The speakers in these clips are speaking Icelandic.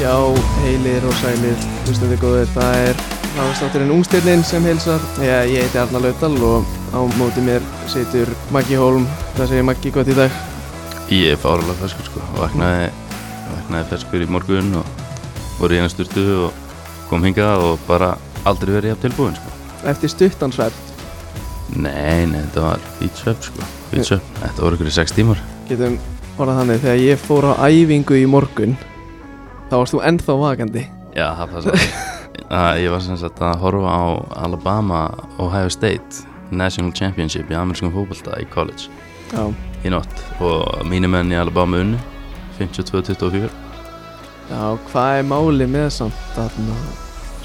Já, heilir og sælir, hlustandi góður, það er ráðstátturinn Ungstirnin sem heilsar. Já, ég heiti Arnar Lautal og á móti mér situr Maggi Hólm. Það segir Maggi gott í dag. Ég er fárlega feskur sko Vaknaði, vaknaði feskur í morgun og voru í eina styrtu og kom hingað og bara aldrei verið jafn tilbúin sko Eftir stuttan svært Nei, nei, þetta var vítsöp sko Vítsöp, þetta voru ykkur í sex tímar getum orðað þannig, þegar ég fór á æfingu í morgun, þá varst þú ennþá vakandi. Já, það passar Það- Ég var sem sagt að horfa á Alabama Ohio State National Championship í amerískum fótbolta í college Já, í nótt og mínu menn í Alabama unnu 52-24 já, hvað er málið með samt að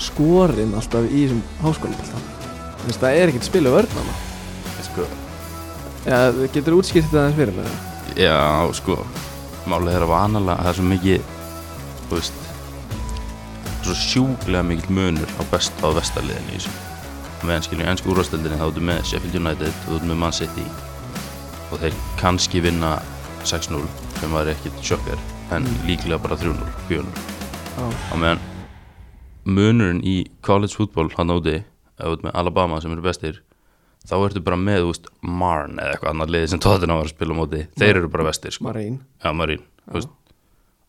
skorinn alltaf í þessum háskóla Þú veist, það er ekkert spilu vörnana. Sko, Já, getur útskýrt þetta aðeins fyrir mér? Já, sko Málið er að vanalega það er svo mikið Þú veist Svo sjúklega mikill munur á, best, á vestarliðinu í þessu meðan skiljum ennsku úrvastöldinni þá ertu með Sheffield United og þú ertu með Man City og þeir kannski vinna 6-0 sem var ekkert sjokkar en líklega bara 3-0, 4-0 Já. á meðan munurinn í college football hann úti, ef þú ert með Alabama sem eru bestir þá ertu bara með, þú veist, Marn eða eitthvað annar liði sem Tottenham var að spila á móti þeir eru bara bestir, sko, Marín. ja, Marín þú veist.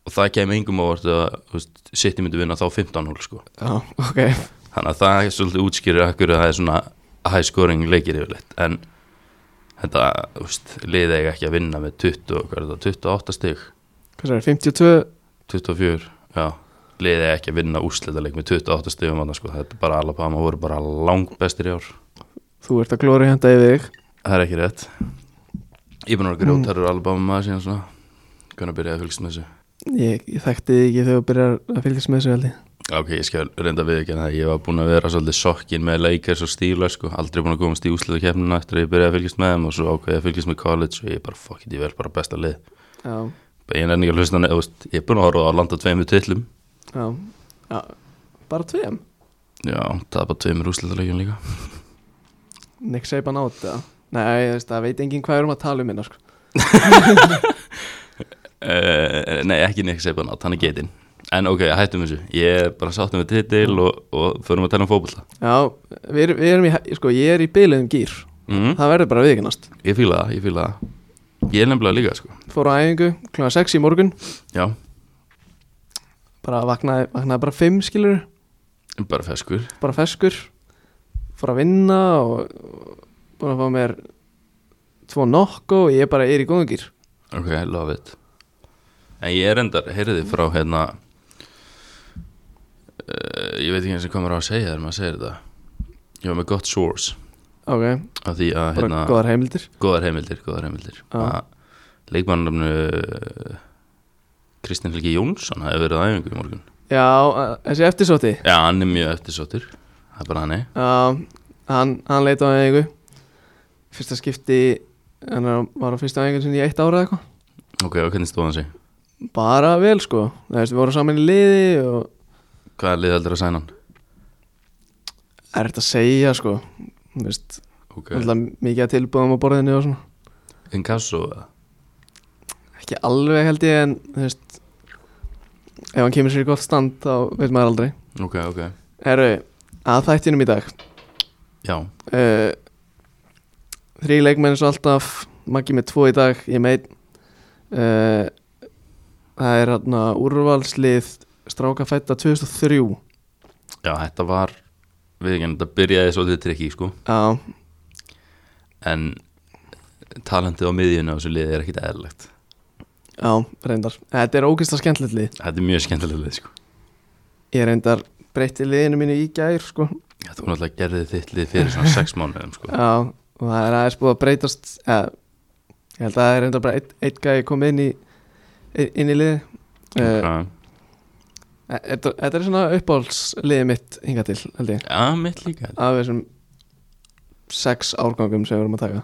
og það kemur engum ávart að þú veist, City myndi vinna þá 15 hól, sko Já, ok. þannig að það er svolítið útskýrir akkur að það er svona high scoring leikir yfirleitt en þetta, þú veist, liðið eiga ekki að vinna með 20, hvað er það, 28 stig Hvað er 52? 24, já liðið eiga ekki að vinna úrslitaleik með 28 stigum annars, sko. þetta er bara Alabama voru bara langbestir í ár, Þú ert að glóri henda yfir þig. það er ekki rétt ég er búin að vera grjótarur mm. Alabama maður síðan svona hvernig byrjaði að fylgst með þessu Ég, ég þekkti þig ekki þegar þú byrjar að fylgjast með þessu held ég. Ok, ég skal reynda við ekki en það ég var búin að vera svolítið sokkin með leikars og stílar sko, aldrei búin að komast í úsliðu kemnuna eftir að ég byrjaði að fylgjast með þeim og svo ákveði að fylgjast með college og ég bara fuck it, ég vel bara besta lið Já, Bara Ég er ekki að hlusta hann, ég er búin að horfa á að landa tveimur titlum já, já. Bara tveim. Já, það er bara tveimur úsliðuleikin líka Nick Saban átt það. Nei, þú veist, það veit enginn hvað við erum að tala um hérna, sko. uh, Nei, ekki Nick Saban átt, hann er getinn En ok, hættum þessu, ég er bara sáttum við titil og, og förum að tala um fótbolta Já, við, erum- við erum í, hæ- sko, ég er í byliðum gýr. mm, Það verður bara viðkynast. Ég fíla það, ég fíla það Ég er nefnilega líka sko, Fór á æfingu, kl. 6 í morgun, já, bara vaknaði, vaknaði bara 5, skilur, bara feskur bara feskur. Fór að vinna og, og búin að fá mér tvo nokko og ég bara er í góðum gýr. Ok, love it En ég er endar, heyrði frá hérna uh, Ég veit ekki eins og hvað maður á að segja þegar maður segir þetta Ég var með gott source Ok, Af því að bara hérna, góðar heimildir. góðar heimildir, góðar heimildir Já. Að leikmannarnamnu Kristinn Helgi Jónsson hafi verið á æfingu í morgun Já, eh, þessi eftirsótti Já, hann er mjög eftirsóttur Það er bara hann Já, hann, hann leita á einhverju Fyrsta skipti Hann er á- var á fyrsta einhverju sinni í eitt ára eða eitthvað Ok, og hvernig stóð hann sig? Bara vel sko Það veist, við vorum saman í liði og Hvað er liðaldur að sæna hann? Það er þetta að segja sko Þú veist, Ok, alltaf mikið að tilbúðum á borðinu og svona Inkasso eða? Ekki alveg held ég en þú veist Ef hann kemur sér í gott stand þá veit maður aldrei Ok, ok Herru, að þættinum í dag Já, uh, Þrý leikmenn svo alltaf Maggi með tvo í dag, ég meit uh, Það er hérna úrvalslið Strákafætta 2003 já, þetta var Við ekki, þetta byrjaði svolítið trikki, sko Já, en talandi á miðjunni á þessu liði er ekkit eðlilegt já, reyndar Þetta er ógeðslega skemmtilegt lið þetta er mjög skemmtilega lið sko Ég reyndar breytti liðinu mínu í gær sko. Já, þú náttúrulega gerði þitt lið fyrir svona sex mánuðum sko Já, og það er aðeins búið að breytast ja, Ég held að það er reyndar bara eitt, eitt gæði komið inn í inn í liði uh, uh, þetta, þetta er svona uppáhaldsliðið mitt hingað til, held ég Já, mitt líka af þessum sex árgangum sem við erum að taka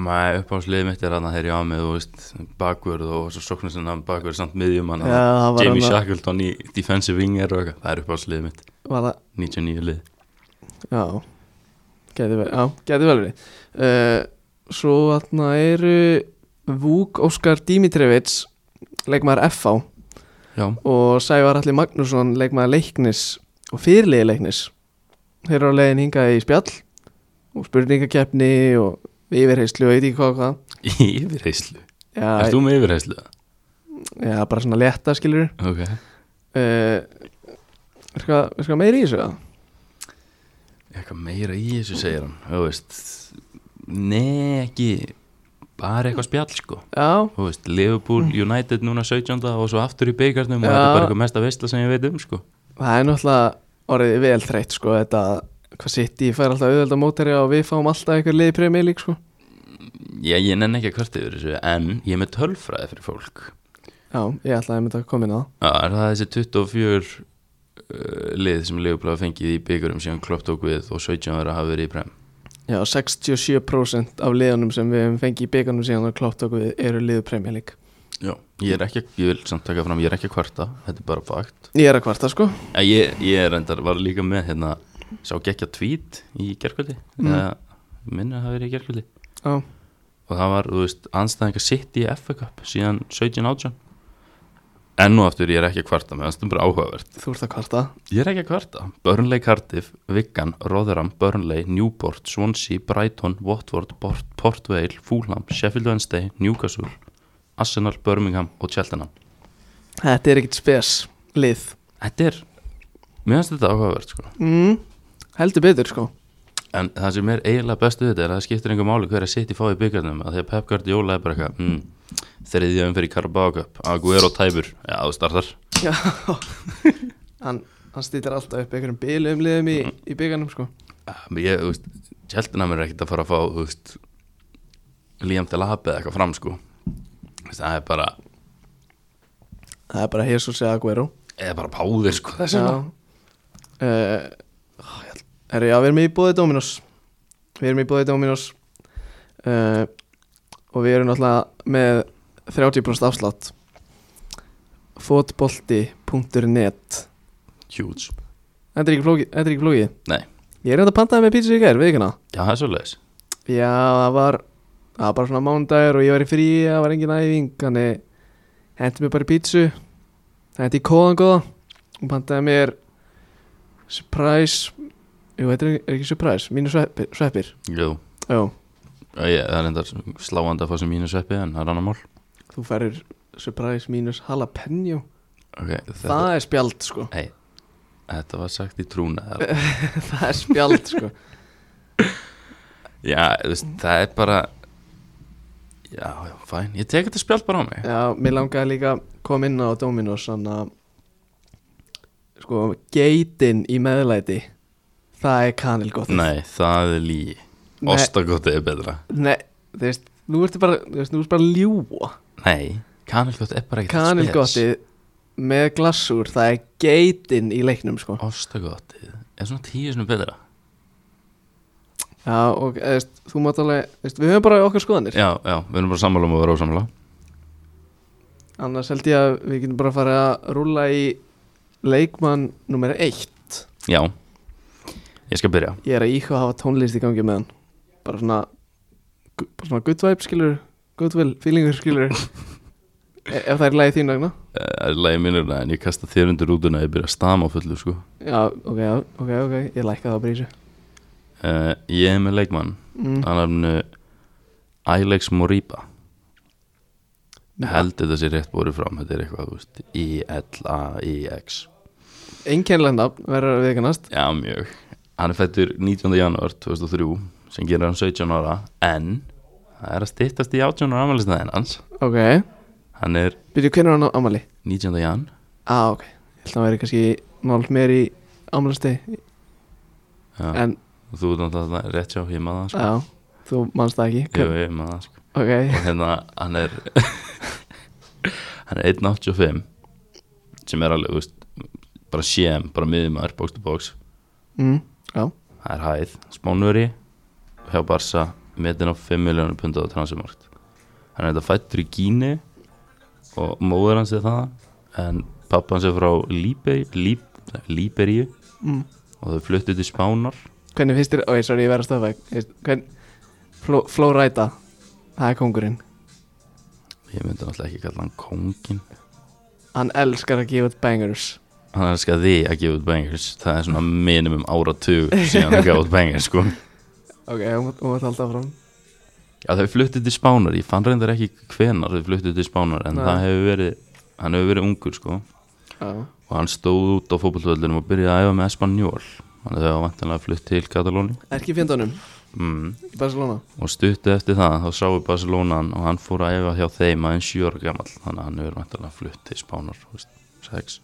Mæ uppáhalsliðið mitt er aðna þegar ég á mig þú veist, bakvörð og svo sóknum sem hann bakvörð samt miðjum hann það var hann Jamie að- Shackleton í defensive winger og eitthvað það er uppáhalsliðið mitt, var það, 99 lið já gæti vel, já, gæti vel verið uh, svo þarna eru Vúk Óskar Dimitrevits leikmaður FH já, og Sævar Alli Magnússon leikmaði leiknis og fyrirliði leiknis þeir eru á leiðin hingað í spjall og spurningakeppni og yfirheyslu og eitthvað hvað og hvað í yfirheyslu Erst já, þú með yfirheyslu? já, bara svona létta skilur Ok uh, er eitthvað meira í þessu það? Eitthvað meira í þessu segir hann Þú veist Nei, ekki Bara eitthvað spjall sko já, Þú veist, Liverpool United núna 17. og svo aftur í byggarnum og Já. þetta er bara eitthvað mesta veistla sem ég veit um sko það er náttúrulega orðið vel þreytt sko þetta hvað sitt ég fær alltaf auðvelda mótari og við fáum alltaf einhver lið í premjör lík sko Já, ég nenni ekki að kvart yfir þessu En ég er með tölfræði fyrir fólk já, ég ætlaði að mynda að koma inn á það Já, er það þessi 24 uh, lið sem Liverpool hafa fengið í byggarum síðan klopp tók við og 17 verið að hafa verið í prem Já, 67% af liðunum sem við hefum fengið í byggarnum síðan og klátt okkur eru liðu Premier League. Já, ég er ekki, ég vil samt taka fram, ég er ekki að kvarta, þetta er bara fakt Ég er að kvarta sko En Ég, ég er endar, var líka með hérna, sá gekkja tweet í gerkvöldi Mm. eða minna að það hafi verið í gerkvöldi Já, og það var, þú veist, anstæðingar sitt í FA Cup síðan 17-18 Enn og aftur, ég er ekki að kvarta með það er bara áhugavert þú ert að kvarta Ég er ekki að kvarta, Burnley Cardiff, Wigan, Rotherham, Burnley, Newport, Swansea, Brighton, Watford, Port, Port Vale, Fulham, Sheffield Wednesday, Newcastle, Arsenal, Birmingham og Cheltenham Þetta er ekkit spes lið Þetta er Mér finnst þetta áhugavert sko mm, Heldur betur sko En það sem er eiginlega bestu við þetta er að það skiptir einhver máli hver að sitt í fái byggarnum að því að Pep Guardiola er bara eitthvað mm, þriðja umferð í Carabao Cup Aguero tæpur, já þú startar Já Hann, hann stýtir alltaf upp einhverjum bilum liðum í, í byggarnum sko Ah, men Ég, þú veist, Cheltenham er ekkert að fara að fá þú veist, Liam Delap eða eitthvað fram sko Þú veist, það er bara Það er bara Jesus eða Aguero eða bara páðir sko Já þessi uh, Herru, eh, já, við erum í bóði Dominos Við erum í bóði Dominos uh, Og við erum náttúrulega með 30% afslátt fotbolti.net huge Þetta er ekki flókið, þetta er ekki flókið Nei. Ég er enda að pantaði með pizza í gær, við ekki hana Já það er svoleiðis Já, það var, það var bara svona mánudagur og ég var í frí, það var engin æfing Þannig hendi mér bara í pizza Hendi í kóðan góða Og pantaði mér Surprise Jú, þetta er, er ekki surprise, mínu sveppir, sveppir. Jú, Jú, Já, ég, það er endar sláandi að fá sem mínu sveppi en það er annar mál þú ferir surprise mínus jalapeno okay, þetta, Það er spjald, sko þetta var sagt í trúna eða Það er spjald, sko Já, þú veist, það er bara Já, já, fæn Ég tek þetta spjald bara á mig Já, mér langaði líka að koma inn á Dominos þannig að sko, geitin í meðlæti það er kanilgott Nei, það er lígi Nei. Ostagóti er betra Nei, þú veist, nú ertu bara, þú veist, nú ertu bara að ljúa Nei, kanilgóti er bara ekkert Kanilgótti með glassúr, það er geitin í leiknum, sko Ostagóti er svona tíu sinni betra Já, og þú veist, þú mátt alveg, þú veist, við höfum bara okkar skoðanir Já, já, við erum bara sammála um að vera ósammála annars held ég að við getum bara að fara að rúlla í leikmann nummer eitt Já, ég skal byrja Ég er að íhuga að hafa tónlist í gangi með hann Bara svona gu- bara Svona good vibe skilur Good will, feelingur skilur Ef það er lagið þín vegna Það Eh, er lægi mínur en ég kasta þér undir rútuna Ég byrja að stama á fullu, sko Já, ok, já, ok, ok Ég lækka það bara í þessu uh, Ég er með leikmann mm. Hann er nefnu Alex Moriba Held þetta sér rétt borið fram Þetta er eitthvað, þú veist, E I-L-A-I-X Einkennlega nafn verður að viðkannast Já, mjög Hann er fættur 19. janúar 2003 sem gerir hann 17 ára en það er að styttast í 18 ára afmælisnaðin hans Ok, Hann er byrju hvernig var hann á amali? 19. jan Á, ah, ok Ég held að hann verið kannski nált meir í amalastegi Já, En, og Þú ert náttúrulega rétt sjá ég maður það Ah, sko. já, þú manst það ekki Jú, Hver- ég maður það sko. Ok, og hérna hann er hann er 1.85 sem er alveg, þú veist bara sjem, bara miðumar, box to box mm. já, það er hæð, spánveri hjá Barsa, metin á 5 miljónur punda á transfermarkt hann er þetta fættur í Gíni og móður hans er það en pappa hans er frá Líberíu Líb, Líberíu mm. og þau fluttu til Spánar Hvernig finnst þér, oi, sorry, ég verður að stöða Hvern, Fló, Flóræta Það er kongurinn ég myndi náttúrulega ekki kalla hann kóngin Hann elskar að gefa út bangers hann elskar því að gefa út bangers það er svona minimum áratug síðan hann gaf út bangers sko Ok, hún mátt- hún mátt halda áfram já þau fluttu til Spánar, ég fann reyndar ekki hvenar þau fluttu til Spánar en Nei. það hefur verið, hann hefur verið ungur sko Já, og hann stóð út á fótbollvöldunum og byrjaði að æfa með Espanjól þannig að þau var vantanlega flutt til Katalóni ekki fjöndanum mm. í Barcelona og stuttu eftir það þá sáu Barcelona hann og hann fór að æfa hjá þeim aðeins 7 ára gamall þannig að hann hefur vantanlega flutt til Spánar 6,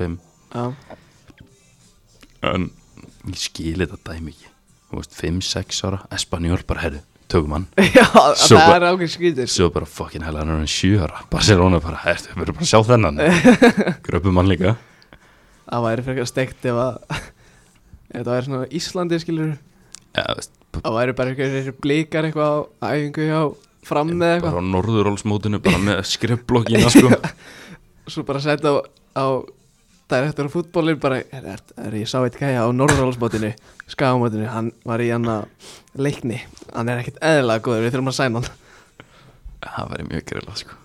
5 Já, en ég skil þetta dæmi ekki Þú veist, 5-6 ára Espanjól bara herru, tökum hann Já Svo- það er ákveð skrítir svo bara fucking hella hann er hann 7 ára Barcelona bara herru, við verðum bara að sjá þennan gröpum hann líka Það væri frekar steikt ef að ef það væri svona Íslandi skilur ja, þú veist, Það væri bara einhverjir blikar eitthvað á æfingu hjá fram með eitthvað bara á norðurólsmótinu bara með skrifblokkina sko Svo bara setja á, á direktor á fútbolin bara er, er, er, Ég sá eitt gæja á Norðurálsmótinu Skáumótinu, hann var í hann að leikni Hann er ekkert eðlilega góður, við þurfum að sæma hann það væri mjög grilla sko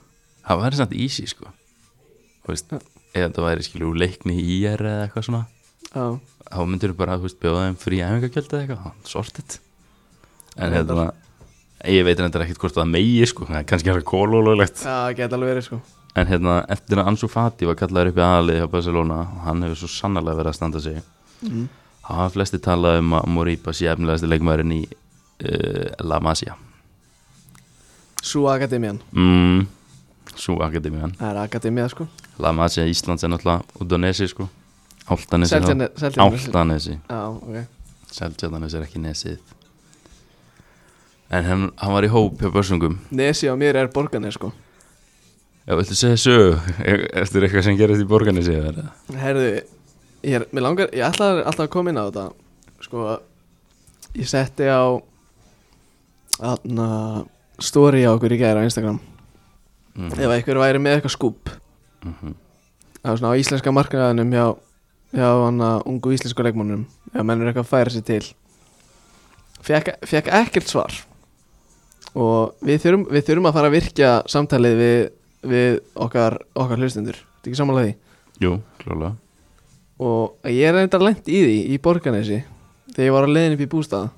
það væri samt easy sko þú veist, ef þetta væri skilur úr leikni í IR eða eitthvað svona Já, þá myndir þú bara, þú veist, bjóða þeim frí æfingakjöld eða eitthvað, sortið en Reyndar. hérna ég veit þetta ekkert hvort það megi sko það er kannski hérna kólólöglegt það geta alveg verið sko en hérna, eftir að Ansu Fati var kallaður upp í aðalið hjá Barcelona og hann hefur svo sannarlega verið að standa sig mm. það hafa flesti talað um að Moriba sé efnilegasti leikmærin í uh, La Masia Sú Akademian, mm, svo akademiðan það er Akademia sko La Masia Íslands er náttúrulega út á nesi sko Áltanesi Seltjarne- Seltjarnarnes- Áltanesi Já, ok Seltjarnanes er ekki nesið En hann, hann var í hóp hjá börsungum Nesi á mér er borganes sko Já, viltu segja sögu e- eftir eitthvað sem gerist í borgarnesi eða er það? Herðu, ég, er- mig langar, ég ætlaði alltaf að koma inn á þetta Sko, ég setti á Þarna Story á okkur í gæra á Instagram Mm. Ef einhver væri með eitthvað skúp Mhm. Það var svona á íslenska markaðinum hjá, hjá hana ungu íslensku leikmannum Ef menn er eitthvað að færa sér til Fekk, fekk ekkert svar Og við þurfum, við þurfum að fara að virkja samtalið við, við okkar, okkar hlustundur Þetta ekki samanlega því Jú, klálega og ég er reyndar lent í því í Borganesi þegar ég var á leiðin upp í bústað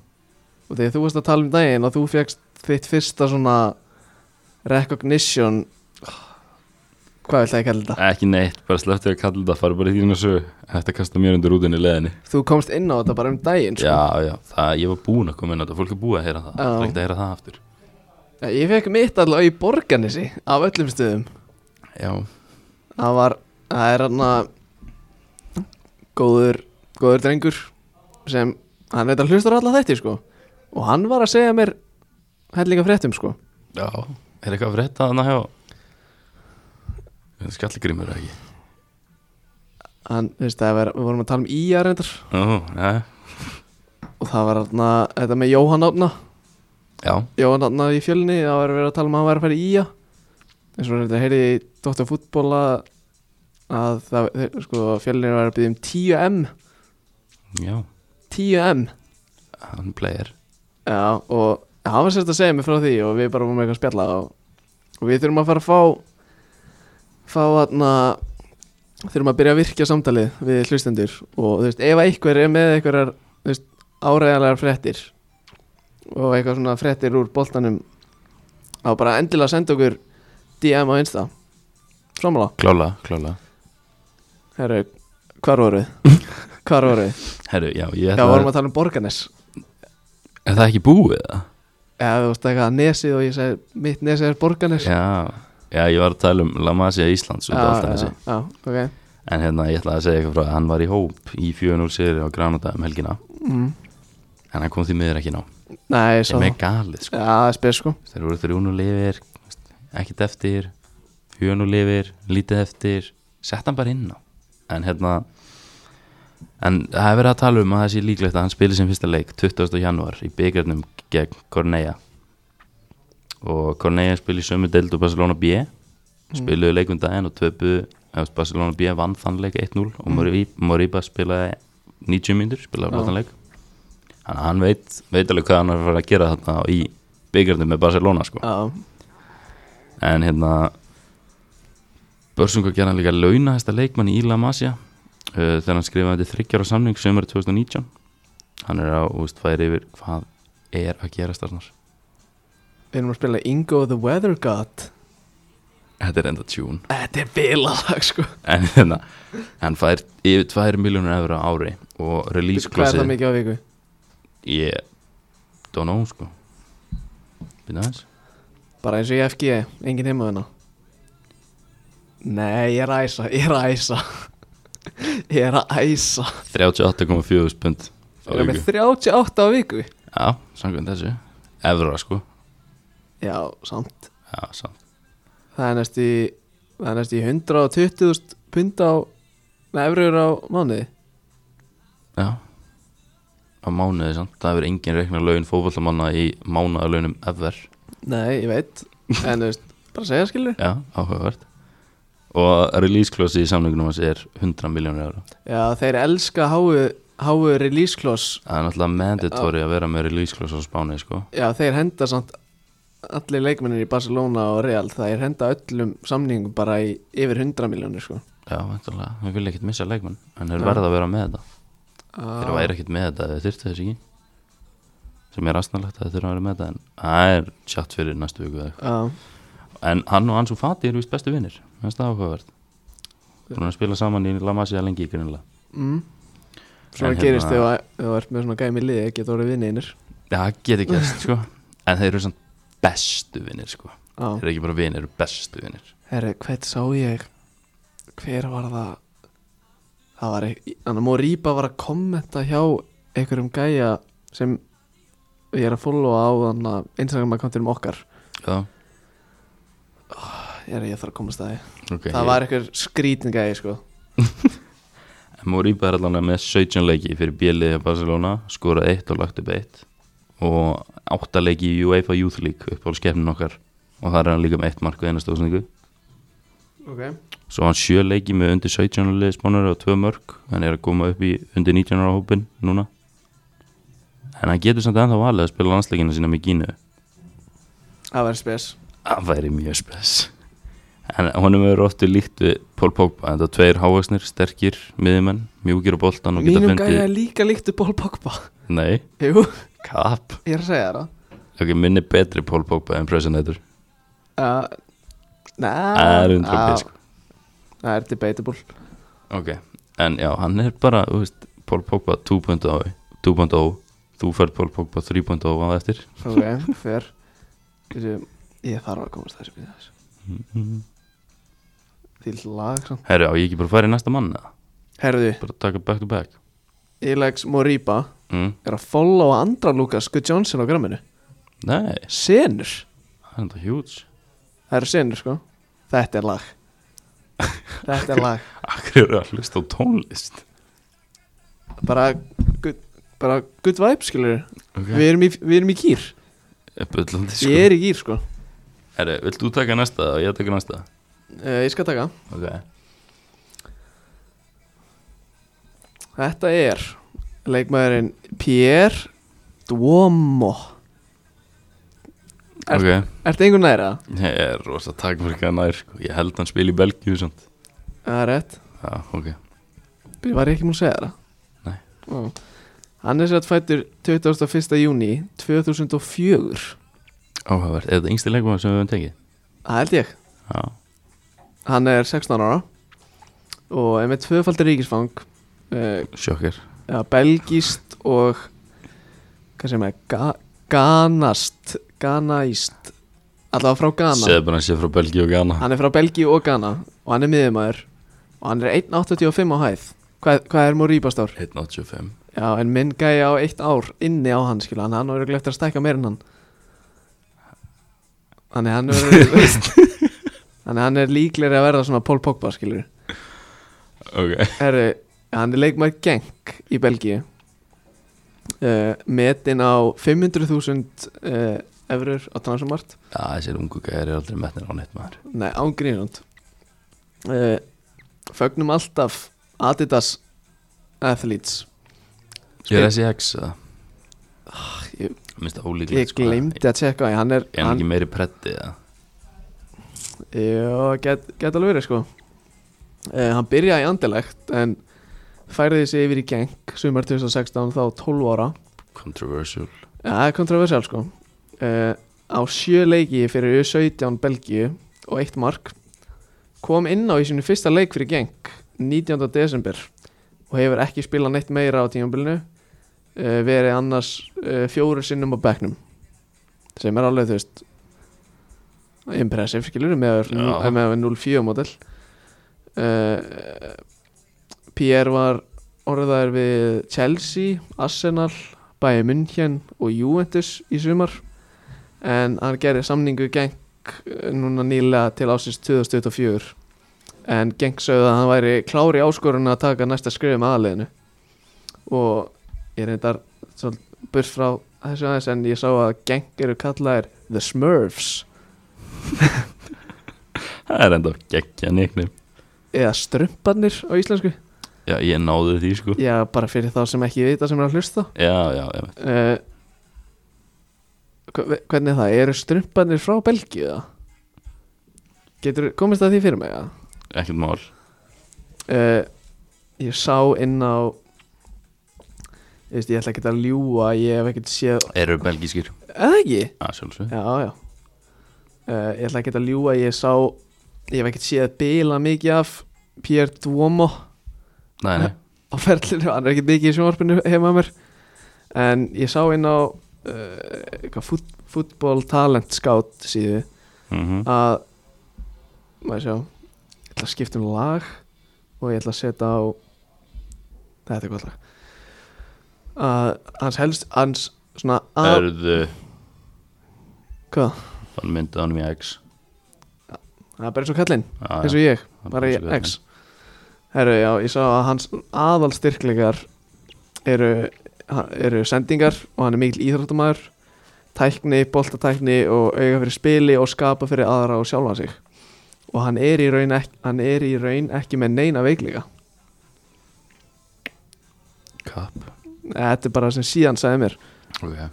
og þegar þú varst að tala um daginn og þú fegst þitt fyrsta svona recognition hvað vil það ég kalla þetta? Ekki neitt, bara slepptu að kalla þetta, fara bara í þínu sögu Þetta kasta mér undir útinni leðinni Þú komst inn á þetta bara um daginn sko. Já, já, það, ég var búin að koma inn á þetta, fólk er búið að heyra það Já. Það er ekkert að heyra það aftur Ég fekk mitt allavega í Borganesi af öllum stöðum Já, það var, það er hann að góður góður drengur sem, hann veit að hlustar á alla þetta sko og hann var að segja mér hellinga fréttum sko já, er eitthvað að frétta þannig hjá Skallgrímur eða ekki hann, þú veist, það var, við vorum að tala um íja reyndar Jú, já, og það var þarna, þetta með Jóhann Átna já, Jóhann Átna í fjölni, það var verið að tala um að hann væri að fara í íja eins og þetta heyrði í Dóttar fútbola að það, þeir- sko, fjölni var að byggja um 10M já 10M, hann player já, og hann var sérst að segja mig frá því og við bara vorum eitthvað að spjalla og, og við þurfum að fara að fá fá þarna þurfum að byrja að virkja samtalið við hlustendur og þú veist, ef einhver er með einhverjar þú veist, áræðanlegar fréttir og eitthvað svona fréttir úr boltanum þá bara endilega senda okkur DM á Insta Sammála, Klála, klála herru, hvar voruð? Hvar voruð? Herru, já, ég Já, ætla vorum að tala um Borganes Er það ekki búið það? Já, þú veist eitthvað nesið og ég segi mitt nesið er Borganes Já, já, ég var að tala um La Masia Íslands út á allt já, þessi já, ok En hérna, ég ætla að segja eitthvað frá að hann var í hóp í 4-0 séri á Granada um helgina mm. En hann kom því miður ekki ná Nei, svo Sem Já, er galið, sko það er spes sko Þeir voru 3-0 lifir, ekkit eftir 4-0 lifir, lítið eftir Sett hann bara inn á En hérna En það hefur verið að tala um að það sé líklegt að hann spili sem fyrsta leik 20. januar í byggarnum gegn Corneja og Corneja spili í sömu deild og Barcelona B spiluðu leikum daginn og töpuðu ef Barcelona B vann þann leik 1-0 og Moriba, Moriba spilaði 90 mínútur, spilaði Já. allan leik þannig að hann veit, veit alveg hvað hann er að fara að gera þarna í byggarnum með Barcelona sko Já, en hérna Börsunga gerði hann líka launahæsta leikmann í Íla Masja uh, þegar hann skrifaði þetta þryggjára samning sömur 2019 hann er á úst, færi yfir hvað er að gerast þarnar Við erum að spila Ingo the Weather God þetta er enda tjún Þetta er bilalag sko en hérna, hann fær yfir 2 miljónur efra á ári og Hvað release er það klassið mikið á viku? ég don't know sko byrja aðeins Bara eins og í FG, enginn heima þennan Nei, ég er að æsa, ég er að æsa Ég er að æsa 38,4 spund á Við erum með viku 38 á viku já, samkvæmt þessu evra sko Já, samt já, samt Það er næstu, það er næstu 120.000 pund á Nei, efriður á mánuði já á mánuði samt það hefur engin reikna laun fótballamanna í mánuðalaunum ever Nei, ég veit En þú veist, bara að segja skilur já, áhugavert og release clause í samningunum hans er 100 miljónur evra Já, þeir elska háu, háu release clause það er náttúrulega mandatory að vera með release clause á Spáni sko Já, þeir henda samt allir leikmennir í Barcelona og Real þeir henda öllum samningum bara í yfir 100 miljónir sko já, veintalega, við viljum ekkert missa leikmann en þeir Já. verða að vera með þetta þeir Já, væri ekkert með þetta þeir þyrftu þess ekki sem er aðsnarlegt að þeir þurfa að vera með þetta en það er tjátt fyrir næstu viku eða já, eitthvað en hann og Ansu Fati eru vist bestu vinnir það er áhugavert búin að spila saman í La Masia lengi í grunlega mm. Svona En gerist hérna- þegar þú ert með svona gæmi liði geta orðið vinninir það getur gerst sko en þeir eru samt bestu vinnir sko Já, þeir eru ekki bara vinnir, þeir eru bestu vinnir herri, hvert sá ég hver var það það var, e- hann að Moríba var að kommenta hjá einhverjum gæja sem ég er að followa á þannig að Instagram akkantinum okkar já, ég er ég þarf að komast að því ok það var einhver skrítin gæi sko Moríba er allavega með 17 leiki fyrir bjöliði Barcelona, skorað eitt og lagt upp eitt og átta leiki í UEFA Youth League upp á skefnin okkar og það er hann líka með eitt mark við eina stóðsningu okay. svo á hann sjö leiki með undir 17 leikspónur og tvö mörg, hann er að koma upp í undir 19 ára hópin núna en hann getur samt ennþá valið að spila landsleikina sína með Gínu Það verður spes það væri mjög spes en honum er oftu líkt við Pól Pogba, þetta tveir hávaksnir, sterkir miðjumenn, mjúkir og boltan og geta Mínum gæja fundið, er líka líktu Ból Pogba nei, Jú, kap ég er að segja það Ok, minni betri Pól Pogba en Presonator uh, Næ Það er undrum á, við, sko. Það er debatable Ok, en já, hann er bara þú veist, Pól Pogba 2.0 2.0, þú færð Pól Pogba 3.0 á það eftir Ok, fyrr Ég þarf að komast að þessu bíða þessu Því lag samt Herru, á ég ekki bara að fara í næsta mann eða? Herðu, Bara taka back to back Ilex Moriba mm. er að followa andra Lukas Good Johnson á gramminu Nei, Senur það er enda huge Það eru senur sko Þetta er lag Þetta er lag Akkur eru að hlusta á tónlist Bara good, bara good vibe skilur Ok, Við erum í, við erum í kýr uppöllandi sko Ég er í kýr sko Herru, vilt þú taka næsta og ég taka næsta? uh, Ég skal taka Ok Þetta er leikmaðurinn Pierre Duomo Er- Ok, Ertu einhvern næra? ég er rosa takmarkað nær sko Ég held hann spil í Belgíu samt Það er rétt Já, ok Ég var ekki múin að segja það Nei. Ó. Hann er sér að fættur 21. júni 2004 Áhugavert, er þetta yngsti leikmann sem við höfum tekið? Það held ég Já Hann er 16 ára og er með tvöfaldir ríkisfang uh, Sjokkar ja, belgist og hvað sem er ga ganast ganaist allavega frá Ghana Segðu bara að sé frá Belgíu og Ghana Hann er frá Belgíu og Ghana og hann er miðumæður og hann er 1.85 á hæð Hvað, hvað er Moríba stór? 185 Já, en minn gæja á eitt ár inni á hann, skilja, hann hann er glögt að stækka meir en hann Þannig hann er Þannig hann er líklegri að verða svona Pól Pogba, skilur Ok Herru, hann er leikmaður Genk í Belgíu uh, Metin á 500.000 uh, eurur á transumart Já, þessir ungu gæðir er aldrei metnir á neitt maður Nei, ángríðund uh, Fögnum alltaf Adidas Athletes Ég er SX eða Ah, ég- Minnst Ég það ólíklegt sko. gleymdi að tjekka því, Hann er Er hann hann, ekki meiri preddi eða Jó, get, get alveg verið sko Uh, hann byrjaði í andilegt en færði sig yfir í geng sumar 2016 þá 12 ára Controversial Ja, það er kontroversiál sko uh, Á sjö leiki fyrir 17 Belgíu og eitt mark kom inn á í sinu fyrsta leik fyrir geng 19. desember og hefur ekki spilað neitt meira á tímabilinu uh, verið annars uh, fjóru sinnum á bekknum sem er alveg þú veist impressive skilur með, Já. með 0-4 model uh, Pierre var orðaður við Chelsea, Arsenal Bayern München og Juventus í sumar en hann gerði samningu geng núna nýlega til ásins 2024 en geng sögðu að hann væri klári áskorun að taka næsta skrifum aðliðinu og ég reyndar svolítið burt frá þessu aðeins en ég sá að geng eru kallaðir The Smurfs Það er enda geggja neiknum eða strumparnir á íslensku Já, ég náði því sko já bara fyrir þá sem ekki vita sem er að hlusta Já, já, já uh, hvernig er það, eru strumpanir frá Belgíu það? Getur, komist það því fyrir mig að? ekkert mál Uh, ég sá inn á ég veist, ég ætla ekki að ljúa ég hef ekkert séð, Eru belgískir? eða ekki? Já, sjálfsög já, já uh, ég ætla ekki að ljúa, ég sá ég hef ekkert séð bila mikið af Pierre Duomo Nei, nei á ferlinu, hann er ekkert mikið í sjónvarpinu heima mér en ég sá inn á uh, eitthvað fút, fútból talent scout síðu Mhm. að maður sjá, ég ætla að skipta um lag og ég ætla að setja á þetta er gott lag að hans helst hans svona að, Erðu hvað, Þann myndið honum í X það er bara eins og kallinn Já, já, eins og ég, hann bara í brosir gjarnan. X herru, já, ég sá að hans aðalstyrkleikar eru, ha- eru sendingar og hann er mikil íþróttamæður tækni, boltatækni og auga fyrir spili og skapa fyrir aðra og sjálfa sig og hann er í raun ekki, hann er í raun ekki með neina veikleika Kapp þetta er bara sem síðan sagði mér Ok uh,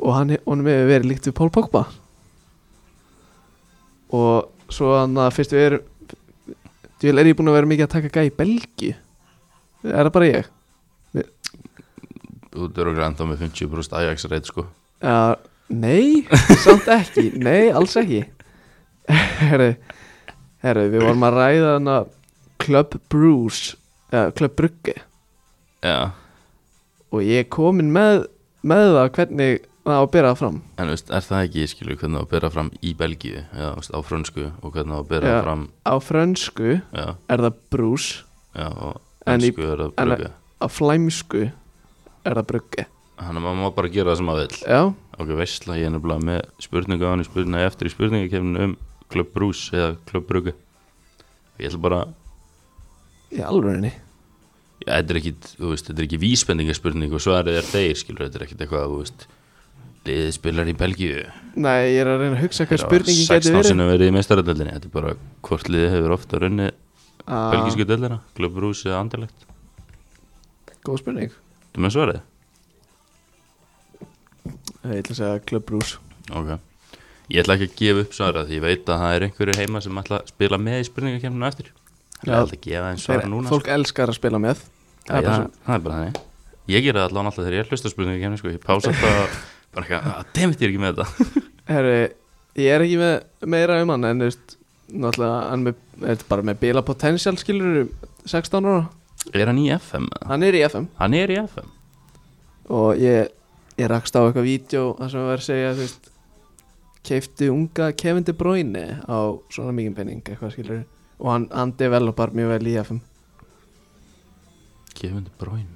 og hann, honum hefur verið líkt við Pól Pogba og svo hann að fyrst við erum djúvel er ég búin að vera mikið að taka gæði í Belgi er það bara ég Þú eru okkur ennþá með 50% Ajax reyt sko uh, nei, samt ekki nei, alls ekki herru, herru, við vorum að ræða hann að Club Bruce eða Club Brugge Já og ég er komin með, með það hvernig það á að byrja það fram En veist, er það ekki, skilur, hvernig á að bera fram í Belgíu eða veist, á frönsku og hvernig á að bera Já. fram á frönsku já, er það Bruce já, og En í- ennsku er að en- bruga á flæmsku er það brugge Þannig að maður má bara gera það sem maður vill já, Ok, veistla, ég er nefnilega með spurningu á hann í spurningu eftir í spurningakefninu um Club Bruce eða Club Brugge Ég ætla bara, í alvörinni já, þetta er ekki, þú veist, þetta er ekki vísbendingaspurning og svarið er þeir, skilur, þetta er ekkit eitthvað, þú veist Liðið spilar í Belgíu nei, ég er að reyna að hugsa hvað Þeir hafa spurningin geti 16 verið sinni verið í meistaraldeldinni, þetta er bara hvort liðið hefur ofta runni Ah, belgísku deldina, Club Bruce eða Anderlegt góð spurning Þú með svarið? ég ætla að segja Club Bruce Ok Ég ætla ekki að gefa upp svara því ég veit að það er einhverju heima sem ætla að spila með í spurningakefninu eftir Það er Já. alltaf að gefa þeim svara Þeir- núna fólk elskar að spila með sko. Já, já, það er bara þannig Ég gera það allan alltaf þegar ég er hlusta spurningakefni sko. Ég pása alltaf bara eitthvað að demit ég er ekki með þetta Herri, ég er ekki með meira um hann en þú veist, náttúrulega hann með, er bara með bila potential skilur 16 ára, Er hann í FM? eða? hann er í FM Hann er í FM og ég, ég rakst á eitthvað vídeo þar sem var að segja þú veist, keifti unga Kevin De Bruyne á svona mikið penning eitthvað skilur og hann, hann developar mjög vel í FM Gefum þetta bróin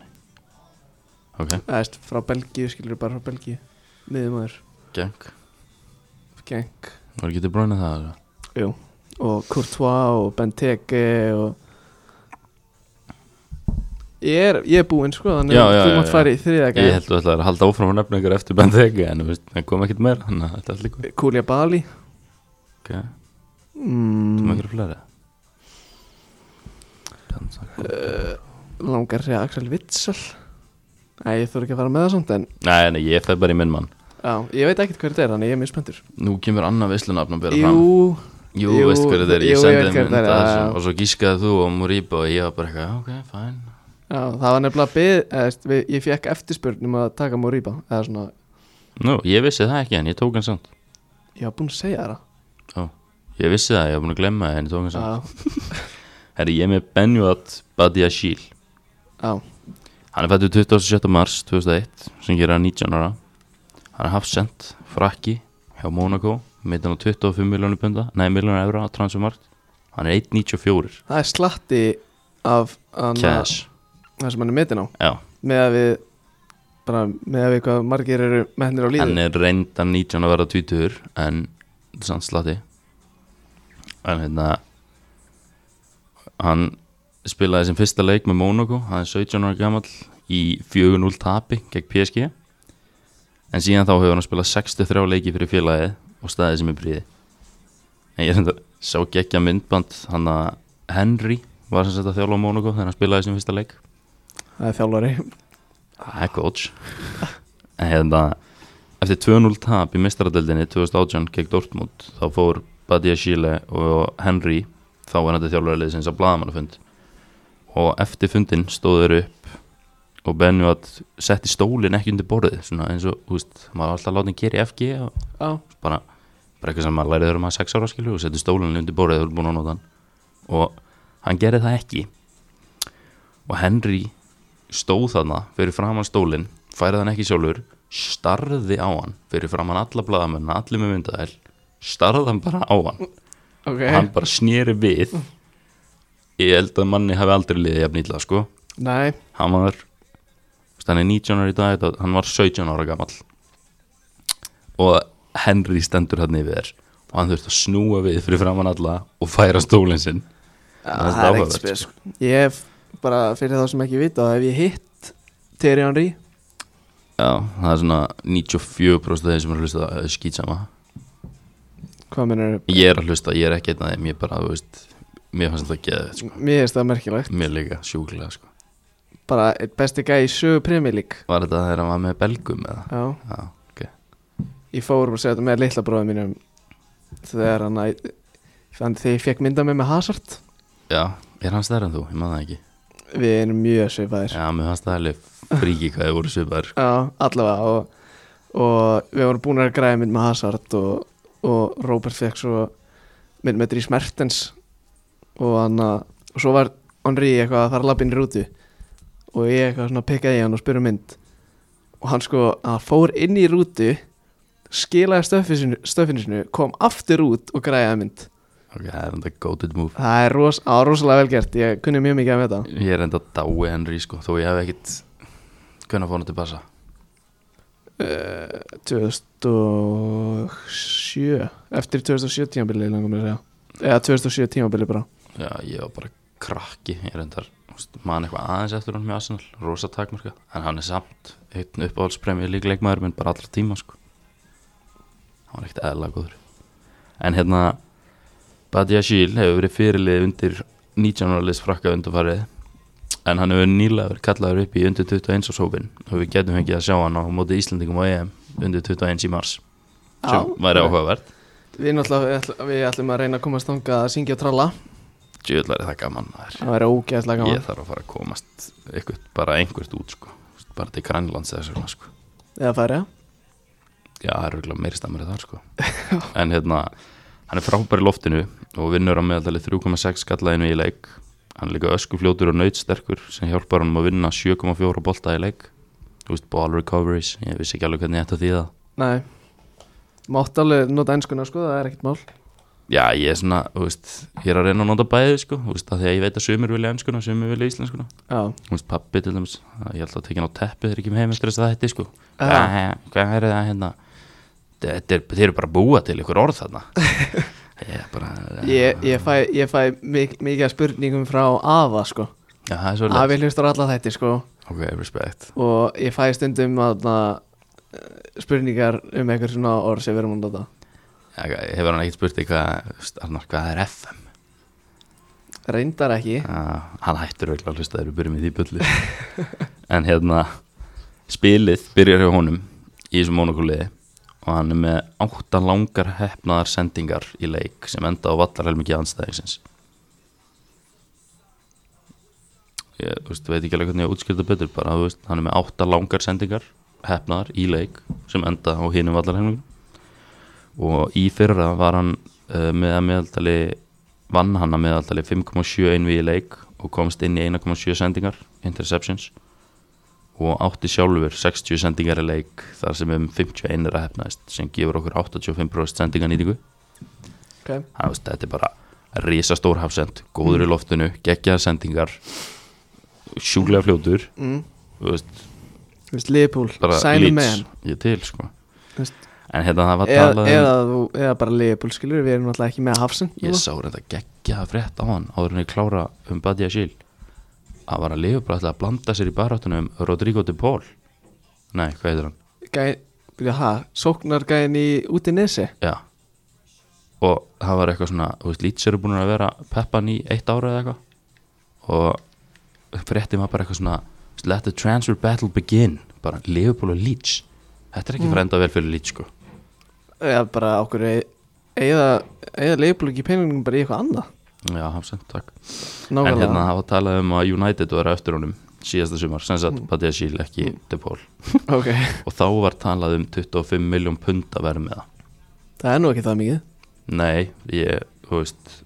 Ok, eða veist, frá Belgíu skilur bara frá Belgíu miðumöður, geng Genk Var ekki þetta bróin að það? eða? Jú. og Courtois og Benteke og ég er, ég er búinn sko þannig Já, að já, þú já, mátt já. fara í þriða Ég gæð held að það er að halda áfram að nefna ykkur eftir bend þegi en þú veist, það kom ekkert meira þannig að þetta er allir góð Kúlja Bali Ok, þú með mm, ykkur fleiri Benteke. langar að segja Axel Witsel Nei, ég þurf ekki að fara með það samt en Nei, nei, ég fæði bara í minn mann já, ég veit ekkert hver þetta er þannig ég er mjög spenntur Nú kemur annað veislu nafn að bera fram Jú, Jú, Jú, veist hverju þetta er, ég jú, sendi ég veit þeim hver mynd þetta er, af já, þessu já. og svo gískaði þú og Moriba og ég var bara eitthvað, ok, fine Já, það var nefnilega byð, eða, veist, við, ég fekk eftirspurnum að taka Moriba eða svona, Nú, ég vissi það ekki en ég tók hann samt ég var búinn að segja þér það Ég vissi það, ég var búin að glemma það en ég tók hann samt Já, Herri, ég er með Benjuat Badiashil já, Hann er fættur 27. mars 2001 sem gerir hann 19 ára Hann er hafsend, frakki hjá Monaco, meittan á 25 miljónu punda, nei miljónu evra á transfermarkt Hann er 1.94 það er slatti af hana- cash það sem hann er metin á Já, með að við bara með að við hvað margir eru mennir á lífi hann er reyndan 19 að verða 20 en sann slati en hérna hann spilaði sem fyrsta leik með Monaco hann er 17 ára gamall í 4-0 tapi gegn PSG en síðan þá hefur hann spilað 63 leiki fyrir félagið og staðið sem er príði en ég er enda sá geggja myndband hann að Henry var sem sagt að þjálfa á Monaco þegar hann spilaði sem fyrsta leik það er þjálfari Það er coach En hérna Eftir 2-0 tap í mistaradeldinni 2018 gegn Dortmund þá fór Badia Schiele og Henry þá er þetta þjálfurlið sinns að blaðamannafund og eftir fundin stóður upp og bennu að setti stólinn ekki undir borðið svona eins og, þú veist, maður var alltaf látið að gera í FG og já, bara, bara eitthvað sem maður lærið þegar maður er 6 ára skilju og setti stólinn undir borðið þegar þú er búin að nota hann og hann gerði það ekki og Henry stóð þarna fyrir framann stólinn færið hann ekki sjálfur starði á hann fyrir framann alla blaðamenn allir með myndaðel starði hann bara á hann ok og hann bara snýri við ég held að manni hafi aldrei liðið jafn illa sko nei, hann var þú veist, hann er 19 ára í dag þetta- hann var 17 ára gamall og Henry stendur hann yfir þér og hann þurft að snúa við fyrir framann alla og færa stólinn sinn Það er það er áhugavert, ekkert spes sko. ég hef bara fyrir þá sem ekki vita þá hef ég hitt Terry Henry Já, það er svona 94% af þeim sem er að hlusta það er skýtsama hvað minnur, Ég er að hlusta, ég er ekki einn af þeim, ég bara, þú veist Mér fannst þetta geða, sko. mér finnst það merkilegt mér líka sjúklega, sko bara einn besti gæi í sögu premjör lík Var þetta þegar hann var með belgum eða? já, Já, ok ég fór og segja þetta með litla bróðum mínum þegar hann að- þannig þegar ég fekk mynda með með Hazard Já, er hann stærri en þú? Ég maður það ekki við erum mjög svipaðir Já, mér fannst það alveg fríki hvað þið voru svipar Já, allavega og, og við vorum búin að græða mynd með Hazard og, og Robert fekk svo mynd með Dries Mertens og hann að og svo var Henri eitthvað að fara lappin í rútu og ég eitthvað svona pikkaði í hann og spurði um mynd og hann sko, hann fór inn í rútu skilaði stöffi sinu- stöffinu sinu kom aftur út og græði mynd Ok, það er enda goated move það er ros, á, rosalega velgert, ég kunni mjög mikið af þetta Ég er enda dái Henry, sko, þó ég hef ekkit Hvernig fór hann til passa? Eh, 2007 eftir 2007 tímabili langum ég að segja eða 2007 tímabili bara Já, ég var bara krakki Ég reyndar, mann eitthvað aðeins eftir hann með Arsenal Rosa takmarka En hann er samt einn uppáhaldspremjur lík leikmaður minn bara allra tíma sko Hann var ekkert eðla góður En hérna Badia Shiel hefur verið fyrirlið undir 19 ára liðs frakka undanfarið En hann hefur nýlega verið kallaður upp í undir 21 ás hópin Og við getum ekki að sjá hann á móti Íslendingum á EM undir 21 í mars Sem væri áhugavert Við náttúrulega, við ætl- við ætlum að reyna að komast þangað að syngja og tralla Djöðlar er það gaman maður Það væri ógeðslega gaman Ég þarf að fara að komast eitthvað, bara einhvert út sko. bara til Grænlands eða svona sko. Eða færi Já, það er örgulega meiri stammur þar sko. En hérna, hann er frábær í loftinu og vinnur á meðaldali 3,6 skallaðinu í leik Hann er líka öskufljótur og nautsterkur sem hjálpar hann að vinna 7,4 bolta í leik Þú veist, ball recoveries, ég vissi ekki alveg hvernig ég ætti að þýða Nei Mátt alveg nota enskuna sko, það er ekkert mál Já, ég er svona, þú veist, ég er að reyna að nota bæði sko, þú veist, af því að ég veit að sumir vilja enskuna, sumir vilja íslenskuna Já, Þú veist, pappi til dæmis, að ég held að tekja hann á teppi þegar ég kem heim eftir þess að þetta sko Já. Hvað- Hvað er það hérna? Þetta er, þeir eru bara að búa til ykkur orð þarna Ég er bara ég, ég fæ, ég fæ mik mikið af spurningum frá Ava sko Já, það er svo Afi hlustar alla þetta sko Ok, respect og ég fæ stundum að spurningar um einhver svona orð sem við erum að nota Já, hvað- Hefur hann ekkert spurt þig hvað, þú veist, Arnar, hvað er FM? Reyndar ekki Ah, hann hættur auðvitað að hlusta þegar við byrjum í því bulli En hérna Spilið byrjar hjá honum Í þessu monokóliði og hann er með átta langar hefnaðar sendingar í leik sem enda á vallarhelmingi anstæðingsins ég þú veist, veit ekki alveg hvernig ég útskýrta betur bara, þú veist, hann er með átta langar sendingar hefnaðar í leik sem enda á hinum vallarhelmingi og í fyrra var hann uh, með að meðaldali vann hann að meðaldali 5,71 við í leik og komst inn í 1,7 sendingar interceptions og átti sjálfur 60 sendingar í leik þar sem um 51 er að hefnaðist sem gefur okkur 85% sendingar nýtingu okay. þannig að veist, þetta er bara risastór hafsend, Mm. góður í loftinu geggjaðar sendingar sjúklega fljótur mm. þú veist, Þú veist, Liverpool, bara sæni Leeds, með hann ég til sko Þú veist. en hérna það var eða, talað um- eða, þú- eða bara Liverpool, skilur við erum alltaf ekki með Hafsen Ég sá reynda geggjaða frétt á hann áður en ég klára um Badia Shill að var að lifa bara alltaf að blanda sér í baráttunum um Rodrigo de Paul Nei, hvað heitir hann? Gæ, byrja, ha, sóknargæðin í út í nesi Já og það var eitthvað svona, þú veist, Leeds eru búin að vera peppan í eitt ára eða eitthvað og fréttin var bara eitthvað svona let the transfer battle begin bara Liverpool og Leeds þetta er ekki mm. frænda vel fyrir Leeds sko eða bara okkur eða, eða Liverpool ekki peningum bara í eitthvað annað Já, hafsend, takk En nákvæmlega hérna það var talað um að United var eftir honum síðasta sumar, sem sagt mm. Badia Shill ekki de Paul ok, og þá var talað um 25 miljón pund að vera með það það er nú ekki það mikið nei, ég, þú veist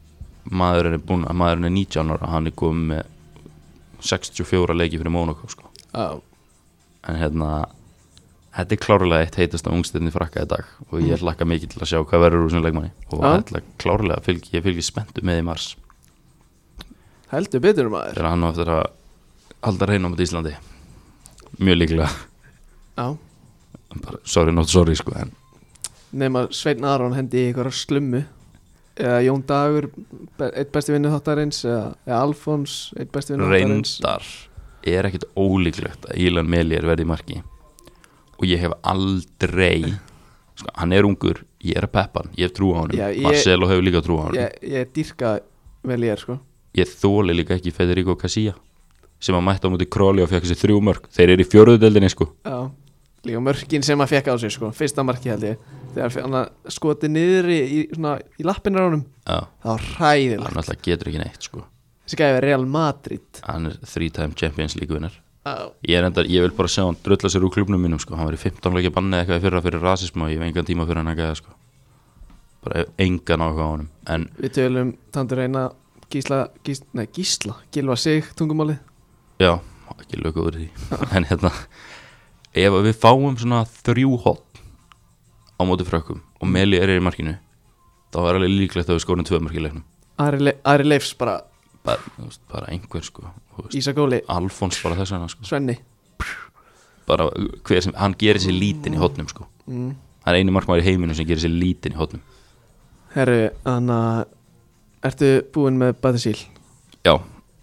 maðurinn er búinn, maðurinn er 19 ára hann er komið með 64 leiki fyrir Monaco sko á, en hérna, þetta er klárlega eitt heitasta ungstinni frakka í dag og ég hlakka mikið til að sjá hvað verður úr þessum leikmanni og Já. ætla klárlega, að fylg, ég fylgir spenntu með í mars heldur betur maður þegar hann á eftir að halda reynum á Íslandi mjög líklega, á, bara sorry not sorry sko en nema Sveinn Aron hendi í eitthvað slummu eða Jón Dagur, be- einn besti vinnu þáttarins eða, eða Alfons, einn besti vinnu þáttarins reyndar er ekkit ólíklegt að Ílan Melier verði í marki og ég hef aldrei sko, hann er ungur, ég er að peppa hann ég hef trú á hann, Já, ég- Marcelo hefur líka trú á hann ég, ég, ég dýrka vel ég er sko þóli líka ekki Federico Casilla sem að mætti á múti króli og fekk þessi þrjú mörg þeir eru í fjóruðudeldinni sko Já, líka mörkin sem hann fekk á sig sko, fyrsta marki held ég þegar hann að skoti niður í, í, svona, í lappinar honum, Já, það var hræðilegt hann alltaf getur ekki neitt sko þessi gæði Real Madrid hann er three time champions league vinnar Já, ég, er endar, ég vil bara sjá hann drulla sér úr klubnum mínum sko. hann var í 15 leikja bannið eitthvað í fyrra fyrir rasism og ég hef engan tíma fyrir hann að gæða sko. bara engan áhuga á honum en við tölum Tandur Reyna Gísla, gís, nei Gísla, Gilva sig tungumáli Já, ekki lögur úr því En hérna Ef að við fáum svona þrjú hot Á móti frökkum Og Meli er í markinu Þá er alveg líklegt að við skorum tvö mörk í leiknum Ari, Le Ari Leifs bara, bara, þú veist, bara einhver sko þú veist, Ísakóli, Alfons bara þess vegna sko Svenni bara, hver sem, Hann gerir sér lítinn í hotnum sko mm. Hann er einu markmaður í heiminum sem gerir sér lítinn í hotnum Herru, þannig að ertu búinn með Batisíl? Já,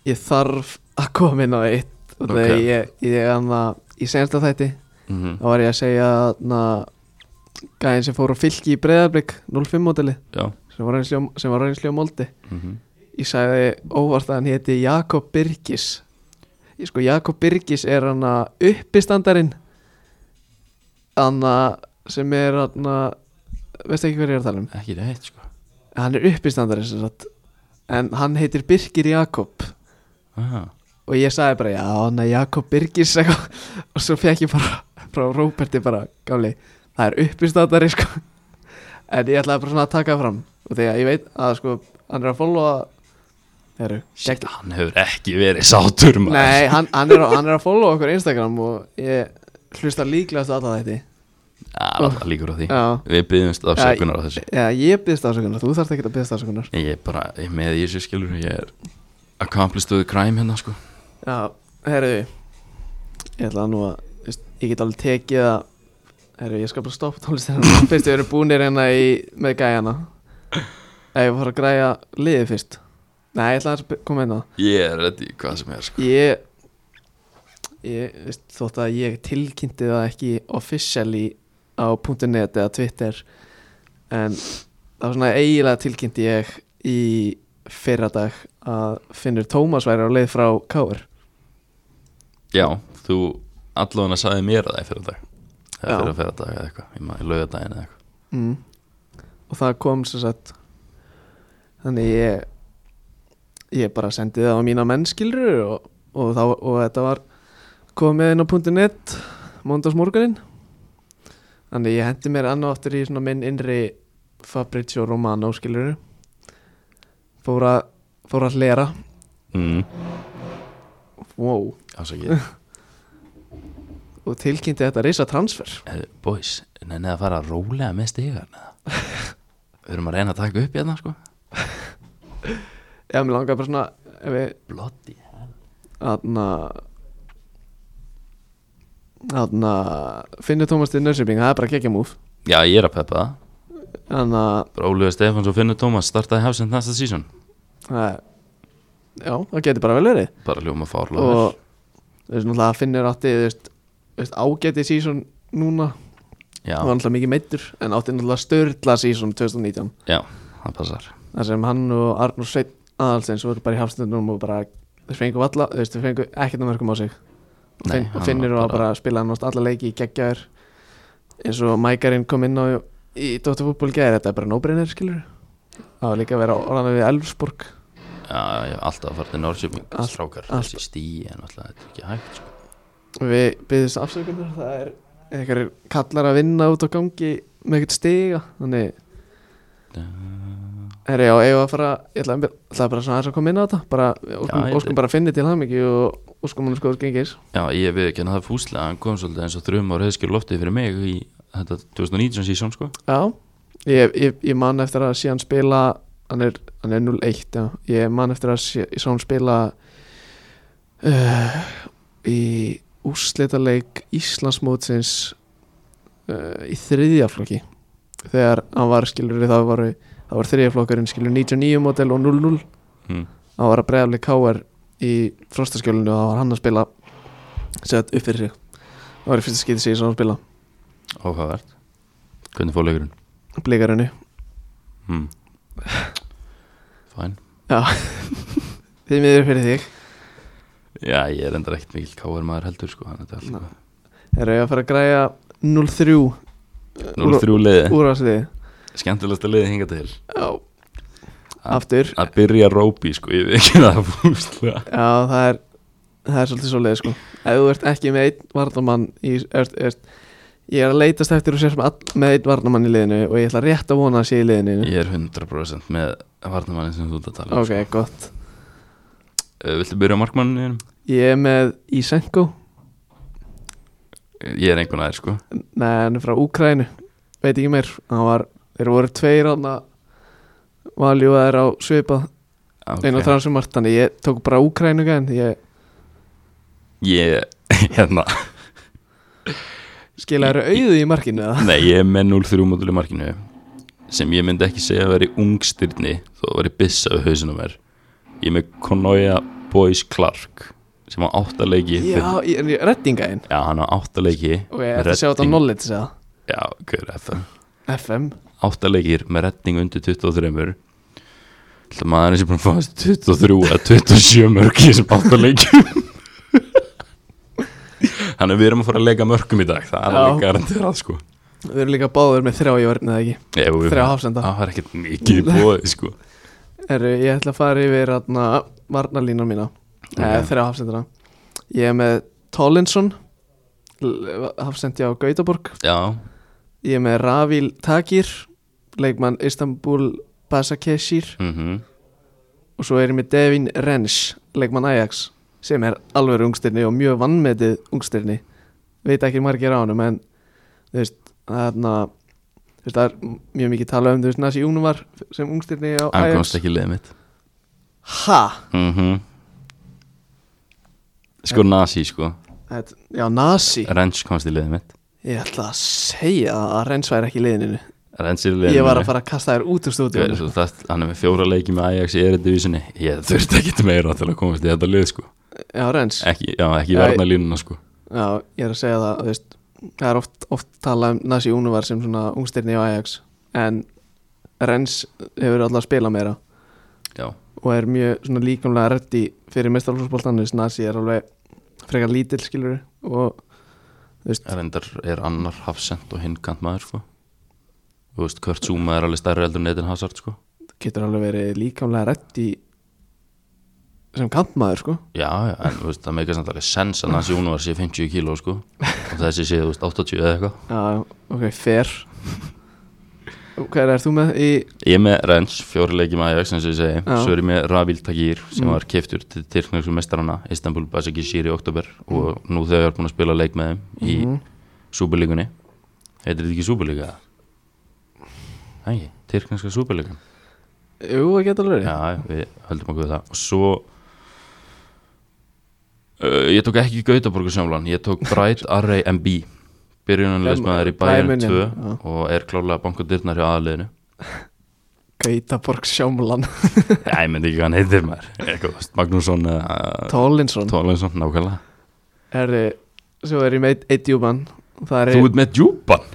Ég þarf að koma inn á eitt og það Ok. okay. ég, ég, annað, ég senst að þætti mm þá var ég að segja na, gæðin sem fór á fylki í breyðarblik 05 móteli já sem var reynsli á, sem var reynsli á moldi mm -hmm. ég sagði óvart að hann héti Jakob Birgis ég sko Jakob Birgis er hann að uppistandarinn hann að sem er hann að veist ekki hver ég er að tala um Ekki neitt sko hann er uppistandarinn sem sagt en hann heitir Birgir Jakob ah, og ég sagði bara já, hann er Jakob Birgis eitthvað. og svo fekk ég bara frá Róberti bara, gáli, það er uppistatari sko en ég ætlaði bara svona að taka fram og þegar ég veit að sko hann er að followa heru, Shit, Hann hefur ekki verið sátur maður nei, hann, hann, er, að- hann er að followa okkur á Instagram og ég hlusta líklegast á alla þetta Það er alltaf líkur á því já, Við byggjumst afsökunar á þessu já, ég byggðist ásökunar, þú þarft ekki að byggðist ásökunar Ég er bara, ég er með í þessu skilur Ég er accomplished with crime hérna sko já, herru ég ætla nú að, veist, ég get alveg tekið að Herru, ég skal bara stoppa tónlistina Fyrst við erum búnir hérna í, með gæjana Ef ég fara að græja liðið fyrst Nei, ég ætla aðeins að koma inn á Ég er reddi hvað sem er sko Ég, ég veist, Þótt að ég tilkynnti það ekki Officially á .net eða Twitter En það var svona eiginlega tilkynnti ég Í fyrradag Að finnur Tómas væri á leið frá Káur Já, þú allan að sagði mér að það í fyrir dag eða Já. fyrir að feða dag eða eitthvað, ég maður laugadaginn eða eitthvað mm. og það kom sem sagt þannig ég ég bara sendi það á mína mennskilur og, og, þá, og þetta var komið inn á .net mándagsmorgunin þannig ég hendi mér annað aftur í svona minn innri Fabrizio Romano skilur fór að fór að hlera mm. wow. Ásakið, og tilkynnti þetta reysa transfer eh, boys, nennið að fara rólega með stígarna Við erum að reyna að taka upp hérna sko eða mér langaði bara svona ef við Bloody aðna aðna Finnur Tómas til Nörsjöping, það er bara gekkja múf Já, ég er að peppa það þannig að Bara Óliða Stefáns og Finnur Tómas startaði hafsend næsta sísón það er- já, það getur bara vel verið Bara ljóma fárlega vel. og þú veist náttúrulega að Finnur átti þú veist, þú veist, ágæti sísón núna Já, hann var náttúrulega mikið meittur en átti náttúrulega störla sísón 2019 já, það passar þar sem hann og Arnur Sveit aðalsins voru bara í hafstundunum og bara þeir fengu alla, þú veist, þeir fengu ekkert að mörgum á sig og, Nei, finn, hann og finnir var og bara að spila náttúrulega alla leiki í geggjaður eins og Mækarinn kom inn á í Dóttarfútból geðir, þetta er bara nóbreynir skilur það var líka að vera orðan við Elfsborg Já, ég hef alltaf að fara til Norrköping Allt- Strákar, allt- þessi stíi en alltaf þetta er ekki hægt sko. við byggðist afsökunar, það er einhverjir kallar að vinna út á gangi með ekkert stiga, þannig Herri, já, eigum við að fara, ég ætla, að- ætla bara svona aðeins að koma inn á þetta, bara, óskum, ég- óskum bara að finna til það mikið og óskum hann skoður gengis Já, ég hef ekki að það fúslega hann kom svolítið eins og þrjum ára hefskjur loftið fyrir mig í þetta 2019 sísón sko Já, ég, ég, ég man eftir að sé hann spila hann er, hann er 0-1 já. ég man eftir að sé, ég sá hann spila uh, í úrslitaleik Íslandsmótsins uh, í þriðja flokki þegar hann var skilur það var, það var þriðja flokkurinn skilur 99 model og 0-0 mm. hann var að bregðarlega KR í frostaskjölinu og það var hann að spila sett upp fyrir sig það var í fyrsta skiti sig sem hann spila Óhagvert Hvernig fór leikurinn? blíkarinu Mm. Fæn þið miður fyrir þig Já, ég er enda ekkert mikill káar maður heldur sko þannig að þetta Þeir eru að fara að græja 0-3 er alltaf 0-3 liði, úrvarsliði skemmtilegsta liði hinga til Eh? Já Ah. Aftur Já Að byrja rópi sko, ég veit ekki það fúslega það er Það er svolítið svolítið sko Ef þú ert ekki með einn varnamann í, ert, ert, Ég er að leitast eftir og sérst með, all- með einn varnamann í liðinu Og ég ætla rétt að vona að sé í liðinu Ég er 100% með varnamannin sem þú ert að tala um, Hmm. Ok, gott sko. uh, Viltu byrja á markmanninum? Ég er með Isenko Ég er einhvern aðeir sko Nei, hann er frá Úkrænu Veit ekki meir Hann var Þeir voru tveir hann að Valjúaðir á svipað okay. Einu transumart Þannig ég tók bara Úkrænu gæn Ég Ég, hérna, skilaði auðu í markinu eða? nei, ég er með 0-3 mótuleg markinu sem ég myndi ekki segja að veri ungstyrni þó að veri byssa við hausinum er ég er með Konoya Boys Clark sem á áttaleiki Já, í- en ég reddingaðinn já, hann á áttaleiki Ok, þetta sjá þetta á knowledge eða Já, hver er það? FM Áttaleikir með redding undir 23 Það maður er sem búin að fáast 23 eða 27 mörg í þessum áttaleikjum Þannig að við erum að fara að leika mörgum í dag Það er Já. alveg garanterað sko Við erum líka báður með þrjá í orðin eða ekki Ef við- Þrjá hafsenda Það var ekkert mikið í bóði sko Herru, ég ætla að fara yfir atna, varnalína mína okay. Ok. Eh, Þrjá hafsendina Ég er með Tollinsson l- Hafsendi á Gautaborg Já, Ég er með Ravil Takir Leikmann Istanbul Basakeshir mhm Og svo er ég með Devin Rensch Leikmann Ajax Sem er alveg ungstirni og mjög vannmetið ungstirni Veit ekki margir á hann En þú veist, þarna, þú veist Það er mjög mikið tala um Þú veist, Nasi Júnum var sem ungstirni á Hann Ajax komst ekki leið mitt Ha? mhm Sko nasi sko Þetta, já, Nasi Rens komst í leið mitt Ég ætla að segja að Rensch væri ekki í liðinu Rens er í leið Ég var að fara að kasta þér út úr stúdíu Svo það, hann er með fjóra leiki með Ajax í eredivísinni Ég þurfti ekkit meira til að komast í þetta lið sko Já, Rensch Ekki, já, ekki Já, ég- verna línuna sko Já, ég er að segja það, þú veist, það er oft, oft talað um Nasi Únuvar sem svona ungstirni á Ajax en Rens hefur alltaf að spila meira Já, og er mjög svona líkamlega reddi fyrir mestarflósboltan, þess Nasi er alveg frekar lítill skilur og Þú veist, Erendar er annar hafsend og hinn kantmaður sko Þú veist, Kurt Zuma er alveg stærri eldur en Eden Hazard sko getur alveg verið líkamlega rætt í sem kantmaður sko Já, já, en þú veist, það meika samt alveg sens að hans Jónu var sé 50 kíló sko og þessi sé, þú veist, 80 eða eitthvað Já, ok, fair Hvað er þú með í Ég er með Rens, fjóri leiki með Ajax eins og ég segi, Já. svo er ég með Ravil Takir sem Mm. var keftur til Tyrknarsku mestarana Istanbul Basakishir í oktober Mm. og nú þegar ég er búin að spila leik með þeim í Mhm. Súbulíkunni Heitir þetta ekki Súbulíka? Ægji, Tyrknarska Súbulíkan Jú, það getur alveg verið Já, já, við höldum okkur við það og svo uh, ég tók ekki Gautaborgu sjónlan, ég tók Bright Array MB byrjunanleismæður í Bayern Dæmunin, 2 já. og er klálega bankadyrnar hjá aðliðinu Gautaborg Sjámlan Já, ég myndi ekki hvað hann heitir maður Eitthvað, þú veist, Magnússon eða Tólinsson Tólinsson, nákvæmlega Herri, svo er ég með eitt júban Þar Þú er, ert með djúban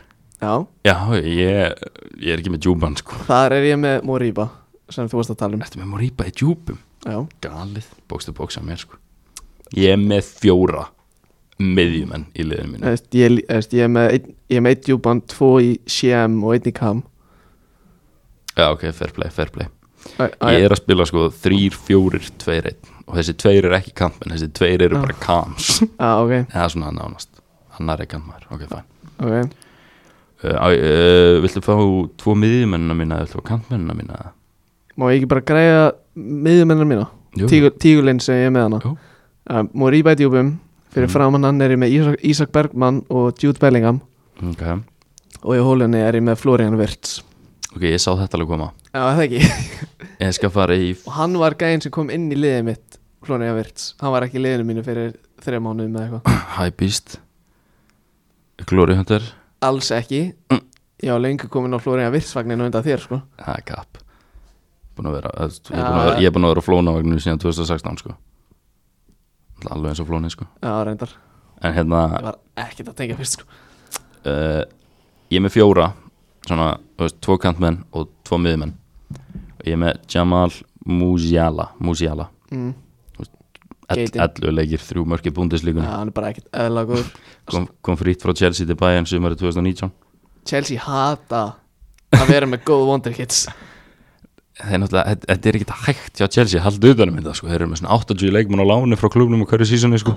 já, Já, ég, ég er ekki með djúban sko þar er ég með Moriba sem þú varst að tala um Ertu með Moriba í djúbum? Já, Galið, bókstu bóksa mér sko Ég er með fjóra miðjumenn í liðinu mínu Eðst, ég, eðst, ég er með einn- ég er með eitt júban, tvo í CM og einn í KAM Já, ok, fair play, fair play Æ, æ, Ég er að spila sko þrýr, fjórir, tveir, einn Og þessi tveir eru ekki kamp En þessi tveir eru Já. bara kams Já, ok, Eða svona nánast Annar er kampar, ok, fæn ok uh, uh, Viltu fá tvo miðjumennina mína eða Viltu fá kampmennina mína eða? Má ég ekki bara græja miðjumennar mína Jú, Tígu- Tígulinn sem ég er með hana Jú. uh, Moriba í djúbum Fyrir Mm. framan hann er ég með Ísak, Ísak Bergmann og Jude Bellingham ok Og í hólunni er ég með Florian Wirtz Ok, ég sá þetta alveg koma Já, það ekki Ég skal fara í Og hann var gæinn sem kom inn í liðið mitt Florian Wirtz Hann var ekki í liðinu mínu fyrir þreja mánuðum eða eitthvað High Beast Glory Hunter Alls ekki Mm. Ég var lengur komin á Florian Wirtz vagninu undan þér sko Það er kapp Búin Ah, að vera, eh, ég er Já. búin að vera, ég er búin að vera á flónavagninu síðan 2016 sko Alveg eins og flónin sko Já, reyndar En hérna Ég var ekkert að tengja fyrst sko uh, ég er með fjóra svona, þú veist, tvo kantmenn og tvo miðmenn og ég er með Jamal Musiala Musiala, mm. ell- Geitin. Ah, 11 leikir þrjú mörki Já, búndislíkunni, hann er bara ekkert eðla góður kom, kom frýtt frá Chelsea til Bayern sumari 2019 Chelsea hata að vera með góð wonderkids það er náttúrulega, þetta- þetta er ekkert hægt hjá Chelsea haldið utanum þetta, sko, þeir eru með svona 80 leikmenn á láni frá klubnum og hverju sísunni, sko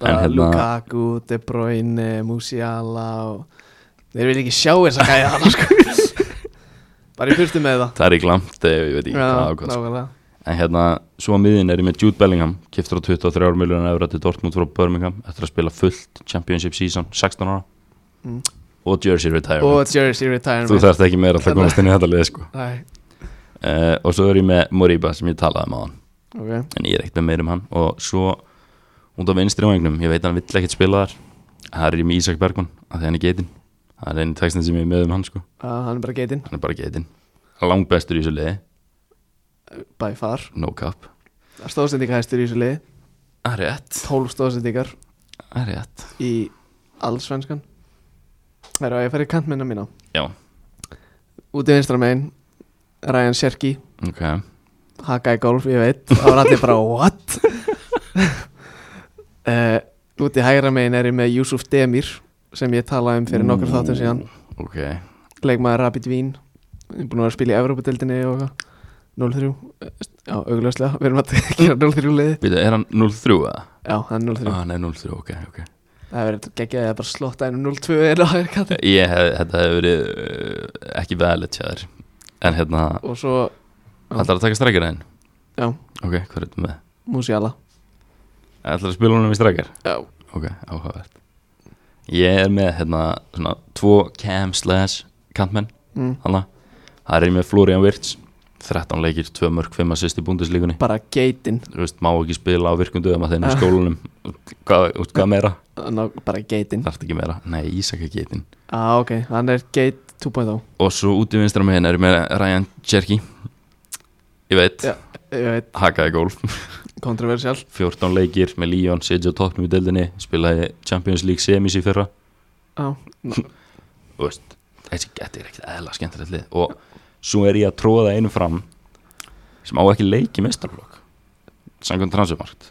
En bara hérna- Lukaku, De Bruyne, Musiala og þeir vil ekki sjá þess að gæja hana sko bara í fyrstu með það það er í glamt, ég veit ekki hvað ákvæmst nákvæmlega En hérna, svo að miðin er ég með Jude Bellingham kiftur á 23 miljonar eurra til Dortmund frá Birmingham eftir að spila fullt Championship season 16 ára Mm. og Jersey retirement og Jersey Hérna. Þú retirement þarft ekki meira alltaf að komast inn í þetta lið sko. Æ, uh, og svo er ég með Moriba sem ég talaði með hann okay. en ég er ekkert með meira um hann og svo út á vinstri vangnum, ég veit að hann vill ekkert spila þar það er ég með Ísak Bergman af því hann er getinn það er einu textin sem ég er með um hann sko. að hann er bara getinn hann er bara getinn langbestur í þessu liði, by far no cap stóðsendinga hæstur í þessu liði Það er rétt, 12 stóðsendingar það er rétt í allsvenskan það er að ég færi kantmennar mína Já. úti vinstra megin Ryan Sherky okay. haka í golf, ég veit þá var allir bara, what? uh, úti hægra megin er ég með Yusuf Demir sem ég talaði um fyrir nokkur þáttum síðan ok, leikmaður Rapid Vín ég er búin að vera að spila í Evrópadeildinni og eitthvað 0-3, eh, já, augljóslega við erum að gera 0-3 liði Býtu, er hann 0-3 eða? já, það er 0-3, Ah, hann er 0-3, ok, ok það hefur verið geggjað eða bara slotta einu 0-2 einu á hægra kanti Ég hef, þetta hefur verið uh, ekki veðalett hjá þér En hérna, og svo ætlar að taka strækjara einn? Já. Ok, hvað er þetta með? Musiala Ætlar að spila honum í strækjar? já, Ok, áhugavert Ég er með, hérna, svona, tvo cam slash kantmenn, mm, hana Það er ég með Florian Wirtz 13 leikir, 2 mörg, 5 assist í búndislíkunni bara geitin Þú veist, má ekki spila á virkundu um að Ah. þeim í skólanum Hvað, út hvað meira? Ná, bara geitin, Þarft ekki meira? Nei, Ísak er getinn ah, ok, hann er geit oh. 2.0 og svo út í vinstra megin er ég með Ryan Cherky ég veit, Já. ég veit, hakaði gólf kontroversial 14 leikir með Leon, sitja á toppnum í deildinni spilaði Champions League semis í fyrra Já, Þú veist, þessi þetta er ekkert eðla skemmtilegt lið og svo er ég að tróða einu fram sem á ekki leik í meistarflokk samkvæmt transfermarkt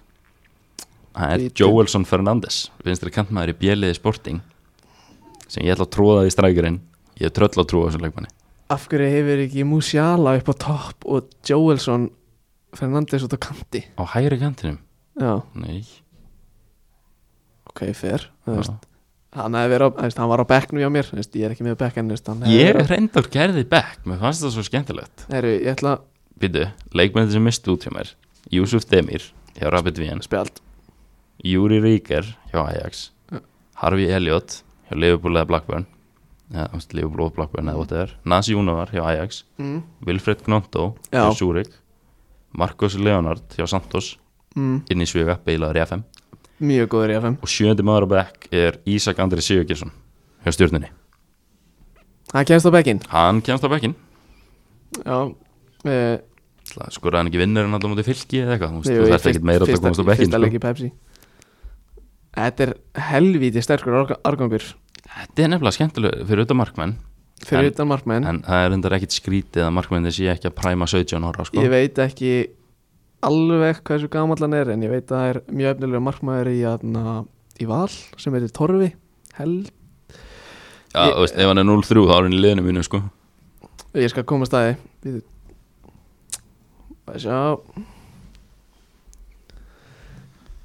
það er Bíddu. Joelson Fernandes vinstri kantmaður í bjeliði sporting sem ég ætla að tróða í strækjurinn ég hef tröll að trúa þessum leikmanni Af hverju hefur ekki Musiala upp á topp og Joelsson Fernandes út á kanti á hægri kantinum, Já, nei ok, fer já. Hann, hefði verið á, þú veist, hann var á bekknum hjá mér þú veist, Ég er ekki með bekk en þú veist, hann hefði ég verið á- reyndar gerði back, mér fannst það svo skemmtilegt Heyrðu, Ég ætla að býtu, leikmennir sem mistu út hjá mér Júsuf Demir hjá Rapid Vienna spjald Júri Ríker hjá Ajax Já. Harvey Elliot hjá Liverpool eða Blackburn eða þú veist, Liverpool og Blackburn eða whatever Nasi Júnavar hjá Ajax mm. Wilfred Gnonto Já. hjá Zurich Marcos Leonard hjá Santos Mm. inn í Sviga, beilaður í FM Mjög góður í FM og sjöndi maður á bekk er Ísak Andri Sigurgesson hjá stjórnunni Hann kemst á bekkin hann kemst á bekkin Já uh, skurði hann ekki vinnur en allar mútið fylki eða eitthvað þú veist, þú þarft ekkert meira að komast á bekkin Fyrsta sko. leik í Pepsi Þetta er helvíti sterkur árga- árgangur þetta er nefnilega skemmtilega fyrir auðvitað markmenn En- Fyrir utan markmenn en það er undar ekkit skrítið að markmenni sé ekki að præma 17 ára sko. Ég veit ekki alveg hversu gamall hann er en ég veit að það er mjög efnilega markmaður í, aðna, í val sem heitir Torfi held, Já, Ég- þú veist, ef hann er 0-3 þá er hann í liðinu mínu, sko ég skal koma staði við að sjá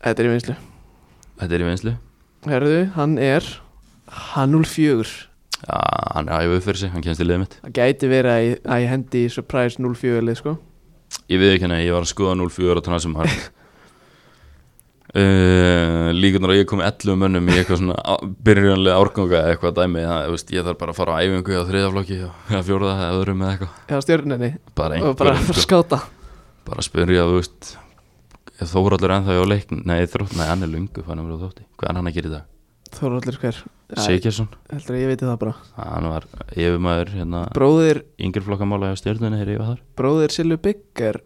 Þetta er í vinslu Þetta er í vinslu Herðu, hann er hann 04 Já, hann er æfðu fyrir sig, hann kemst í liðið mitt það gæti verið að ég, að ég hendi í Surprise 04 lið sko Ég við ekki henni, ég var að skoða 0-4 og þannig sem hann uh, Líkunar að ég kom með 11 mönnum í eitthvað svona á- byrjunlega árganga eða eitthvað dæmi það, þú veist, Ég þarf bara að fara á æfingu á þriðaflokki og eða fjórða eða öðrum eða eitthvað eða stjörninni Bara og bara að einhverjum, sko, skáta bara spyrja, þú veist Ef Þóraldur er ennþá hjá leikn Nei, þrótt, nei, hann er lungu, hann er verið á þótti Hvað er hann að gera í dag? Þorvaldur hver Já, Sigjarsson, heldur að ég veit það bara hann var yfirmaður hérna, bróðir, yngri flokkamála hjá stjörnunni er yfir þar bróðir Silvi Bygg er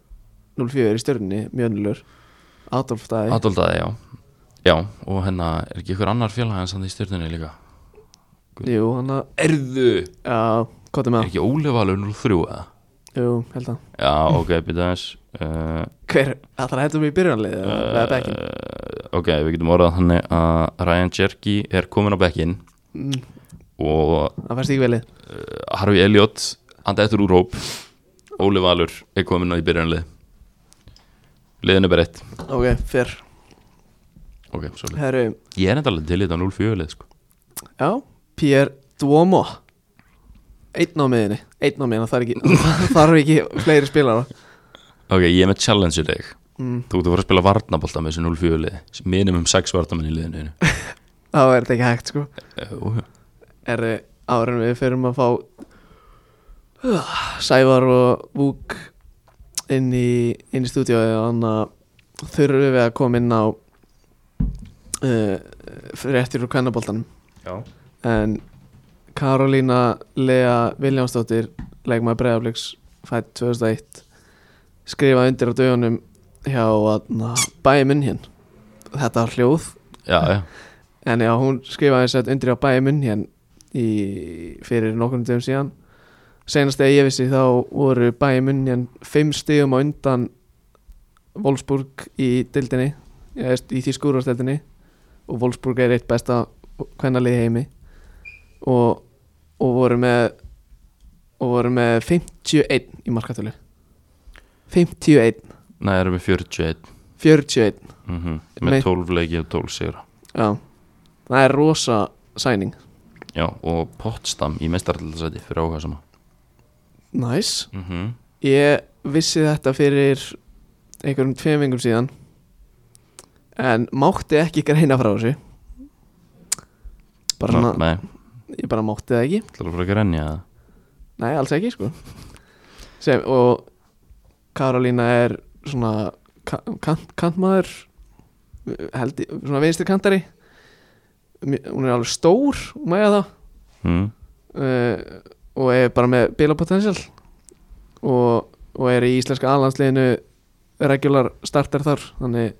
04 í stjörninni, mjög önnulur Adolf Dæ Adolf Dæði, já Já, og hennar, er ekki ykkur annar félag hans hann í stjörnunni líka? Jú, hann að, Erðu! já, kóti Er með ekki Óli Valur 03 eða? það Jú, held að Já, ok, byrja aðeins uh, Hver, ætlar að hættum í byrjanlið eða eða Eh. bekkin uh, Ok, við getum orðað þannig að Ryan Jerky er komin á bekkin Mm, og Það fæst ekki velið Harfi Elliot anda eftir úr hóp Óli Valur er komin á í byrjanlið Liðin er bara eitt Ok, fyrr, Ok, svo lið herru, Ég er enda alveg til í þetta 04 lið sko já Pierre Duomo Einn á miðinni, einn á miðinni, það er ekki, þarf ekki fleiri spilara Ok, ég er með challenge í dag Mm. Þú ert að fara að spila varnabolta með þessu 0-4 liði Minimum 6 varnamenn í liðinu þínu. þá er þetta ekki hægt sko Jú, jú. er árun við fyrir að fá uh, Sævar og Vúk inn í, inn í stúdíu þannig að þurfum við að koma inn á uh, fréttir úr kvennaboltanum Já en Karolína Lea Viljánsdóttir leikmaður Breiðaflöks fætt 2001 skrifaði undir á dögunum hjá aðna, bæjuminn hér þetta var hljóð Já, já En já, hún skrifaði þess að undir á bæði munn hér í, fyrir nokkrum dögum síðan Senast þegar ég vissi þá voru bæði munn hér fimm stigum á undan Wolfsburg í dildinni eða veist, í þýskúrvarsdeldinni og Wolfsburg er eitt besta kvennalið í heimi og, og voru með og voru með 51 í markatölu 51 Nei, erum við 41 41 mm Nei. Með 12 leiki og 12 sigra já, það er rosa sæning Já, og Potsdam í mestarallasæti fyrir áhuga sama næs nice. mm Ég vissi þetta fyrir einhverjum tveim vingum síðan en mátti ekki greina frá þessu bara svona, Nei, ég bara mátti það ekki ætlar að fara að grenja það nei, alls ekki sko Sem, og Karolína er svona ka- kant, kantmaður held, ég- svona vinstri kantari Mj- hún er alveg stór mæja það mm. uh, og er bara með bilapotential og, og er í íslenska aðlandsliðinu regular starter þar þannig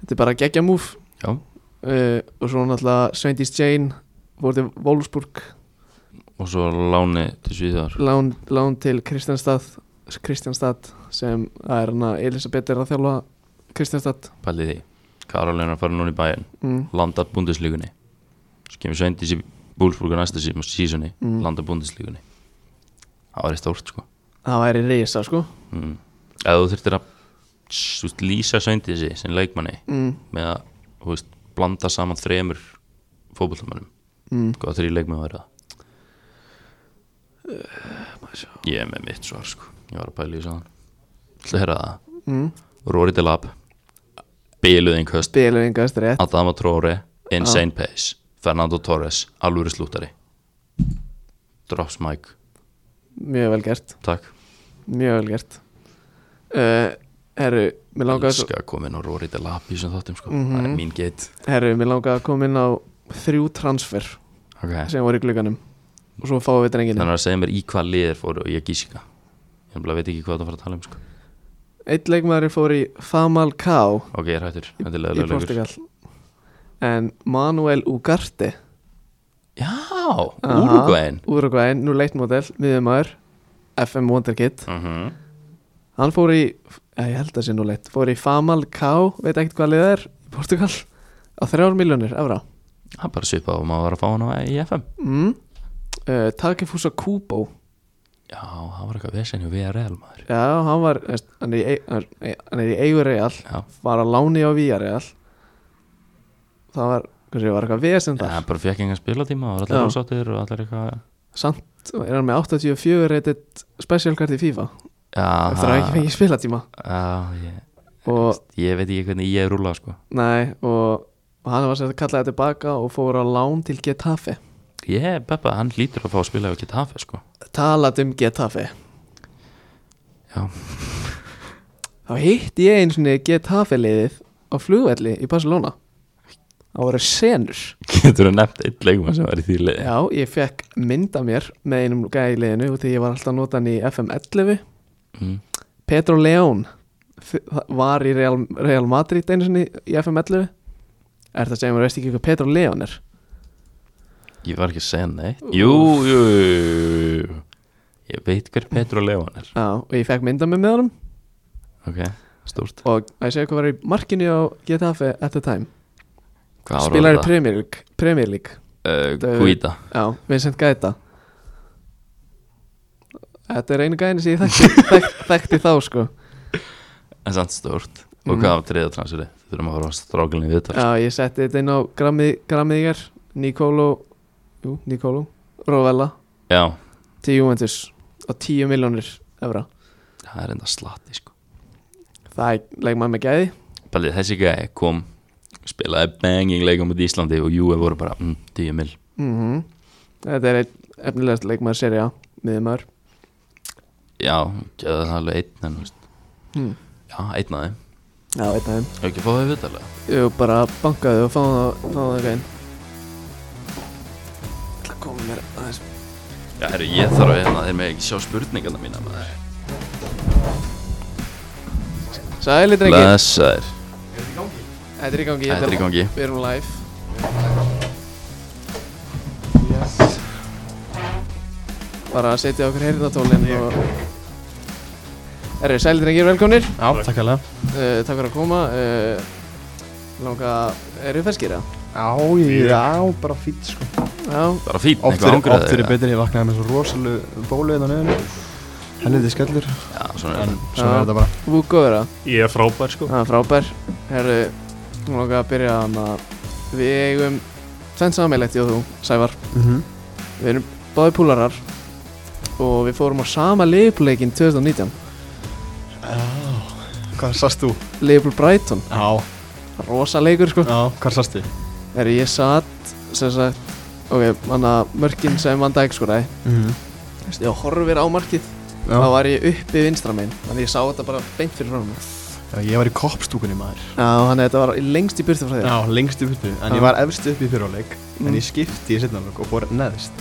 þetta er bara geggja múf Já. uh, og svo náttúrulega Sveindís Jane voru til Wolfsburg Og svo láni til Svíðar lán, lán til Kristjánstad Kristjánstad sem það er hana Elisabeth er að þjálfa Kristjánstad Pælið því Karolina fara núna í bæinn mm, landar búndislíkunni svo kemur Sveindís í Búlsburg á næsta sí- sísoni Mm. landar búndislíkunni það var eitt stórt sko það væri reysa sko mm. eða þú þurftir að s- þú veist, lýsa Sveindísi sem leikmanni mm, með að þú veist, blanda saman þremur fótboltamönnum mm. hvaða þrý leikmenn væri það ég er með mitt svar sko ég var að pæla í þessu áðan. Ætli að heyra það Mm. Rory Delap Biluðin Köst Bilur engast rétt Adama Traore Insane Pace Fernando Torres Alvöru slúttari Drops Mike Mjög vel gert Takk Mjög vel gert uh, Herru, mér langaði svo Elskar að koma inn á Rory Delap í þessum þáttum sko Mhm. Það er mín geit Herru, mér langaði að koma inn á þrjú transfer okay. sem voru í glugganum og svo fáum við drenginu Þannig að segja mér í hvað liðir fóru og ég gíska Ég nefnilega veit ekki hvað það fara að tala um sko Eitt leikmaður fór í Famal Ká Ok, ég er hættur Þetta er í leðilega leikur Portugal en Manuel Ugarte Já, Aha. Uruguayn Uruguayn, nú leitmodell, miðumæður FM Wonderkid mm hann fór í, eh, ég held að sé nú leitt fór í Famal Ká, veit ekkert hvað liðið er í Portugal, á þrjár miljónir evra Það er bara svipað og maður var að fá hann á IFM mm. uh, Takifusa Kubo Já, það var eitthvað vesen hjá VRL maður já, hann var, veist, hann er í, ei- hann er- hann er í eigu real Já, var að láni á Víareal það var, hversu, var eitthvað vesen Já, þar hann bara fekk engan spilatíma og var Já. allir rosáttir og allir eitthvað samt er hann með 84 reytið specialkart í FIFA Já, eftir að hafa ekki fengið spilatíma Já, ég, og, ég veit ekki hvernig ég er rúla sko. nei, og, og hann var sér að kalla þetta tilbaka og fór á lán til Getafe Ég, Beppa, hann lítur að fá að spila og geta hafa sko. talat um Getafe Já. þá hitti ég eins og Getafe liðið á flugvelli í Barcelona það voru senur Getur þú nefnt einn leikmann sem var í því liði já, ég fekk mynda mér með einum gæði í liðinu og því ég var alltaf að nota hann í FM11 mm. Pedro León f- var í Real, Real Madrid einu sinni í FM11 er það að segja mér, veist ekki hvað Pedro León er Ég var ekki að segja neitt Jú, jú, jú, jú. Ég veit hver Petru León er já, og ég fekk mynda mig með honum Ok, stúrt og að ég segja hvað var í markinu á Getafe at the time Hvað var spilar í það? Premier League, Premier League Uh, Guida já, Vincent Gaeta þetta er einu gæðin sem ég þekkti, þekk, þekkti þá sko En samt stúrt Og Mhm. hvað var þriða transferi? Þú þurfum að fara að stráklinni við þetta já, ég setti þetta inn á grammið, grammið ég er Nicolo, jú, Nicolo Rovella Já, til Juventus á 10 miljónir evra það er enda slatti sko Það er leikmann með gæði Bælið, þessi gæði kom Spilaði banging leikum út í Íslandi Og Júi voru bara mm, 10 mil mm Mhm. Þetta er einn efnilegast leikmann serja miðumar Já, það er alveg einn en, þú veist, mm. Já, einn af þeim Já, veit það Hefur ekki fáið við viðtalega Jú, bara bankaði og fáðu það- fáðu það gæðin Það komið mér aðeins Já, herru, ég þarf að hérna þeir með ekki sjá spurningarna mína maður Sæli drengi, Blessaður þetta er í gangi Þetta er í gangi Við erum live Bara að setja okkur heyrðatólin og Erri, sæli drengir, velkomnir Já, takk alveg uh, Takk fyrir að koma uh, Langa, eru ferskir það? Já, ég, já, bara fýtt sko Já, Bara fín, Oft eitthvað er, ángrið oft er betri, ég vaknaði með svo rosalega bólið á nöðinu Helviti skellur Já, svona hérna. er En það Já. svona er þetta bara Vúko er það, Ég er frábær sko það er frábær Herru, nú langar að byrja hann að Við eigum Senn sammeilegt, ég og þú, Sævar mm -hmm. Við erum báði púlarar Og við fórum á sama liðbúleikin 2019 Hvað sast þú? Liðbúl Brighton, Já, rosa leikur sko já, hvað sast þið? Herru, ég satt, sem sagt Ok, hann að mörkin sem vann sko, dæk skoraði Mm -hmm. Þú veist, Ég horfir á markið, já. þá var ég uppi vinstra megin Þannig ég sá þetta bara beint fyrir frá mig já, ég var í koppstúkunni maður Já, þannig að þetta var lengst í burtu frá þér Já, Mhm. lengst upp uppi En Já. ég var efst upp í fyrráleik Mm. En ég skipti í setna og fór neðist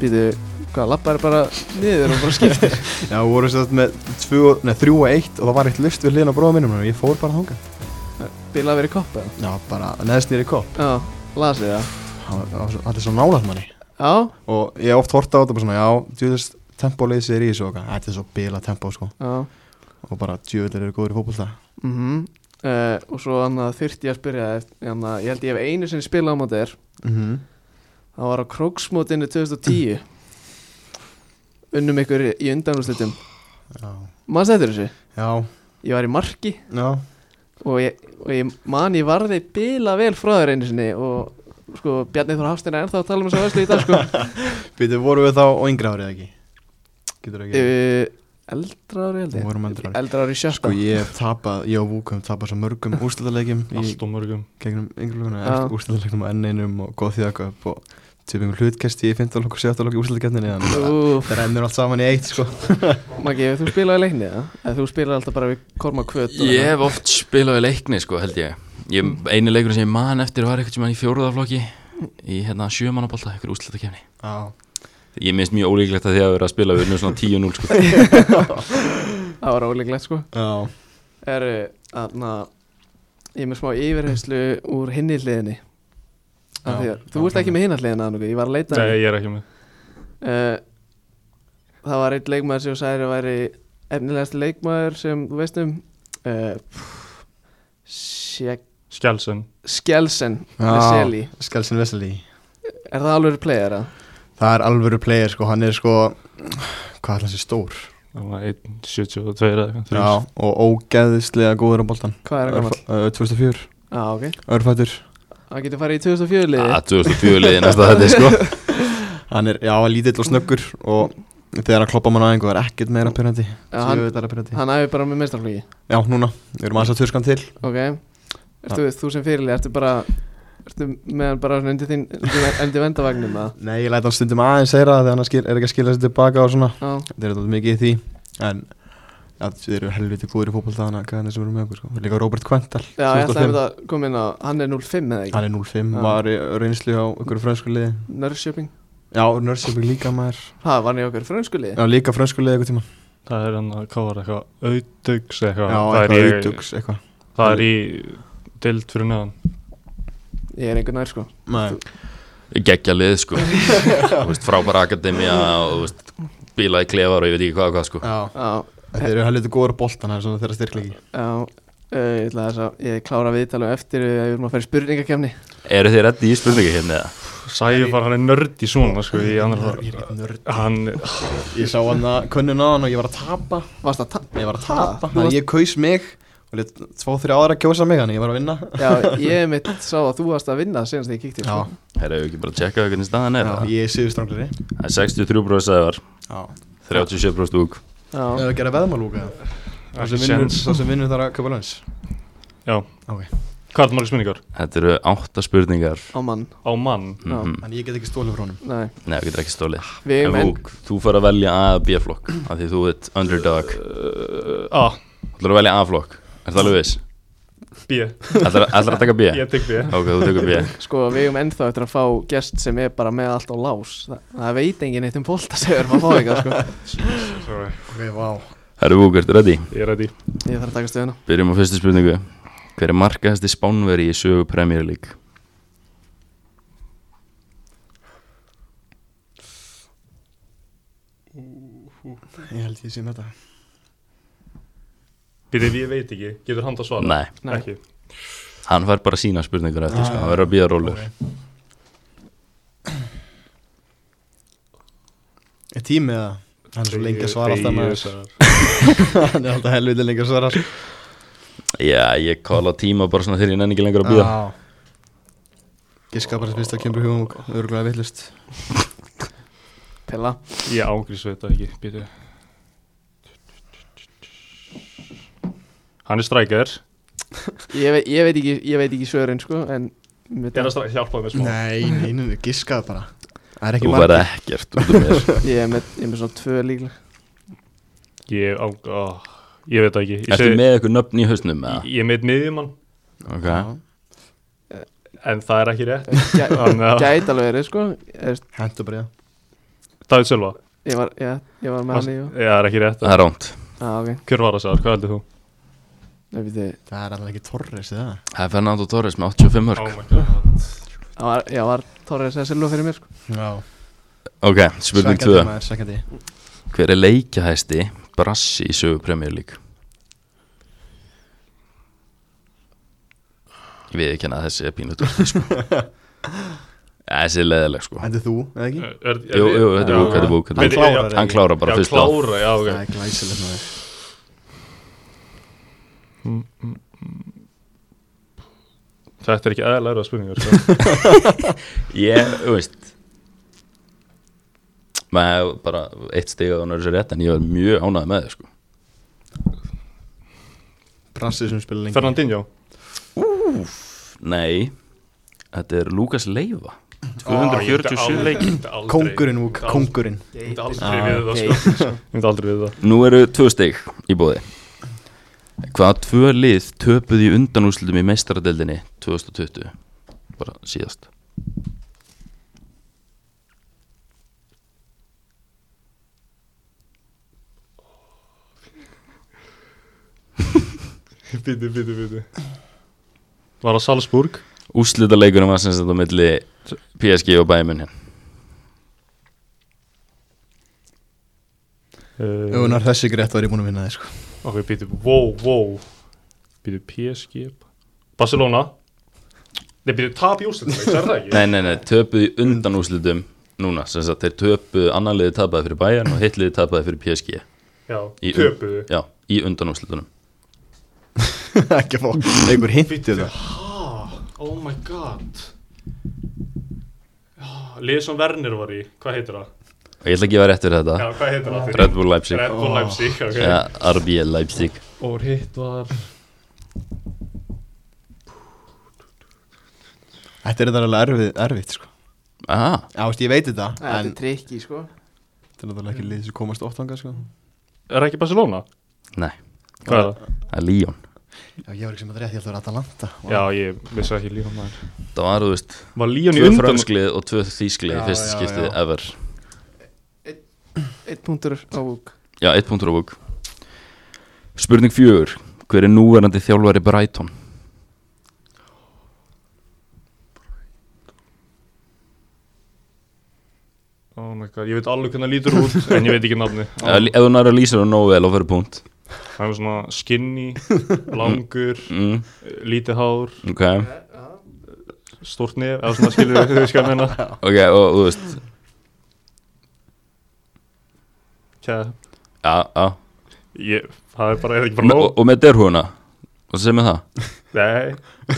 Býtu, hvað, lappar bara niður og bara skiptir Já, við vorum sérst með tvö, nei, þrjú og eitt Og það var eitt lust við hliðin á bróða mínum Og ég fór bara þangað Bilað verið koppa eða? Já, bara neðist nýri kopp Já, lasið það Það var- það var svo- allir svo nálægt manni Já, og ég hef oft horta á þetta bara svona já, djúðist tempóleysið er í þessu og eitthvað, þetta er svo bila tempó sko já og bara djúðlir eru góður í fótbolta mm uh, og svo annað þyrfti ég að spyrja þér annað, ég held ég hef einu sinni spilað á móti þér það var á Krogsmótinu 2010 unnum ykkur í undanúrslitum Já, manst eftir þessu? já, Ég var í marki já og ég, og ég man ég varði bila vel frá þér einu sinni og sko Bjarni Þór Hafstein er ennþá að tala um þess að verslu í dag sko Býtu, voru við þá á yngra árið ekki? Getur ekki? uh, Eldra ári held Við vorum eldra ég ári. Eldra ári Sko sjötta ég hef tapað, ég og Vúkum tapað svo mörgum úrstæðarleikjum í Allt og mörgum gegnum yngreflokuna, Já. eftir úrstæðarleiknum og enninum og góð þjóðaköp og typum hlutkesti í 15 og 17 og úrstæðarleikjafninni þannig að Úf, það rennur allt saman í eitt sko Maggi, hefur þú spilaði leikni eða? Eða þú spilaði alltaf bara við Korma Kvöt og Ég hef oft spilað í leikni sko held ég, ég Einu leikurinn sem ég man eftir var eitthvað sem hann í fjóruðaflokki Í hérna sjömanabólta, einhver úrslita kefni Já, Ég minnst mjög ólíklegt að því að vera að spila við unnum svona 10-0 sko það. Það var ólíklegt sko já, er aðna ég er með smá yfirheyslu úr hinni hliðinni af Já, því að já, þú ert ekki klálega. með hinna hliðina Anuku, ég var að leita Nei, að- ég er ekki með Eh, það var einn leikmaður sem þú sagðir að væri efnilegast leikmaður sem þú veist um uh, Skjálsen Skjelsen með Já. Seli Skelsin Veseli er það alveg player að? Það er alvöru player sko, hann er sko hvað er þessi stór? Það var 1.72 eða eitthvað Já, þrír. og ógeðislega góður á boltan hvað er það gammal? Örf- eh, 2004, Já, ok, örfættur það getur farið í 2004 liði Að 2004 liði næsta þetta sko Hann er, já, lítill og snöggur og þegar hann kloppa mann aðeins og er ekkert meira pyrrandi Já, hann, Já, hann æfði bara með mestarflögi núna, við erum aðeins að turskan til ok, ertu, þú sem fyrirlið ertu bara ertu með hann bara svona undir þín undir- undir vendavagnum að Nei, ég læt hann stundum aðeins þeirra þegar hann skil, er ekki að skila sér tilbaka og svona Já, Þeir eru þetta mikið í því En, já, þeir eru helviti góður í fótbolta þannig að hvað er sem eru með okkur sko Og Líka Robert Quental, já ég ætlaði 2005. einmitt að koma inn á Hann er 05 eða ekki, hann er 05, Já. var í reynslu á ykkur frönsku liði Nörrköping Já, Nörsjöping líka maður Það var hann í okkur frönskulið Já, líka frönsku liði eitthvað tíma Það er hann að, hvað var það, eitthvað Auðdugs eitthvað Já, það eitthvað er í- auðdugs, eitthvað Það er í dild fyrir neðan Ég er einhver nær sko Nei, Gekkja lið sko Þú veist, Frábæra akademía og þú veist, bílaði klefar og ég veit ekki hvað og hvað sko já, Já, þeir eru helviti góður á boltan, það er svona þeirra styrklegi já uh, Ég ætla þess að ég klára viðtalum eftir uh, Við erum að fara í spurningakefni Eru þið reddi í spurningu hérna eða? Sæfar, hann er nörd í svona sko, í annar, Ég er ekki nörd hann, Ég sá hann að kunnun á hann og ég var að tapa Varst að tapa? Ég var að Ha? tapa Þannig ég kaus mig og létt tvo, þrjá aðra kjósa mig Þannig ég var að vinna Já, ég mitt sá að þú varst að vinna Senast þegar ég kíkti sko. Herra, hefur ekki bara að checka hvernig staðan er Já, það? Ég er síður stranglari Það er 63% sæðar, Já 37% úk Það Já, er að gera veðmálúka Það ekki sem vinnur sens Það sem vinnur þar að köpa lans Já, Ok. hvað er það margir spurningar? Þetta eru átta spurningar á mann Á mann Já. Mhm. Þannig ég get ekki stólið frá honum Nei, Nei, það getur ekki stólið við eigum En enn þú, þú fær að velja A eða B flokk af því þú ert underdog Þú Uh, A, ætlar að velja A flokk, er það alveg viss? B, Ætlar, ætlar að taka B? ég tek B Ok, þú tekur B Sko, við eigum ennþá eftir að fá gest sem er bara með allt á lás Þa, Það veit enginn eitt um fólta sem við erum að fá eitthvað sko. Sorry, Ok, vá Herru Vúk, ertu ready? Ég er ready Ég þarf að taka stöðuna Byrjum á fyrstu spurningu Hver er markaðasti spánveri í sögu Premier League? Ég held ég sé með þetta Býtum, ég veit ekki, getur hann það svara? Nei, Nei. Ekki, hann fær bara sína spurningur eftir sko, hann verður að bíða rólur Er tími eða? Hann er svo lengi að svara alltaf maður maður Hann er alltaf helviti lengi að svara Já, ég kalla tíma bara svona þegar ég nenni ekki lengur að bíða Já. Giska bara sem fyrst að kemur hugum og örgulega villust Pilla Ég ágrís veit það ekki, býtu Hann er strækjar Ég veit, ég veit ekki, ég veit ekki svörin sko En Ég er að strækja, hjálpaði mér smá Nei, nei, nei, giskaðu bara Það er ekki Þú margir. verður ekkert út um mér Ég er með, ég er með svona tvö líkla Ég á, á, ég veit það ekki Ég, Ertu segi- með eitthvað nöfn í hausnum með ég, ég meit miðjumann, Ok, en það er ekki rétt Gæ, Þannig að, Gæti alveg verið sko Ég, Hentu bara í það það er sjálfa ég, var, já, ég var með hann í og Já, það er ekki rétt það er ránt Já, ok Hver var það sér, hvað heldur þú? Nei, við þið Það er alltaf ekki Torres eða Það er Fernando Torres með 85 mörg Oh my god Það var, já, var Torres að selja fyrir mér sko Já Ok, spurning 2 maður, Sækandi Hver er leikjahæsti Brassi í sögu Premier League? ég veit ekki hana að þessi er pínu dóttir sko. Ja, þessi er leðileg sko Þetta er þú, eða ekki? Er- er- jú, jú, þetta er Já. búk, þetta er búk þetta Hann er búk. klárar hann klárar bara Já, fyrst á klára, já, Það ok er glæsilegt maður Þetta er ekki aðlæra spurningar sko. ég, þú veist maður hefur bara eitt stig á nörðu sér rétt en ég var mjög ánægð með þið sko Brassið sem spila lengi Fernandinho nei, þetta er Lukas Leiva Ég myndi 247 aldrei- leik ég myndi aldrei- Kóngurinn, Vuk, Aldrei. kóngurinn Ég myndi Ah, aldrei við það sko. Ég myndi aldrei við það Nú eru tvö stig í bóði Hvaða tvö lið töpuðu í undanúslutum í meistaradeldinni 2020 bara síðast Bíti, bíti, bíti Var það Salzburg? Úslitaleikunum var sem sagt á milli PSG og Bayern München Uh, Ef hún var þessi greitt var ég búin að vinna þið sko Ok, bíti, wow, wow Bíti, PSG Barcelona Nei, bíti, tap í úrslit Það er það ekki Nei, nei, nei, töpuðu í undanúslutum núna sem sagt þeir töpuðu annan liði tapaði fyrir Bayern og hitt liði tapaði fyrir PSG Já, Í- töpuðu Já, í undanúslutunum Ekki að fá einhver hint Bíti, í það hæ? Oh my god Já, Lið sem Werner var í Hvað heitir það? og ég ætla ekki að vera rétt fyrir Já, þetta hvað heitir það? Red Bull Leipzig Oh, Red Bull Leipzig, ok ja, RB Leipzig Og hitt var Þetta er þetta alveg erfið, erfitt sko Aha, Já, veist, ég veit þetta Þetta En er trikki sko þetta er náttúrulega ekki lið sem komast oft ánga sko Er ekki Barcelona? nei, Hvað er það? það er Líón Já, ég var ekki sem að rétt, ég held að það var Atalanta Já, ég vissi ekki líka maður Það var, þú veist, Var Líón í tvö undan fransklið og tvö þýsklið Já, í fyrsta já, skiptið já. ever Eitt punktur á vúk Já, eitt punktur á búk Spurning fjögur Hver er núverandi þjálfari Brighton? Oh my god, ég veit alveg hvernig hann lítur út En ég veit ekki nafni Oh. Ef ef þú næra að lýsa það nógu vel á fyrir punkt Það er svona skinny, langur, mm, lítið hár, Ok, stórt nef Eða svona skilur við hvað ég meina ok, og þú veist Tja, Já, já ég, það er bara, er ekki bara Me- nóg og, og með derhúna Og sem er það? Nei,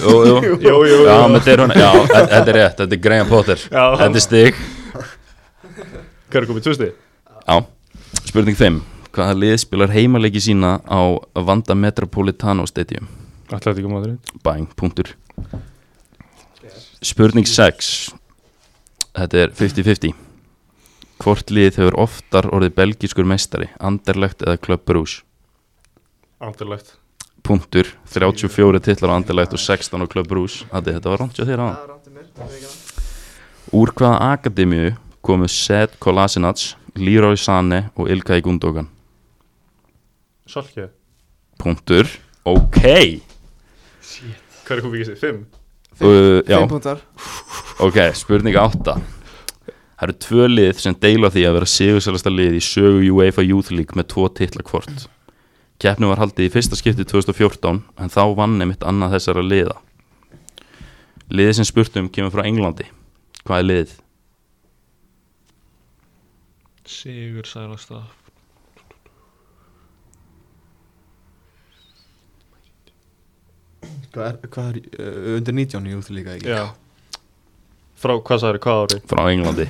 Jú, jú, jú, jú, Já, jú. með derhúna, já, þe- þetta er rétt, þetta er Graham Potter Já. Þetta er stig Hver er komið, tvusti? Já, spurning 5 Hvaða lið spilar heimaleiki sína á Vanda Metropolitano Stadium? Ætlaði ekki maður einn Bang, punktur Spurning 6 Þetta er 50-50 Hvort lið hefur oftar orðið belgiskur meistari Anderlegt eða Club Brugge Andurlegt Punktur, 34 titlar á Anderlegt og 16 á Club Brugge Þetta, þetta var rámt hjá þér á Það ráttu mér það er ekki rangt. Úr hvaða akademíu komu Seth Kolasinac Leroy Sane og Ilkay Gundogan Salke Punktur, ok Hver er komið ekki sig? Fimm? Uh, já. Fimm punktar Ok, spurning 8 Það eru tvö lið sem deila því að vera sigursalasta lið í sögu UEFA Youth League með tvo titla hvort Keppnum var haldið í fyrsta skipti 2014 en þá vann einmitt annað þessara liða Liðið sem spurtum kemur frá Englandi Hvað er liðið? Sigur sælasta Hvað er, hvað er, uh, undir 19 í út líka ekki Já Frá, hvað sagði, hvað ári? Frá Englandi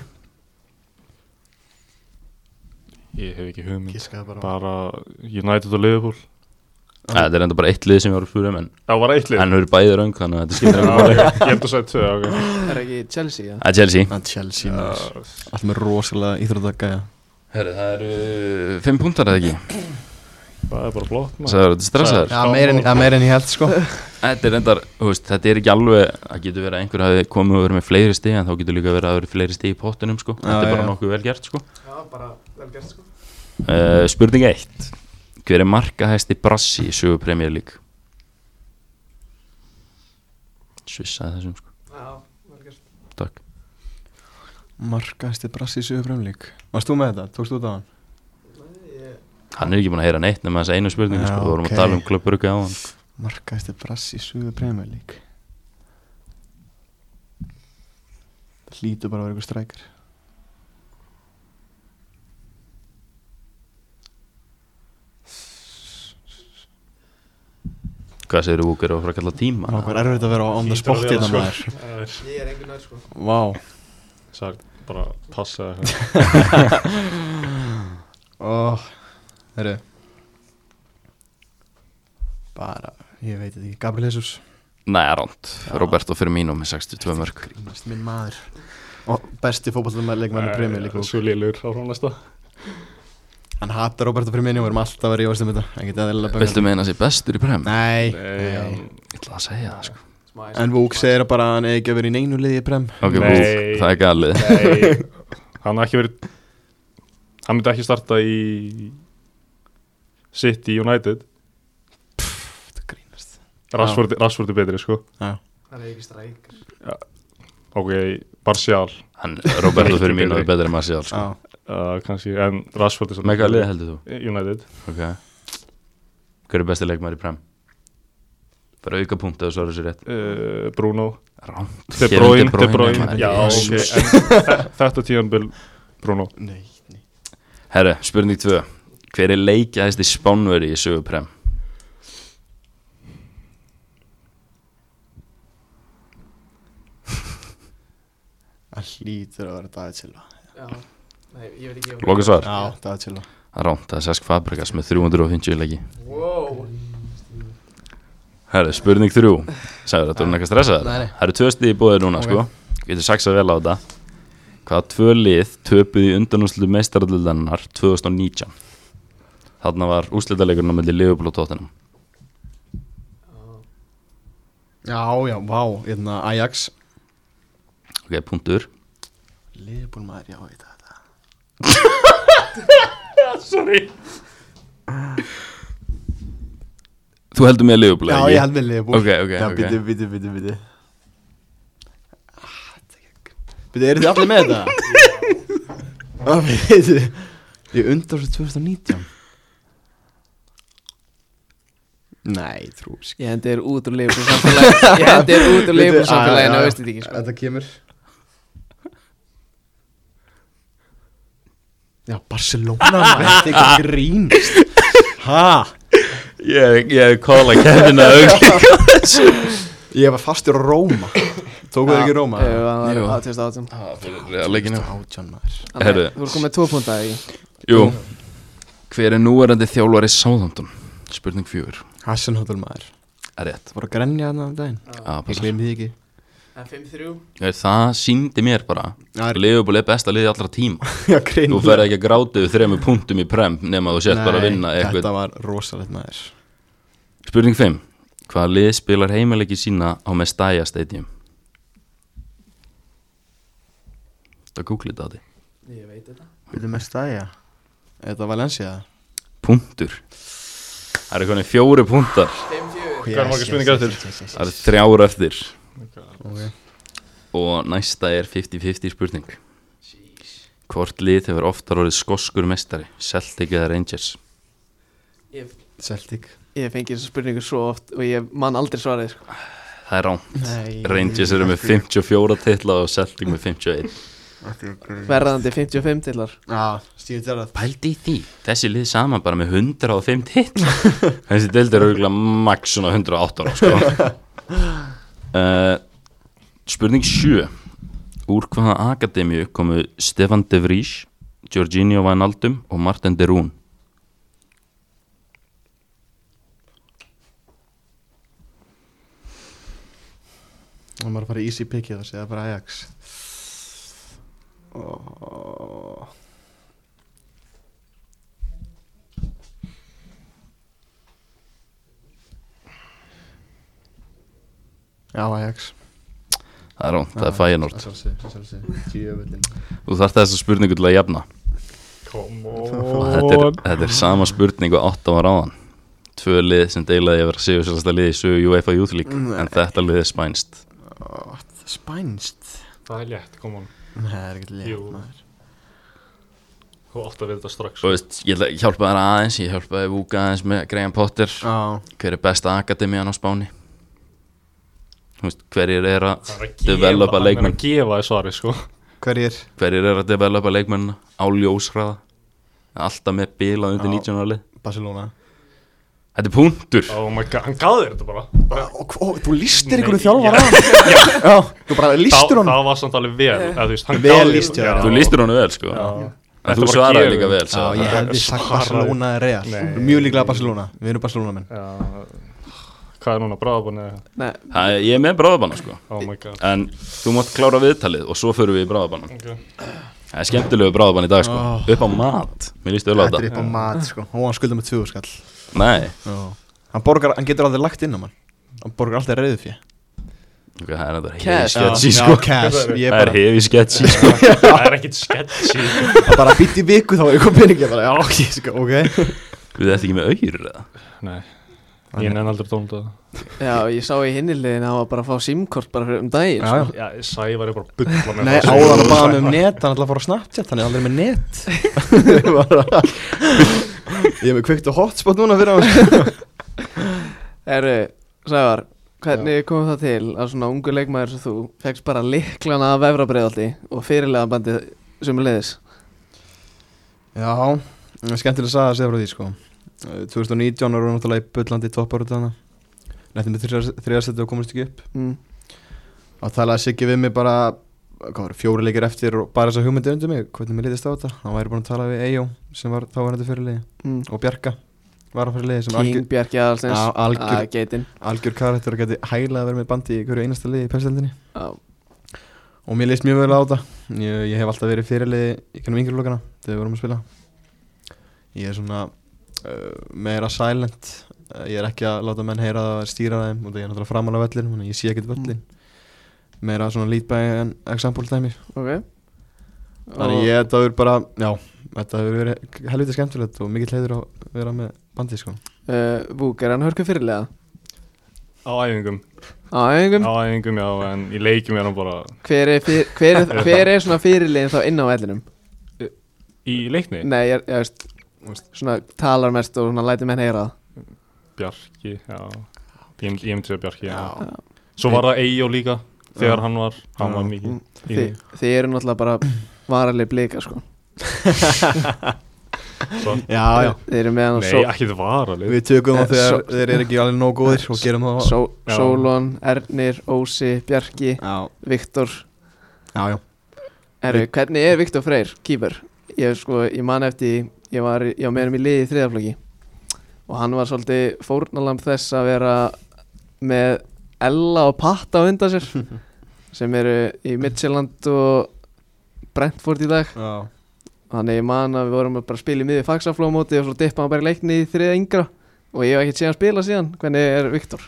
Ég hef ekki hugmynd Giskaði bara á- Bara United og Liverpool Æ, Þetta er enda bara eitt lið sem ég var að spura um en Það var eitt lið hann eru bæðið röng þannig að þetta skiptir Já, engu ok, máli. Ég held að segja tvö ok. Það er ekki Chelsea það Það er Chelsea Að Chelsea maður Allt með rosalega íþróttagæja Herri, það eru 5 púntar eða ekki Það er bara flott maður. Það eru stressaður Já. Já, meir en, ja, meir en ég held sko Þetta er endar, veist, þetta er ekki alveg það getur verið að einhver hafi komið og verið með fleiri stig en þá getur líka verið að verið fleiri stig í pottunum sko. þetta er já, bara já. nokkuð vel gert sko. Já bara vel gert sko uh, Spurning 1 Hver er markahæsti brassi í sögu Premier League? Svissaði þessum sko. Já vel gert Takk Markaðist er brassið sögur fremlík Varst þú með þetta? Tókst þú þetta á hann? Hann er ekki búin að heyra neitt nema þessa einu spurningu Já, sko. Þú vorum ok. að tala um klubburka á hann Markaðist er brassið sögur fremlík hlýtur bara að vera eitthvað strækir Hvað segir þú, Búker, á að fara að kalla tíma? Það er erfitt að vera on the Hlýtur að spot vera, hérna sko. maður Það er Ég er engin nær sko Vá sagt bara passa eða eitthvað. oh. Herru Bara, ég veit þetta ekki Gabriel Jesus Nei, ránt, Já. Roberto Firmino með 62 mörg Grínast minn maður Og besti fótballleikmann í premjör líka Svo lélur á hún næsta Hann hatar Roberto Firmino og við erum alltaf að rífast um þetta Hann geta eðlilega böngað. Viltu meina sér bestur í prem? Nei, Nei, nei. hann- Ég ætla að segja það, sko En Vúk segir að bara að hann eigi ekki að vera í neinu liði í prem Ok, Nei. Búk, það er galið nei Hann hafði ekki verið Hann myndi ekki starta í City United Þetta grínast Rashford, Rashford er betri sko Það er ekki stræk Ok, Martial Hann, Roberto Miklu Firmino er betri. betri en maður sér sko. Já, uh, kannski En Rashford er samt- Með hvaða lið heldur þú? United Ok Hver er besti leikmaður í prem? Bara auka punkt eða svara sér rétt uh, Bruno Ránt De Kevin Bruyne, De Bruyne, De Bruyne maður. Já, ok Jesus. En þe- þetta tíðanbil Bruno nei, nei Herru, spurning 2 Hver er leikjaðist í spánveri í sögu prem? Hann hlýtur að vera David Silva Já Nei, ég veit ekki Loka svar Já, David Silva Ránt, það er Sesk Fabregas með 350 leiki Wow Herru, spurning 3 Sæður þetta voru nekka stressaður Nei, nei. Það eru tvö stið í bóðið núna Ok. sko Getur saksað vel á þetta Hvaða tvö lið töpuðu í undanúslu meistarallinnar 2019 Þarna var úrslitaleikurinn á milli Liverpool og Tottenham Já, já, vá, hérna Ajax Ok, punktur Liverpool maður, já, ég veit þetta Sorry Þú heldur með Liverpool, Já, ekki? ég held með Liverpool Ok, ok, Já, ok. bíti, bíti, bíti, bíti Bíti, eru þið allir með þetta? Já, bíti Ég undar svo 2019 Nei, trú Ég hendi þér út úr leifbúr samfélaginu Ég hendi þér út úr leifbúr samfélaginu og veist þetta ekki sko ah, Þetta kemur Já, Barcelona Þetta er ekki grínst Hæ? Ég, ég kóla Kevin að auglík Ég var fastur á Róma Tókuðu ekki Róma? Jú, hann var Jú. á 2018 Leikinu Átján maður Þannig, Heyrðu. Þú voru komið tvo púnta í Jú Hver er núverandi þjálfari Sáðhamtun? Spurning fjögur Hassenhotel maður Er rétt Það voru að grenja þarna um daginn ah, Ég gleymi því ekki F5-3 Það síndi mér bara Já, er- Leifubúl er besta liði allra tíma Já, grein Þú ferð ekki að gráta yfir þremur punktum í prem nema þú sért bara að vinna eitthvað Þetta var rosalegt maður Spurning 5 Hvaða lið spilar heimilegi sína á Mestalla Stadium? Það googlið þetta á því Ég veit þetta Vildu með stæja? Þetta var Valencia Punktur Það eru konið fjóri punktar 5-4 Hvað eru margar spurningar eftir? Það eru þrjár eftir Ok. Og næsta er 50-50 spurning Hvort lið hefur oftar orðið skoskur mestari Celtic eða Rangers Ég, Celtic ég fengi þessu spurningu svo oft og ég man aldrei svarið sko. Það er rám Nei Rangers eru með 54 titla og Celtic með 51 Verðandi 55 tillar Já, Steven Gerrard Pældi í því Þessi lið saman bara með 105 titla Þessi deild er auðvitað max svona 108 ára sko. uh, Spurning 7 Úr hvaða akademíu komu Stefan De Vries Jorginho Wijnaldum og Martin De Roon Það var bara að fara í easy pickið og segja bara Ajax oh. Já, Ajax Það er rám, það Ah. er fæjanort Djöfullin Þú þarft þessa spurningu til að jafna Come Og þetta er, on þetta er sama spurning og 8 ára áðan Tvö lið sem deilaði yfir að séu sérsta liði í sögu UEFA Youth League Nei. En þetta lið er spænst Spænst Það er létt, come on Nei, það er ekki Jú. létt maður Þú átt að við þetta strax Þú veist, ég ætla- ég hjálpaði þær aðeins, ég hjálpaði Vúka aðeins með Graham Potter Já, Hver er besta akademiðan á Spáni? Þú veist, hverjir er að Hann er að Developa gefa- hann er leikmenn. að gefa þér svari sko Hverjir? hverjir er að developa leikmennina á ljósraða alltaf með bila undir Já. 19 áli Barcelona Þetta er punktur Oh my god, hann gaf þér þetta bara og, og, Þú lístir Nei, ykkur um já. þjálfara Já, þú bara lístir Þa, honum Það var samt alveg vel eða, þú veist, hann Vel gaf þér- lýst hjá Já. þér. Þú lístir honum vel sko Já. En þú Þetta var svaraði gefið. líka vel Já, sagði ég hann. hefði sagt Svaraði. Barcelona er real Nei. Mjög líklega Barcelona, við erum Barcelona menn Já, Hvað er núna, bráðabunni? Nei, Það er- Ég er með bráðabanna sko Oh my god En þú mátt klára viðtalið og svo förum við í bráðabanna okay. Það er skemmtilegu bráðabann í dag sko Oh. Upp á mat Mér líst öll á Þetta er þetta upp á mat sko Og hann skuldar með 20 skall Nei Já. Hann borgar, hann getur aldrei lagt inn á mann Hann borgar alltaf reyðu fjö Ok, Það er þetta hefi Cash. sketchy sko cash Ég Það er bara, hefi sketchy sko Það er ekkit sketchy hann bara býtt í viku þá er ykkur peningi bara, Já, ok, sko, ok Við þetta ekki með auður eða? Nei, ég nenn aldrei tónum þetta já, ég sá í hinni liðin að hann var bara að fá símkort bara fyrir um daginn Já, já. sko. Já, Sævar er bara að byggla með Nei, það. áðan að baða mig um net, hann ætlaði að fara á Snapchat, hann er aldrei með net Bara- Ég hef með kveikt á hotspot núna fyrir hann Eru, Sævar, hvernig kom það til að svona ungu leikmaður sem þú fegst bara liklana að vefra breiðaldi og fyrirlega bandið sem leiðis Já, skemmtilega saga að segja frá því sko Eh, 2019 vorum við náttúrulega í Böllandi í topparöðana Nettum við þriðarsættu og komumst ekki upp mm. Og talaði Siggi við mig bara hvað var, fjóri leikir eftir og bara þess að hugmyndi undir mig hvernig mér litist á þetta hann væri búin að tala við Eyjó sem var þá verðandi fyrirliði Mm. og Bjarka var að fyrirliði sem King Bjarki Aðalstens Já, algjör- að geitin algjör karakter og geti hæla að vera með bandi í hverju einasta liði í pælstældinni Já. og mér leist mjög vel á þetta ég, ég hef alltaf verið fyrirliði í kannum yngri lokana þegar við vorum að spila ég er svona uh, meira silent uh, ég er ekki að láta menn heyra það að stýra þeim og það er náttúrulega framalega völlin þannig að ég sé ekkert völlin meira svona lead by an example dæmi ok þannig ég þetta hefur bara já þetta hefur verið helviti skemmtilegt og mikill heiður að vera með bandi sko uh, Vúk, er hann hörku fyrirlega? Á æfingum Á æfingum, Á æfingum, já, en í leikjum er hann bara hver er, fyr, hver, er, hver er svona fyrirlegin þá inn á vellinum? Í leikni? Nei, ég, ég veist, svona talar mest og svona læti menn heyra það Bjarki, já Ég myndi ég myndi segja Bjarki, já, Svo var það Eyjó líka Þegar hann var, Já. hann Mm. var mikið í- Þi, Þið eru náttúrulega bara varaleg blika sko svo, já já Þið eru með hann Nei, só, ekki það var alveg við tökum það Eh, þegar svo- þeir eru ekki alveg nóg góðir og gerum það só, Já. Sólon, Ernir, Ósi, Bjarki, já Viktor Já, já Herru, hvernig er Viktor Freyr, kýpur? Ég, sko, ég man eftir, því, ég var, ég var með um í liði í þriðaflöki og hann var svolítið fórnalamb þess að vera með Ella og Patta á undan sér sem eru í Midtjylland og Brentford í dag Já, þannig ég man að við vorum að bara spila í miði fagsaflómóti og svo dippa hann bara í leikni í þriða yngra og ég hef ekkert séð hann spila síðan hvernig er Viktor?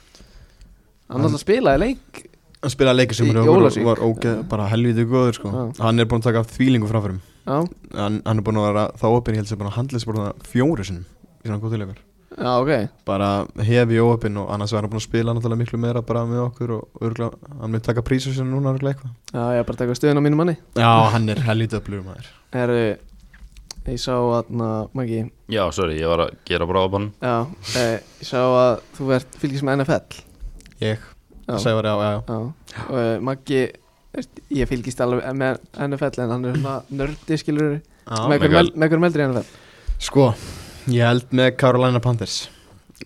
Hann Hann- alltaf spilaði leik hann spilaði leikir sem Í hann var, Ólafsvík. var ógeð, bara helviti góður sko. Já. Hann er búinn að taka þvílingu framförum Já, hann, hann er búinn að vera þá opinn, ég held sem búinn að handla þessi bara fjóru sinum í svona góð tilegur já ok Bara hefi óopinn og annars var hann búinn að spila náttúrulega miklu meira bara með okkur og örgla, hann mun taka prísu sinum núna örgla eitthvað Já, ég er bara að taka stöðun á mínu manni Já, hann er helviti öflugur maður Herru, ég sá aðna, Maggi, Já, sorry, ég var að gera bráðabann já, eh, ég sá að þú ert fylgis með NFL. Ég, Já, Sævar, já, já, já já. Og eh, Maggi, veist, ég fylgist alveg eh, með NFL en hann er svona nördi, skilur, með my hverjum el- með hverjum eldri í NFL. Sko, ég held með Carolina Panthers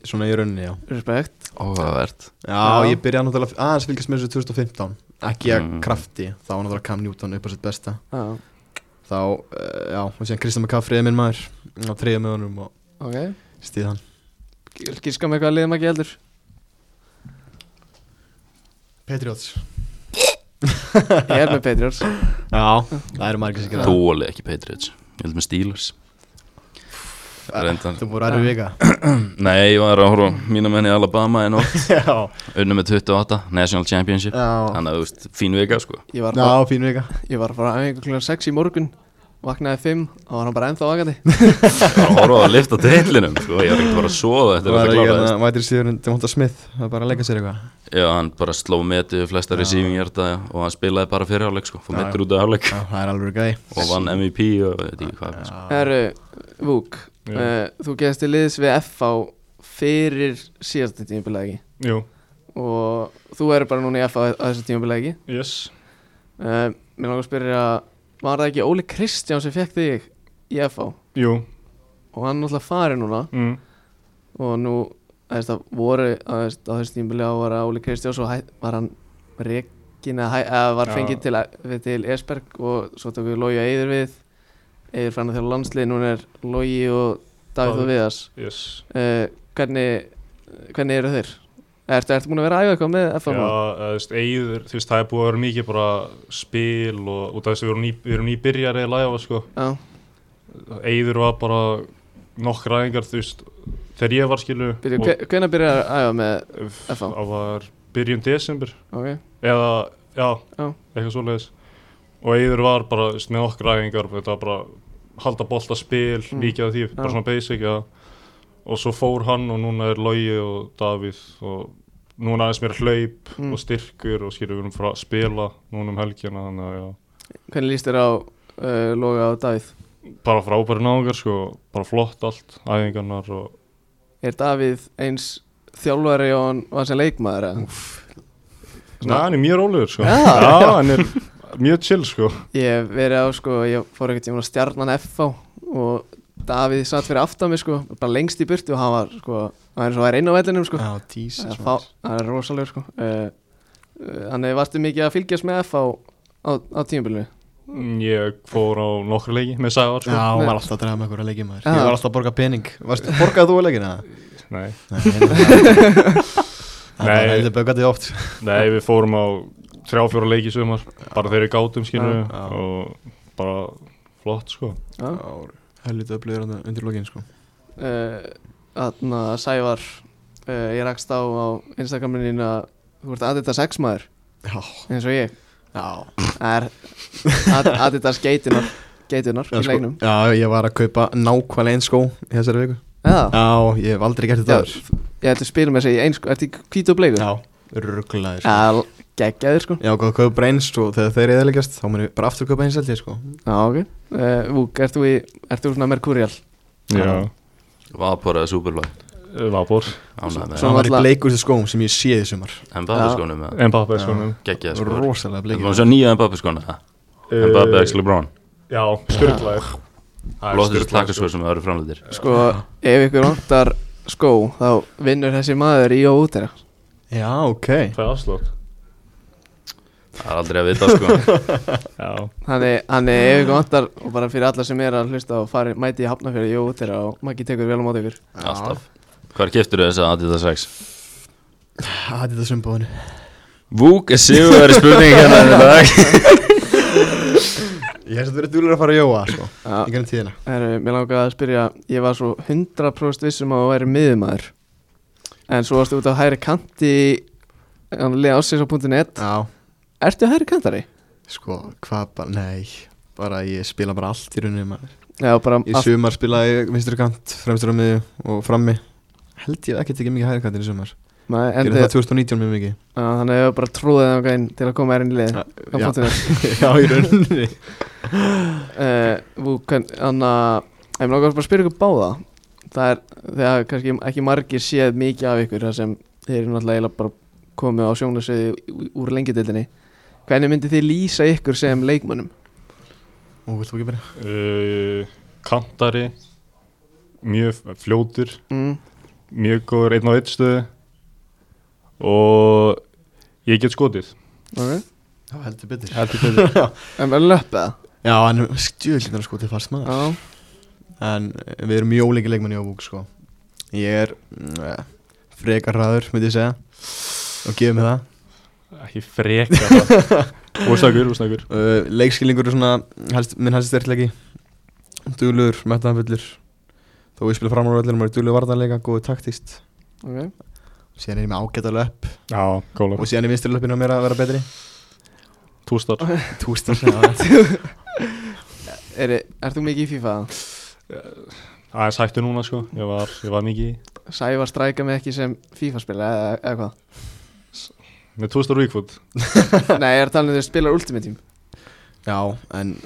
Svona í rauninni, já Respekt. Óvæðavert Já, Já. ég byrjaði náttúrulega aðeins fylgjast með þessu 2015 ekki að Mm. krafti, þá var náttúrulega Cam Newton upp á sitt besta Já, þá, uh, já, og síðan Kristján McCaffrey er minn maður á þriðja með honum og ok. stíð hann Gil- Giska með hvað liðið Maggi eldur. Patriots Ég er með Patriots. Já, það eru margir sem gera það Tóli ekki Patriots Ég held með Steelers Ah. Reyndan Þú búið aðri vika Nei, ég var að horfa á mína menn í Alabama en ótt Já, Unnu með 28, National Championship já, Þannig að þú veist, fín vika sko Ég var já, bara, fín vika ég var bara aðeins klukkan 6 í morgun, vaknaði 5 og var hann bara ennþá vakandi. Ég var að horfa á að lifta titlinum sko Ég var ekki bara að sofa Það eftir að var þetta ekki hérna- kláraðist að mætir síðan Demonta Smith, það er bara að leika sér eitthvað Já, hann bara sló metið flesta receiving hjarta og hann spilaði bara fyrir hálfleik sko Fór Já, metur út af hálfleik Já, það er alveg gæði og vann MVP og veit ekki hvað sko. Herru, Vúk, eh, Já. uh, þú gerst til liðs við F á fyrir síðastin tíma, ekki? Jú, og þú eru bara núna í FA að þessu tímabilegi Yes uh, Mér langar að spyrja Var það ekki Óli Kristján sem fekk þig í FA Jú og hann náttúrulega farið núna mm. og nú þú veist, það voru þú veist, á þessu tímabili að var Óli Kristján svo hæ, var hann reikin eða, hæ- eða var Já. fengið til, við- til Esberg og svo tók við Lógi og Eyður við Eyður fann að þeirra landslið núna er Lógi og Davíð Davíð. og Viðars Yes uh, hvernig, hvernig eru þeir? Ertu, ertu búin að vera að æfa eitthvað með FA? Já, núna? eða, þú veist, eigður, þú veist, það er búið að vera mikið bara spil og út af þessu við erum ný- við erum nýbyrjar eða læfa, sko Já. Eigður var bara nokkra æfingar, þú veist, þegar ég var skilu Byrju, hve- hvenær byrjar að æfa með FH? Það var byrjun desember ok, eða, já, Já. eitthvað svoleiðis og Eyður var bara, þú veist, með okkur æfingar þetta var bara halda bolta spil Mm. mikið af því, bara Já. svona basic já. og svo fór hann og núna er Logi og Davíð og núna aðeins mér hlaup Mm. og styrkur og skilur við erum frá að spila núna um helgina þannig að já, hvernig líst þér á uh, Loga og Davíð? bara frábæri náðungar sko, bara flott allt, æfingarnar og Er Davíð eins þjálfari og hann var sem leikmaður? eða? Næ, hann er mjög rólegur sko Já, já, hann er mjög chill sko Ég hef verið á, sko, ég fór ekkert tíma á stjarnan FH og Davíð satt fyrir aftan mig, sko, bara lengst í burtu og hann var, sko, hann er svo að reyna á vellinum, sko. Já, Jesus Það fá- það er rosalegur, sko. Uh, uh, hann hefur vartu mikið að fylgjast með FH á, á tímabilinu. ég fór á nokkru leiki með Sævar sko. Já, hún Nei. var alltaf að drega með einhverja leikið maður Já. Ég var alltaf að borga pening Varstu, Borgaði þú að leikina? nei Nei, nei, nei. Það Nei. er heldur bögatið oft Nei, við fórum á þrjá fjóra leiki í sumar bara þeirri gátum skilur við Já. og bara flott sko Já. Heldur öflugur þarna undir lokin sko Þannig að Eh, Sævar uh, Ég rakst á á Instagraminu að þú ert Adidas X-maður Já, eins og ég já Það er Ad- Adidas geitunar geitunar Já, í sko, leiknum já, ég var að kaupa nákvæmlega eins skó í þessari viku Já, Já, ég hef aldrei gert þetta Já, ég ætla að spila með þessi eins Ertu í hvítu og bleiku? Já, rugglaður sko. Já, geggjaðir sko Ég ákvað að kaupa eins og þegar þeir eðalegast þá mun ég bara aftur kaupa eins held ég sko Já, ok uh, Vúk, ert þú í ert þú svona Mercurial? Já, Eh, Vaporaði Superfly Vapor Ánægði Svo- með það Það var í náttúrulega- bleikur þessu skóm sem ég séð í sumar Mbappe skónu með Mbappe sko nú. Gekkið sko Rosalega Við bleikur erum að sjá nýja sko, Mbappe skónu Mbappe X LeBron Eh, Já, skurðlaður Lóttur þessu takkaskóð sem það eru framleitir Sko, ef ykkur vantar skó þá vinnur þessi maður í og út þeirra Já, ok Það er afslótt Það er aldrei að vita sko Já, Þannig, þannig ef ykkur vantar og bara fyrir alla sem er að hlusta og fari, mæti í hafnafjörði, jú, þeirra og Maggi tekur vel á mót ykkur. Alltaf Hvar keftur þau þess að Adidas X? Það er þetta sumbóðinu Vúk er sigurveri spurning hérna í dag Ég hef þetta verið dúlur að fara að jóa sko Ja, Í grann tíðina heru, mér langaði að spyrja, ég var svo 100% vissum um að þú væri miðumæður, en svo varstu út á hæri kanti, hann leiði ásins.net, Já, ertu hæri kantari? sko, hvað bara, nei Bara ég spila bara allt í rauninni maður Já, bara Í allt, sumar spilaði ég vinstri kant, fremstur á miðju og frammi Held ég ekki tekið mikið hægri kantin í sumar nei, en Gerði það þið, 2019 mjög mikið á, þannig hefur bara trúðið þangað inn til að koma þér inn í liðið. Já, á já. punktinum. Já, í rauninni Eh, Vú, þannig að ég mér langar bara að spyrja ykkur báða það er, þegar kannski ekki margir séð mikið af ykkur þar sem þeir eru náttúrulega eiginlega bara komið á sjónasviði úr lengjadildinni hvernig myndi þið lýsa ykkur sem leikmönnum? Ó, vilt þú ekki byrja? uh, Kantari Mjög fljótur Mm. Mjög góður einn á einn stöðu Og Ég get skotið Okay. Já, heldur betur Heldur betur En verður löppeða? Já, en stjúðlítan sko til fast maður Já, En við erum mjög ólíki leikmenn í óbúk sko Ég er mm, frekar hraður, myndi ég segja Og gefið mér það Ekki freka það Úrstakur, úrstakur uh, Leikskilingur er svona helst, minn helst styrklegi Dúlur, mettaðanfullur Þó ég spila framar á öllurum og er dúlur varðanleika, góðu taktist ok Síðan er ég með ágæta löp Já, góla Og síðan er vinstri löpinn á mér að vera betri Tústar Tústar Já, Er, er þú mikið í FIFA? Aðeins hættu núna sko Ég var, ég var mikið í Sævar stræka mig ekki sem FIFA spila eða, eða hvað? Með tústar Ríkfútt Nei, ég er talað um þeir spilar Ultimate Team Já, en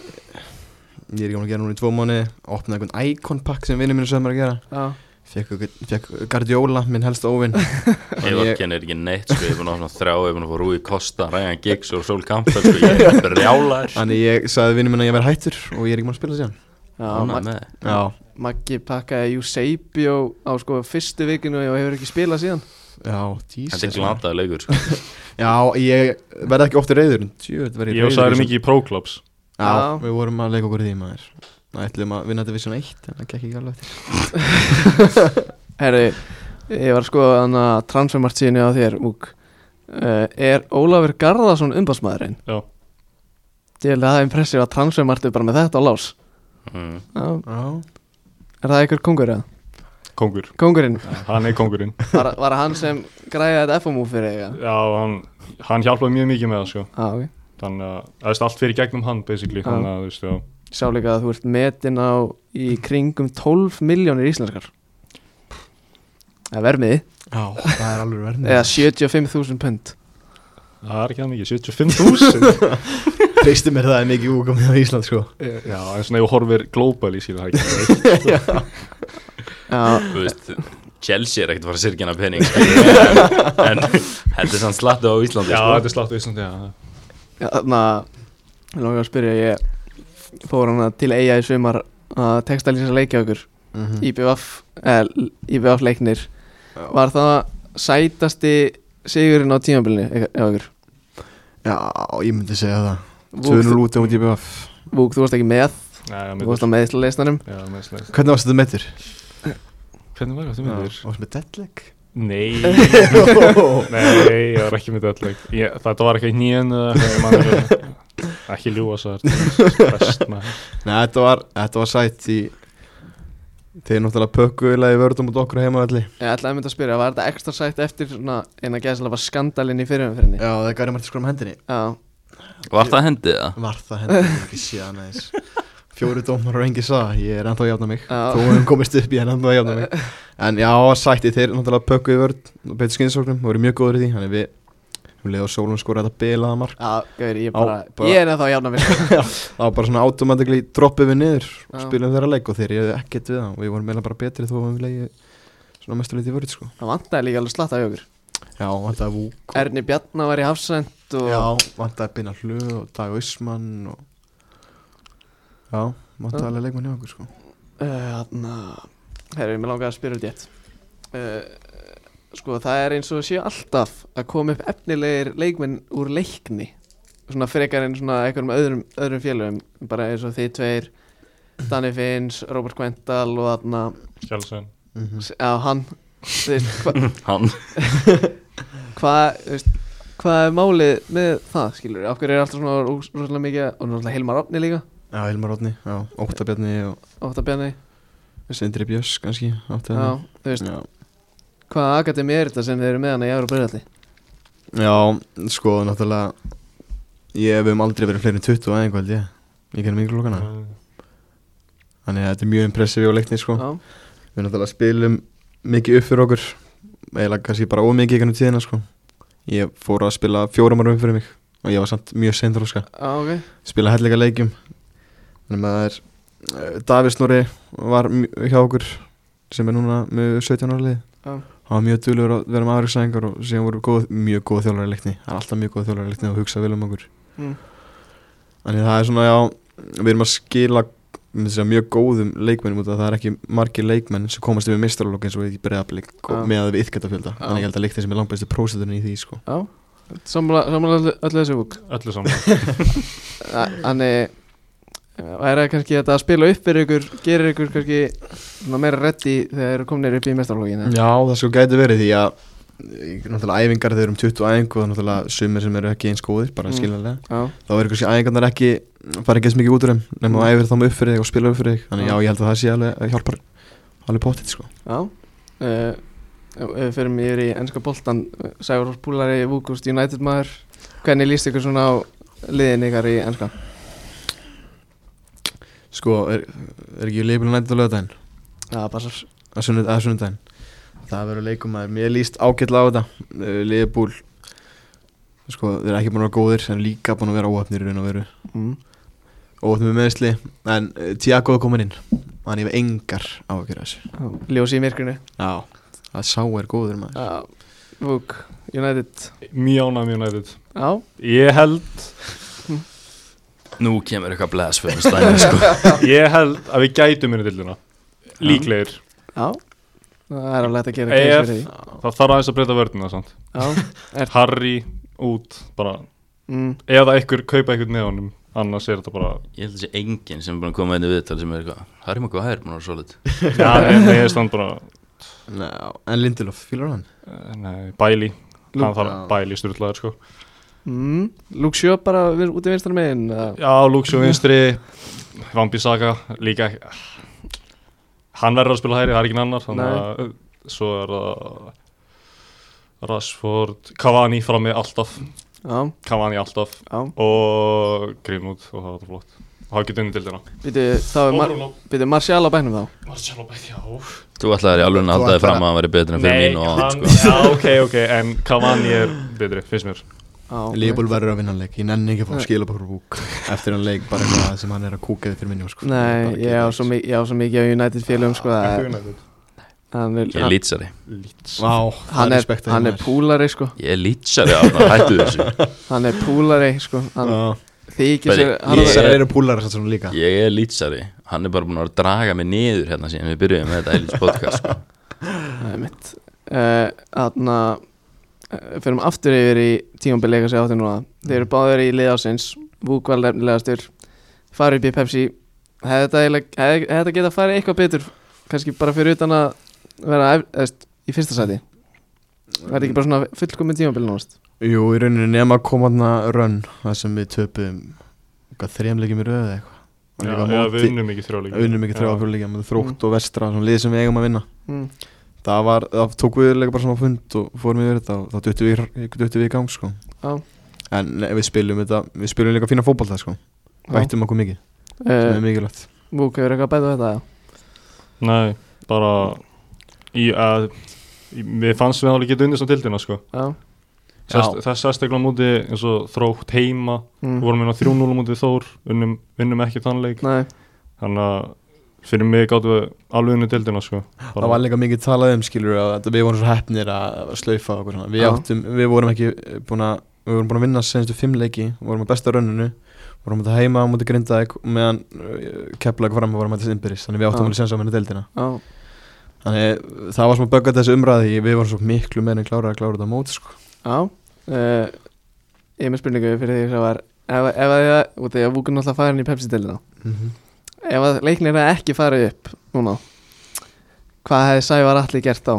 Ég er ekki búin að gera núna í tvo mánu Opnaði einhvern icon pakk sem vinnum minn sögum að gera Já, Fekk, fekk Guardiola, minn helst óvinn ég, Eivarkinn er ekki neitt sko, ég er búin að hafa svona þrjá, ég er búin að fá Rúi Kosta, Ryan Giggs og Sol Campbell sko, ég er brjálar Þannig ég sagði vinnum minn að ég verði hættur og ég er ekki maður að spila síðan Já, Ánægð Mag með þig. Já, Maggi pakkaði Eusebio á sko fyrstu vikinu og hefur ekki spilað síðan já, Þetta er Jesus maður. glataði leikur sko. Já, ég verði ekki ofta reyður Tjöð verði Ég og Særi mikið í próklubs Já, Já. við vorum að leika okkur í því maður Það ætlum að vinna Division 1 en það gekk ekki alveg eftir Herri, ég var sko þannig að transfermartíðinu á þér Úk Uh, er Ólafur Garðarsson umbásmaðurinn? Já. Ég held að það er impressið að transfermartið bara með þetta á lás mm. Já, Já, Er það einhver kongur eða? Kongur, Kongurinn, hann er kongurinn var, var hann sem græði þetta FMU fyrir eiga? Já, hann, hann hjálpaði mjög mikið með það sko Já, ok Þannig að, það veist, allt fyrir gegnum hann basically Já. Þannig að, þú veist, já Ég Sá líka að þú ert metin á í kringum 12 miljónir íslenskar Það er vermiði já það er alveg verðin Eða 75.000 pund Það er ekki það mikið, 75.000 Treystu mér það er mikið úkomið á Ísland sko Já, en svona ef þú horfir global í síðan það sko. ekki Já, Þú veist, Chelsea er ekkert að fara að sirkina pening skilur, en, en þetta er sann slattu á Íslandi Já, sko. þetta er slátt á Íslandi, já já, þarna Ég langar að spyrja, ég fór hana til eiga í sumar að textalýsa leikja okkur Mm. IBF, eða IBF leiknir Var það sætasti sigurinn á tímabilinu eða okkur? Já, ég myndi segja það 2-0 út á mútið BF Vúk, þú varst ekki með, Nei, já, þú með varst á meðisleisnanum Já, með slætt Hvernig varst þetta meittur? Hvernig var þetta með þér? Varst með deadleg? Nei Ó. Nei, ég var ekki með deadleg ég, Þetta var eitthvað í nýjan Ekki ljúa svo Best maður Nei, þetta var, þetta var sætt í Þeir náttúrulega pökkuðilega í vörðum út okkur heima allir Ég ætlaði að mynda að spyrja, var þetta ekstra sætt eftir svona eina gæðslega var skandalinn í fyrirumfyrinni? Já, það gæri maður til skrum hendinni Já, Var það hendið það? Var það hendinni, ekki síðan aðeins Fjóru dómar og engi sá, ég er ennþá að jafna mig Já. Þú hefum komist upp, ég er ennþá að jafna mig En já, sætti þeir náttúrulega pökkuði vörð og betur skynsóknum, voru mjög góður í því Þannig við, um við leiðum sólum skora þetta bilaða mark já, gauður, ég Á, bara, bara- ég er ennþá að jafna mig Það var bara svona automatically droppið við niður og Já. spilum þeirra leik og þeir eru ekkert við það og við vorum meðlega bara betri þó að við leiði svona mestuleiti vörð sko Það vantaði líka alveg slatt af ykkur Já, vantaði Vúk Erni Bjarnar var í hafsend og Já, vantaði Binna Hlu og Dag Ísmann og Já, vantaði Já. alveg leikmann hjá okkur sko Eh, Þannig að, herru, mér hérna, langaði að spyrja út ég uh, Sko, það er eins og séu alltaf að koma upp efnilegir leikmenn úr leikni Svona frekar en svona einhverjum öðrum, öðrum félögum Bara eins og þið tveir, Danny Finns, Robert Quental og þarna Skjálsson Mm. Já, hann, þú veist, hva, Hann hvað þú veist, hvað er málið með það skilur af hverju er alltaf svona rós- rosalega mikið og náttúrulega Hilmar Átni líka Já, Hilmar Rodni, já, Óttabjarni og Óttabjarni Sindri Björns kannski átti já, hann. þú veist, já. hvaða akademi er þetta sem þið eru með hana í Ára Breiðalli já, sko, náttúrulega Ég hef um aldrei verið fleiri en 20 aðeins held ég Ég kenni miklu lokana Þannig að þetta er mjög impressið og leikni sko já, Við náttúrulega spilum mikið upp fyrir okkur eiginlega kannski bara ómikið í kannum tíðina sko Ég fór að spila fjórum árum upp fyrir mig og ég var samt mjög seinþróska já, ok spila helleika leikjum þannig að það er eh, Davíð Snorri var mj- hjá okkur sem er núna með 17 ára lið Já. hann var mjög duglegur að vera með afriksæðingar og síðan voru góð, mjög góð þjálfari í leikni hann er alltaf mjög góð þjálfari í leikni og hugsa vel um okkur Mm. þannig að það er svona já við erum að skila myndi segja, mjög góðum leikmennum út af að það er ekki margir leikmenn sem komast yfir mistarlokk eins og í breyðablík Já. með að við ytkættafjölda Já. þannig að ég held að leikni sem er langt bestu próseturinn í því sko. já, sammála sammála öllu- öllu þessu búk Öllu saman þannig væri það kannski að þetta að spila upp fyrir ykkur gerir ykkur kannski svona meira reddi þegar þeir eru komnir upp í mestarlógin Já, það sko gæti verið því að í- náttúrulega æfingar þeir eru um 20 æfingu og náttúrulega sumir sem eru ekki eins góðir Mm. bara mm. skiljanlega já, þá verður kannski æfingarnar ekki fara ekki eins mikið út úr þeim nema Mm. að æfir þá með upp fyrir þig og spila upp fyrir þig Já. þannig já, ég held að það sé alveg að hjálpar alveg pottit sko Já uh, Við fyrir mér í eh, ennska boltan Sægur Rós Búlari, Vúkust United maður Hvernig líst ykkur svona á liðin ykkar í ennska? Sko, er, er ekki leifilin nættið á lögadaginn? Já, passar Að sunnud, að sunnudaginn? Það verður leikum að mér líst ágætlega á þetta Leifbúl Sko, þeir eru ekki búin að vera góðir en líka búin að vera óhafnir í raun og veru mm. óhafnir með meðsli en uh, Tiago eh, er komin inn Þannig ég hef engar á að gera þessu Ljósi í myrkrinu Já Það sá er góður maður Já, Vúk, United Mjög ánægð með United Já, Ég held, Nú kemur eitthvað blasfem stæmi sko. ég held að við gætum minni dildina Líklegir já Það er alveg hægt að gera EF. grein fyrir því. Það þarf aðeins að breyta vörðina samt Já, Harry út bara mm, Eða einhver kaupa einhvern með honum Annars er þetta bara Ég held að sé enginn sem er búin að koma inn í viðtal sem er eitthvað Harry Maguire, maður er solid Já, en ég stand bara Ná, En Lindelof, fylgur hann? eh, Nei, Bæli Hann Luke- þarf Bæli styrlaður sko mm, Luke Sjó bara vir- út í vinstra megin eða? Já, Luxjó vinstri Vambi Saga líka ekki Hann verður að spila hæri, það er ekki annar Þannig að uh, svo er það Rashford Cavani frammi alltaf Já, Cavani alltaf já og Grimwood og það var þetta flott og það getur unni dildina Býtu, þá er Mar býtu, Martial á bænum þá Marcelo Bætt, já Þú ætlaðir í alveg að Þú halda þið ætlaðir- fram að hann veri betur en fyrir Nei, mín og hann hann, sko. já, ok, ok en Cavani er betri, finnst mér Já, ok. Leopold verður að vinna hann leik Ég nenni ekki að fá Nei. skilabókur búk Eftir hann leik bara eitthvað sem hann er að kúka við fyrir minni sko. Nei, Bara ég gera á þessu. svo, mi- ég á svo mikið á United félögum sko að hann er, Ég er hann, lýtsari Lít Vá, hann er, respekt á því, hann er maður. púlari sko Ég er lýtsari á hann, hættu þessu hann er púlari sko hann Já. þykir sér Bæði, hann, ég- Lýsar eru púlar þess að svona líka Ég er lýtsari Hann er bara búin að vera að draga mig niður hérna síðan við byrjuðum með þetta Eilíts podcast sko. Það er mitt Eh, Þannig að fyrir aftur yfir í tímambilega sig átti núna Þeir eru báðir í liðásins Vúk var lefnilegastur Fari upp í Pepsi Hefði þetta eiginlega- hefði- hefði þetta getað farið eitthvað betur kannski bara fyrir utan að vera ef- eða, veist, í fyrsta sæti Það er ekki bara svona fullkomin tímambil náðast Jú, í rauninni nema að koma hann að rönn Það sem við töpum Þrjumleikum í röðu eða eitthvað Og Já, líka á já, móti- við unnum ekki þrjá líka unnum ekki þrjá Já. fyrir líka með þrótt og vestra, svona lið sem við eigum að vinna mm. það var, það tók við líka bara svona á fund og fórum yfir þetta og þá duttum við, í- duttum við í gang sko Já. en nei, við spilum þetta, við spilum líka fína fótball það sko, bættum okkur mikið sem uh, er mikilvægt Vúk hefur eitthvað að bæta á þetta Nei, bara í að við fannst við alveg geta unnist á dildina sko Já, Sest, það sest eitthvað á móti eins og þrótt heima mm. Mhm. við vorum inn á 3-0 á móti Þór unnum, vinnum ekki þannleik Nei, þannig að fyrir mig gáttum við alveg unni dildina sko það var líka mikið talað um skilur að þetta- við vorum svo heppnir að slaufa okkur svona. við Já. áttum, við vorum ekki eh, búin að við vorum búin að vinna senstu fimm leiki vorum að besta rönnunu vorum að þetta heima á móti grindaðik meðan kepplaði fram og vorum að þetta innbyrðis þannig við Já. áttum alveg sens á minni deildina já, Þannig eh, það var svona böggað þessi umræði Við varum svo miklu meira en klára að klára þetta mót sko. já uh, Ég er með spurningu fyrir því sem var ef, ef að ég, út af því að Vúk er náttúrulega farin í Pepsi-delina Mhm. ef að leiknir er ekki farið upp núna hvað hefði Sævar Atli gert þá?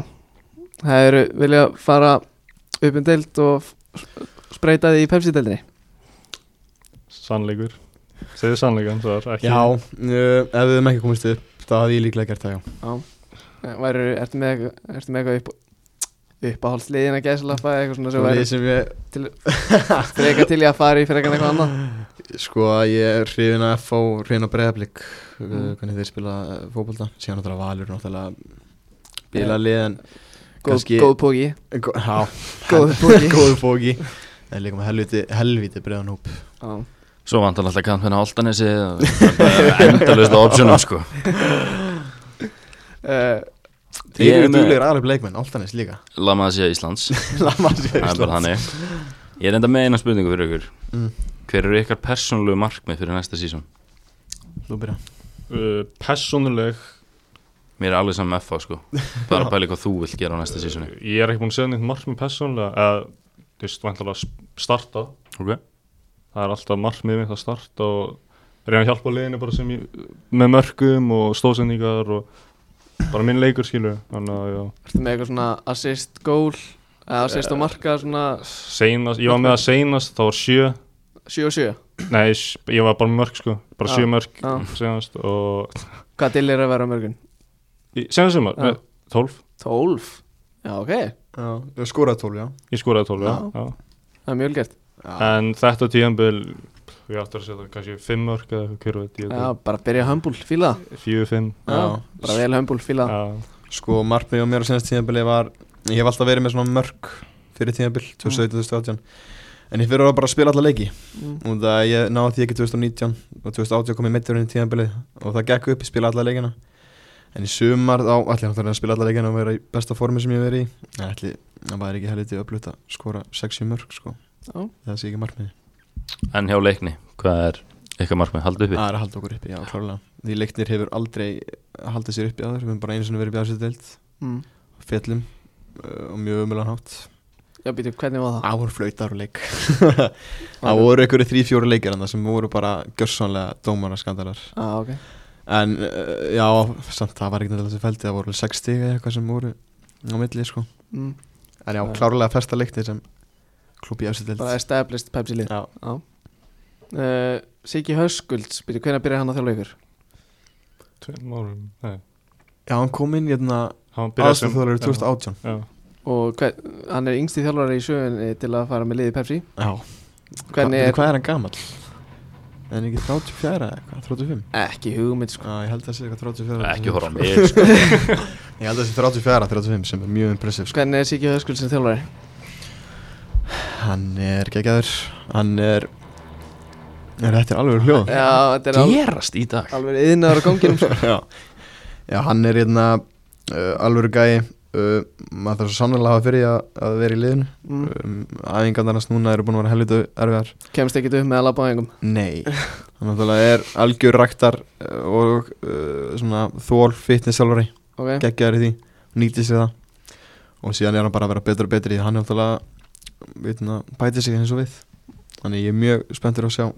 Hefur viljað fara upp um deild og f- spreita því í Pepsi-deildinni? sannleikur segðu sannleikan það er ekki Já, uh, ef við hefum ekki komist upp þá hafði ég líklega gert það, já Væru, Eh, ertu með, ertu með eitthvað upp, uppáhaldsliðin að gæslappa eða eitthvað svona sem Svo væri lið sem ég, freka til í að fara í fyrir eitthvað annað? Sko, ég er hrifin að F og hrifin að breyðablík mm. Mm. Hvernig þeir spila eh, fótbolta Síðan náttúrulega Valur náttúrulega Bila lið en Góð, Kannski- góð póki Gó- Já, Góður bóki. Góður bóki En líka með helviti, helviti breyðan hóp Já, Svo vantar alltaf kampin á Altanesi Endalust á optionum sko. Eh, Þeir Ég er eru með- duglegur aðlega leikmenn, Altanes líka Lama að sé Íslands Lama sér Það er bara þannig Ég er enda með eina spurningu fyrir ykkur Mm. Hver eru ykkar persónulegu markmið fyrir næsta sísón? Þú byrja uh, personuleg Mér er alveg saman með FA sko Bara að pæla hvað þú vilt gera á næsta sísoni ég er ekki búin að segja neitt markmið personulega eða þú veist, vantilega starta Ok það er alltaf markmið mitt að starta og reyna að hjálpa liðinu bara sem ég með mörgum og stóðsendingar og bara minn leikur skilu þannig að já ertu með eitthvað svona assist goal eða assist og marka svona seinast, ég var með að seinast þá var sjö 7 og 7 nei, s- ég var bara með mörg sko bara Já, sjö mörg já. seinast og Hvað til er að vera á mörgun? í- seinast sumar, Já. nei, tólf 12 Já, ok, Já, skóraði tól, já ég skoraði tólf, já, Já. já. það er mjög vel gert Já, En þetta tíðanbíl Ég ætti að setja kannski 5 mörg eða hver veit Já, ég bara byrja hömbul, fíla það 4-5 Já, Já. bara vel hömbul, fíla það Sko, markmið á mér á senast tíðanbili var Ég hef alltaf verið með svona mörg fyrir tíðanbil 2017-2018 En ég fyrir að bara spila alla leiki Mm. Og það ég náði því ekki 2019 Og 2018 kom ég meittur inn í tíðanbilið Og það gekk upp, ég spila alla leikina En í sumar þá ætli ég náttúrulega að reyna að spila alla leikina og vera í besta formi sem ég hef verið í En ætli, það væri ekki helviti öflut að skora 60 mörg sko Já. Það sé ekki markmiði En hjá leikni, hvað er eitthvað markmið haldið uppi? Það er að halda okkur uppi, já klárlega Því leiknir hefur aldrei haldið sér uppi aður Við höfum bara einu sinni verið bjáðsett deild mm. Fjellum uh, og mjög umjölan hátt Já, býtum, hvernig var það? Það voru flautar og leik Það voru einhverju þrý, fjóru leikir þarna sem voru bara gjörsanlega dómaraskandalar ah, okay. En uh, já, samt það var ekki nættilega þessi fældi Það voru alveg 60 eða eitthvað sem voru á milli sko Eh. mm. En já, Já. klárlega festa leiknir sem klubbi efstu deild Bara established Pepsi lið Já, uh, Siki Höskulds, býtum, hvernig byrjaði hann að þjálfa ykkur? tveim árum, nei já hann kom inn hérna hann byrjaði sem aðstofþjóðlega já, 2018 já. Og hver, hann er yngsti þjálfari í sögunni til að fara með liði Pepsi Já, Hvernig er... er hvað er hann gamall? Er hann ekki 34 eða eitthvað, 35? ekki hugmynd sko Já, ég held að það sé eitthvað 34 Ekki 35, horfa á sko. mig sko. Ég held að það sé 34 35 sem er mjög impressiv sko. Hvernig er Siki Höskulds sem þjálfari? Hann er geggjaður Hann er Er þetta er alveg hljóð? Já, þetta er al, Gerast í dag alveg yðnaður á ganginum sko. já. já, hann er hérna uh, alveg gæi uh, maður þarf svo sannlega að hafa fyrir því að, að vera í liðinu mm. um, Æfingarnar hans núna eru búin að vera helvita erfiðar Kemst ekki upp með að labba á engum Nei, hann náttúrulega er algjör ræktar uh, og uh, svona þól fitnessjálfari, okay. geggjaður í því nýtið sér það og síðan er hann bara að vera betur og betur í því hann er náttúrulega vitna, bætið sig eins og við þannig ég er mjög spenntur að sjá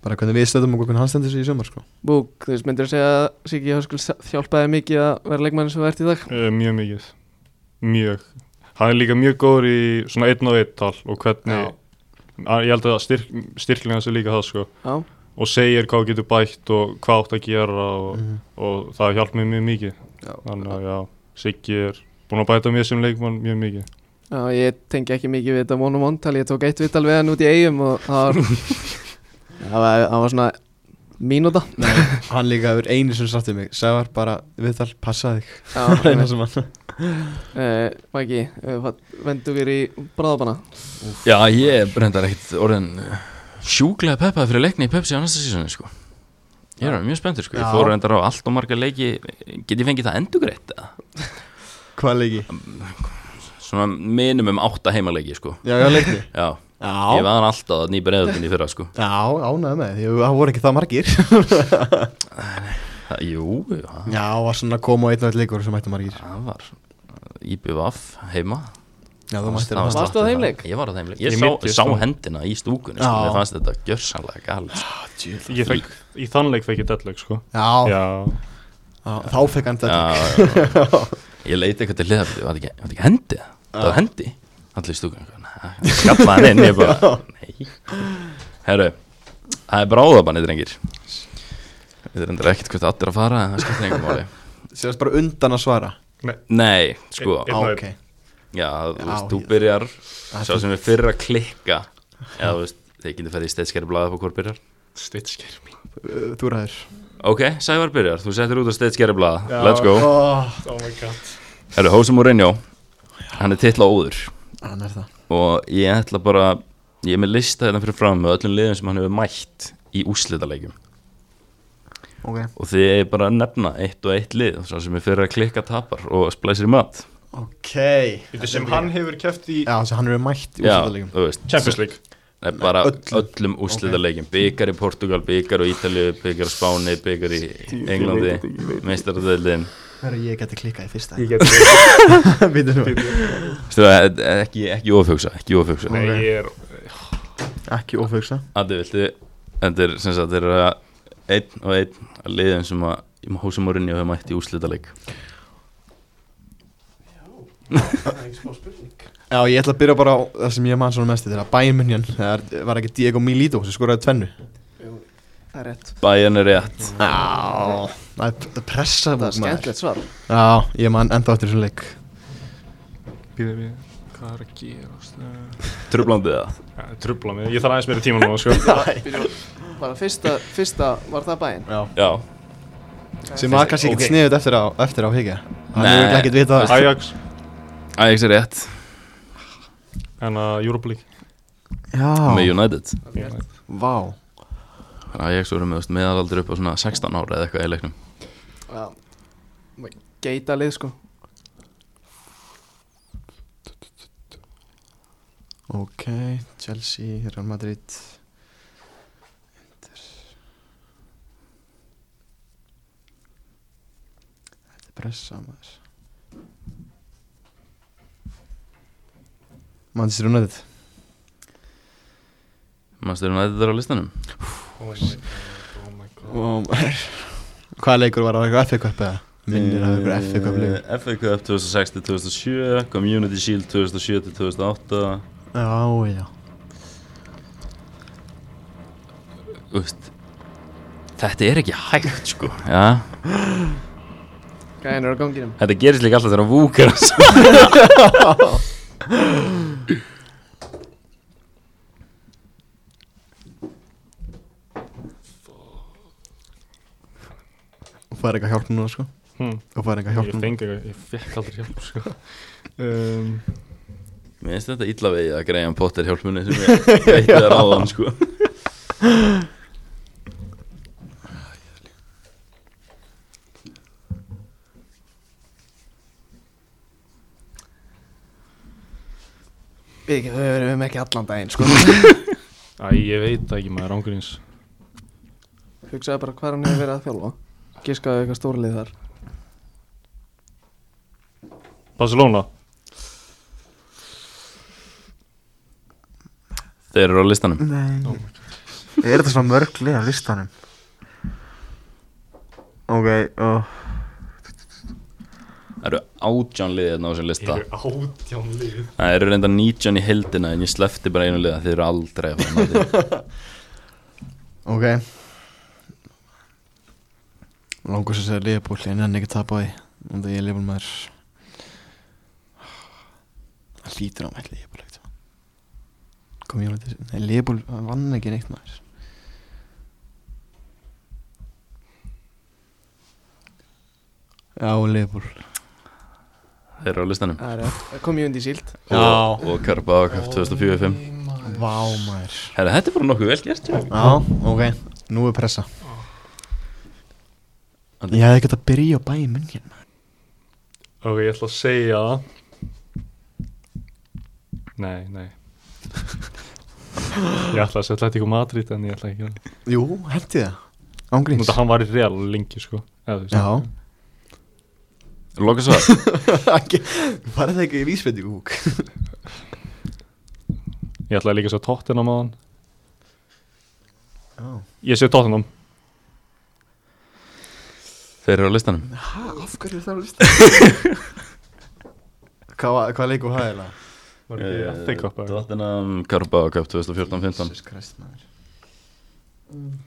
bara hvernig við stöðum og hvernig hann stendur sig í sömur sko. Búk, þú veist, myndir segja að Siki Höskulds hjálpaði mikið að vera leikmann sem þú ert í dag Eh, mjög mikið mjög, hann er líka mjög góður í svona einn og einn tal og hvernig, Að- ég held að styrk, styrklinga hans er líka það sko Já, og segir hvað þú getur bætt og hvað átt að gera og, Mhm. og það hjálp mér mjög mikið Já. þannig að Mm. já, Siggi er búin að bæta mér sem leikmann mjög mikið Já, ég tengi ekki mikið við þetta vonum vondtal, ég tók eitt viðtal við hann út í eigum og það var, það var, það var svona mínúta. Nei, hann líka hefur einu sem satt í mig Sævar bara, við þar, passa þig Já, eina sem hann uh, Maggi, uh, vendu við í bráðabana. Já, ég er reyndar ekkit orðin uh, sjúklega peppaði fyrir leikni í Pepsi á næsta sísoni sko. Ég er mjög spenntur sko. Ég Já. fór reyndar á allt og marga leiki Get ég fengið það endugreitt? eða? Hvað leiki? Svona minimum átta heimaleiki sko. Já, já, leikni Já, ég Já, var alltaf að nýpa reyðutin í fyrra sko. já ánægð með því, það voru ekki það margir það, Jú, það, Já, var svona að koma á einn og eitt leikur sem mættu margir það var IBVF heima Já, þú Það mættir var Varstu að á slatti þeim það. leik? Ég var á þeimleik Ég Ég, sko- sá, meiddist sá á- hendina í stúkunni sko. Já. Mér fannst þetta gjörsanlega galið sko. ég fekk, í þann leik fekk ég deadleg sko Já, já, já, þá fekk hann þetta Já, já, já. Ég leiti eitthvað til liða Var þetta ekki, var þetta ekki hendi? Það var hendi Allir í stúkunni Skallaði hann inn Ég bara Nei Herru Það er bráðabanni drengir Við erum reyndar ekkert hvert allir að fara En það skiptir engum máli Sérst bara undan að svara Ah, Nei, sko Einn og ok einn. Já, þú Já, veist, þú ég- byrjar Það Sá sem er fyrir að klikka Já, þú veist Þeir getur ferðið í steitskæri blaða Hvað byrjar? Stitchkermi Uh, Þú ræður Ok, Sævar byrjar, þú settir út á steitskjæri blaða Já. Let's go oh, Oh my god Herru, Hósa Mourinho Hann er titla óður Hann er það Og ég ætla bara Ég er með lista þetta fyrir fram með öllum liðum sem hann hefur mætt Í úrslitaleikjum Ok, Og þið er bara að nefna eitt og eitt lið Svo sem er fyrir að klikka tapar og splæsir í mat ok Þetta sem hann hefur keft í Já, þessi hann er mætt í Já, úrstæðalegum þú veist Champions League Nei, bara öllum. öllum, öllum úrslitaleikjum Byggar í Portugal, byggar í Ítalíu, byggar í Spáni Byggar í Englandi, meistaradeildin Hverju ég geti klikkað í fyrsta Ég get Býtu nú Þú veist, e- ekki, ekki ofhugsa, ekki ofhugsa Nei, ég er Ekki ofugsa Addi, viltu Þetta er sem sagt, þetta er einn og einn að liðum sem að Hósa Mourinho hefur mætt í úrslitaleik Já, ég ætla að byrja bara á það sem ég man svona mest Þetta er að Bayern München Það er- var ekki Diego Milito sem skoraði tvennu Það er rétt. Bayern er rétt Já Það er p- pressa Það er maður. skemmtilegt svar. Já, ég man enda áttur þessum leik Býðið við Hvað er að Eh. gera Trublandið það Trubla mig Ég þarf aðeins meira tíma núna sko Bara fyrsta, fyrsta var það bæinn. Já Já, Sem var kannski ekkert Ok. sniðut eftir á, eftir á higgja Hann Nei. hefur ekkert vitað það Ajax Ajax er rétt En að Europa League með Já, United vá Ajax voru með þú veist, meðalaldur upp á svona 16 ára eða eitthvað í leiknum Já. geita lið sko Ok, Chelsea, Real Madrid Inter Þetta er pressa maður Manchester United Mannstur United er á listanum Oh my god, oh my god. wow. Hvaða leikur var á eitthvað FA Cup eða? Minnir á eitthvað FA Cup leikur Eh, FA Cup 2006-2007 Community Shield 2007-2008 Eh, Já, já Úst, Þetta er ekki hægt sko ja. gæðin eru á ganginum Þetta gerist líka alltaf þegar hann vúkar og svo. Og fær eitthvað hjálp núna sko Hm, Og fær eitthvað hjálp ég núna fengi eitthvað, ég fekk aldrei hjálp sko. um, Mér finnst þetta illa vegið að Graham Potter hjálpunni sem ég veitti þér áðan sko við ekki, við erum ekki allan daginn sko Æ, ég veit það ekki maður ángurins hugsaði bara hvað hann hefur verið að þjálfa giskaði eitthvað stórlið þar Barcelona Þeir eru á listanum Nei Er þetta svona mörg lið á listanum? Ok, oh Það eru átján liðið hérna á þessum lista átján lið Það eru reynda 19 í heldina en ég slefti bara einu liða þeir eru aldrei að fara með því Ok Langur sem segir Leopold en hann ekki tapa því og það ég er Leopold maður Það lítur á mig Leopold ekkert kom ég á þetta Nei, Leopold vann ekki neitt maður Já, Leopold Þeir eru á listanum það er rétt. kom ég undir síld Já. Og, og Karabag 2045 Vá maður Herra, þetta er bara nokkuð vel gert já. Já, ok, nú er pressa Ég hefði ekkert að byrja á bæði munn hérna ok, ég ætla að segja nei, nei ég ætla að segja Atletico Madrid en ég ætla ekki að gera Jú, hendi það Ángríns það hann var í real lengi sko eða, þú veist. Já Loka svar Var það ekki í vísbendingu húk? ég ætla líka að segja Tottenham á hann Já ég segja Tottenham Þeir eru á listanum Hæ, af hverju er það á listan? Hvað hva leikur það er það? var ekki Eh, í FA Cup eða? Tottenham Karabag 2014-15 Jesus Christ maður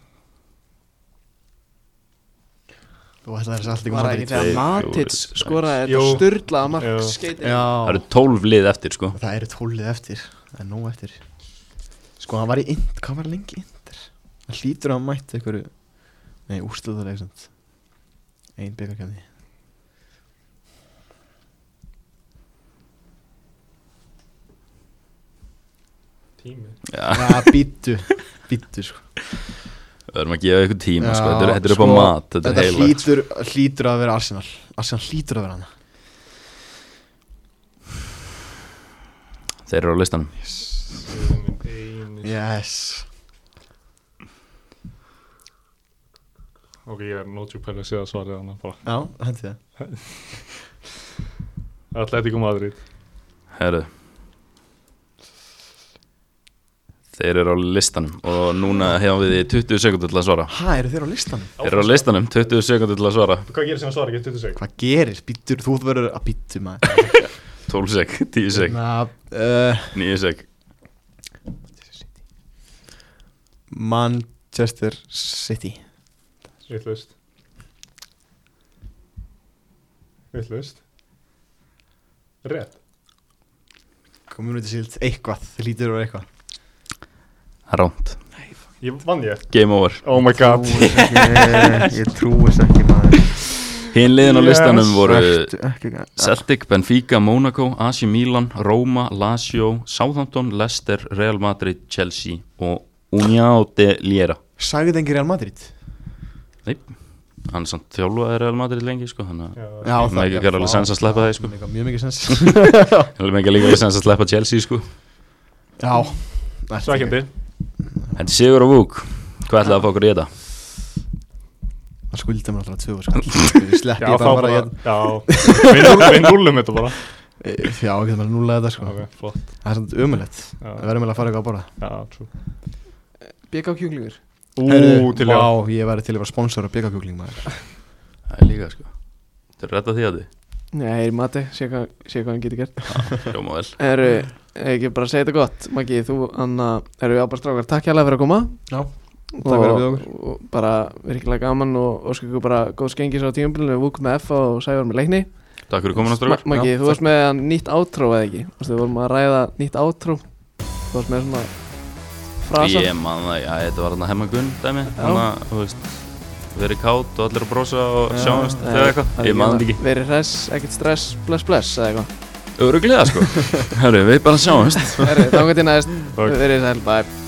Þú ætlaði þess að allt í var það ekki tveir, þegar Matic fjórir, sex. skoraði Jú. þetta styrlaða Jú. mark skeiti Það Já eru 12 lið eftir sko Það eru tólið eftir Það er nóg eftir Sko, hann var í ind Hvað var hann lengi í indir? Hann hlýtur að hafa mætt einhverju Nei, úrstöðulega sant Ein byggarkefni tími Já, Já, býttu Býttu sko við erum að gefa ykkur tíma sko Já, Þetta er, þetta er upp á sko, mat, þetta Þetta er sko. heila hlýtur, hlýtur að vera Arsenal Arsenal hlýtur að vera hana Þeir eru á listanum Yes ok, ég er nótjúpæli að segja svarið hann bara Já, hendi það Atletico Madrid Herru Þeir eru á listanum Og núna hefum við í 20 sekundur til að svara Hæ, eru þeir á listanum? Þeir eru á listanum, 20 sekundur til að svara sko. hvað gerir sem að svara ekki, 20 seg Hvað gerir? Býttur, þú ert verið að býttu maður 12 sek, 10 sek, Na, uh, 9 sek Manchester City Vittlust Vittlust Rétt Community Shield, eitthvað, þeir hlýtur að vera eitthvað Ránt, Ég vann ég game over Oh my god Ég, ég trúis ekki maður Hinn liðin á Yes. listanum voru Sættu ekki Celtic, Benfica, Monaco, AC Milan, Roma, Lazio, Southampton, Leicester, Real Madrid, Chelsea og Uniao de Liera Sagði það engir Real Madrid? Nei. hann samt þjálfaði Real Madrid lengi sko, þannig að Já, Já, Mér það- gerði alveg já, sens að sleppa já, því, sko. mér gerði Mjög mikið sens hann er mega líka við sem að sleppa Chelsea sko. Já Ertu- Sækjandi Þetta er Sigur og Vúk, hvað ætlaði að fá okkur í þetta? Það skulda mér alltaf tvö skall Ég Já, sleppi þá þetta bara hérna. bara, ég- já Við núll- Við núlum þetta bara Já, ég getur bara núlega þetta sko Ok, flott Það er samt umulett Já. Það verður mér að fara eitthvað að borða Já, trú BK kjúklingur Ú, til já Vá, ég verður til að vera sponsor á byggakjúkling maður Það er líka sko, þetta er redda því að því, Nei, Mati, sé hvað, sé hvað hann getur gert hljóma vel Eru, ekki bara að segja þetta gott Maggi, þú, Anna, eru við ábæð strákar Takk hérlega fyrir að koma Já, Takk fyrir að bjóða okkur. Og bara virkilega gaman og ósku ykkur bara góð skengis á tíumbilinu Vúk með F og Sævar með leikni Takk fyrir komin að Ma- strákar Maggi, Já, þú takk. varst með nýtt átró eða ekki Þú veist, við vorum að ræða nýtt átró Þú varst með svona frasa Ég man það, já, þetta var hann að hemmagun dæmi Þannig að, þú veist, verið kátt og allir að brosa og sjáumst Nei, eða eitthvað Ég man þetta ekki Verið hress, ekkert stress, bless bless eða eitthvað Öruglega sko, herru, við bara sjáumst Herri, Þá gæti næst, Takk. verið sæl, bye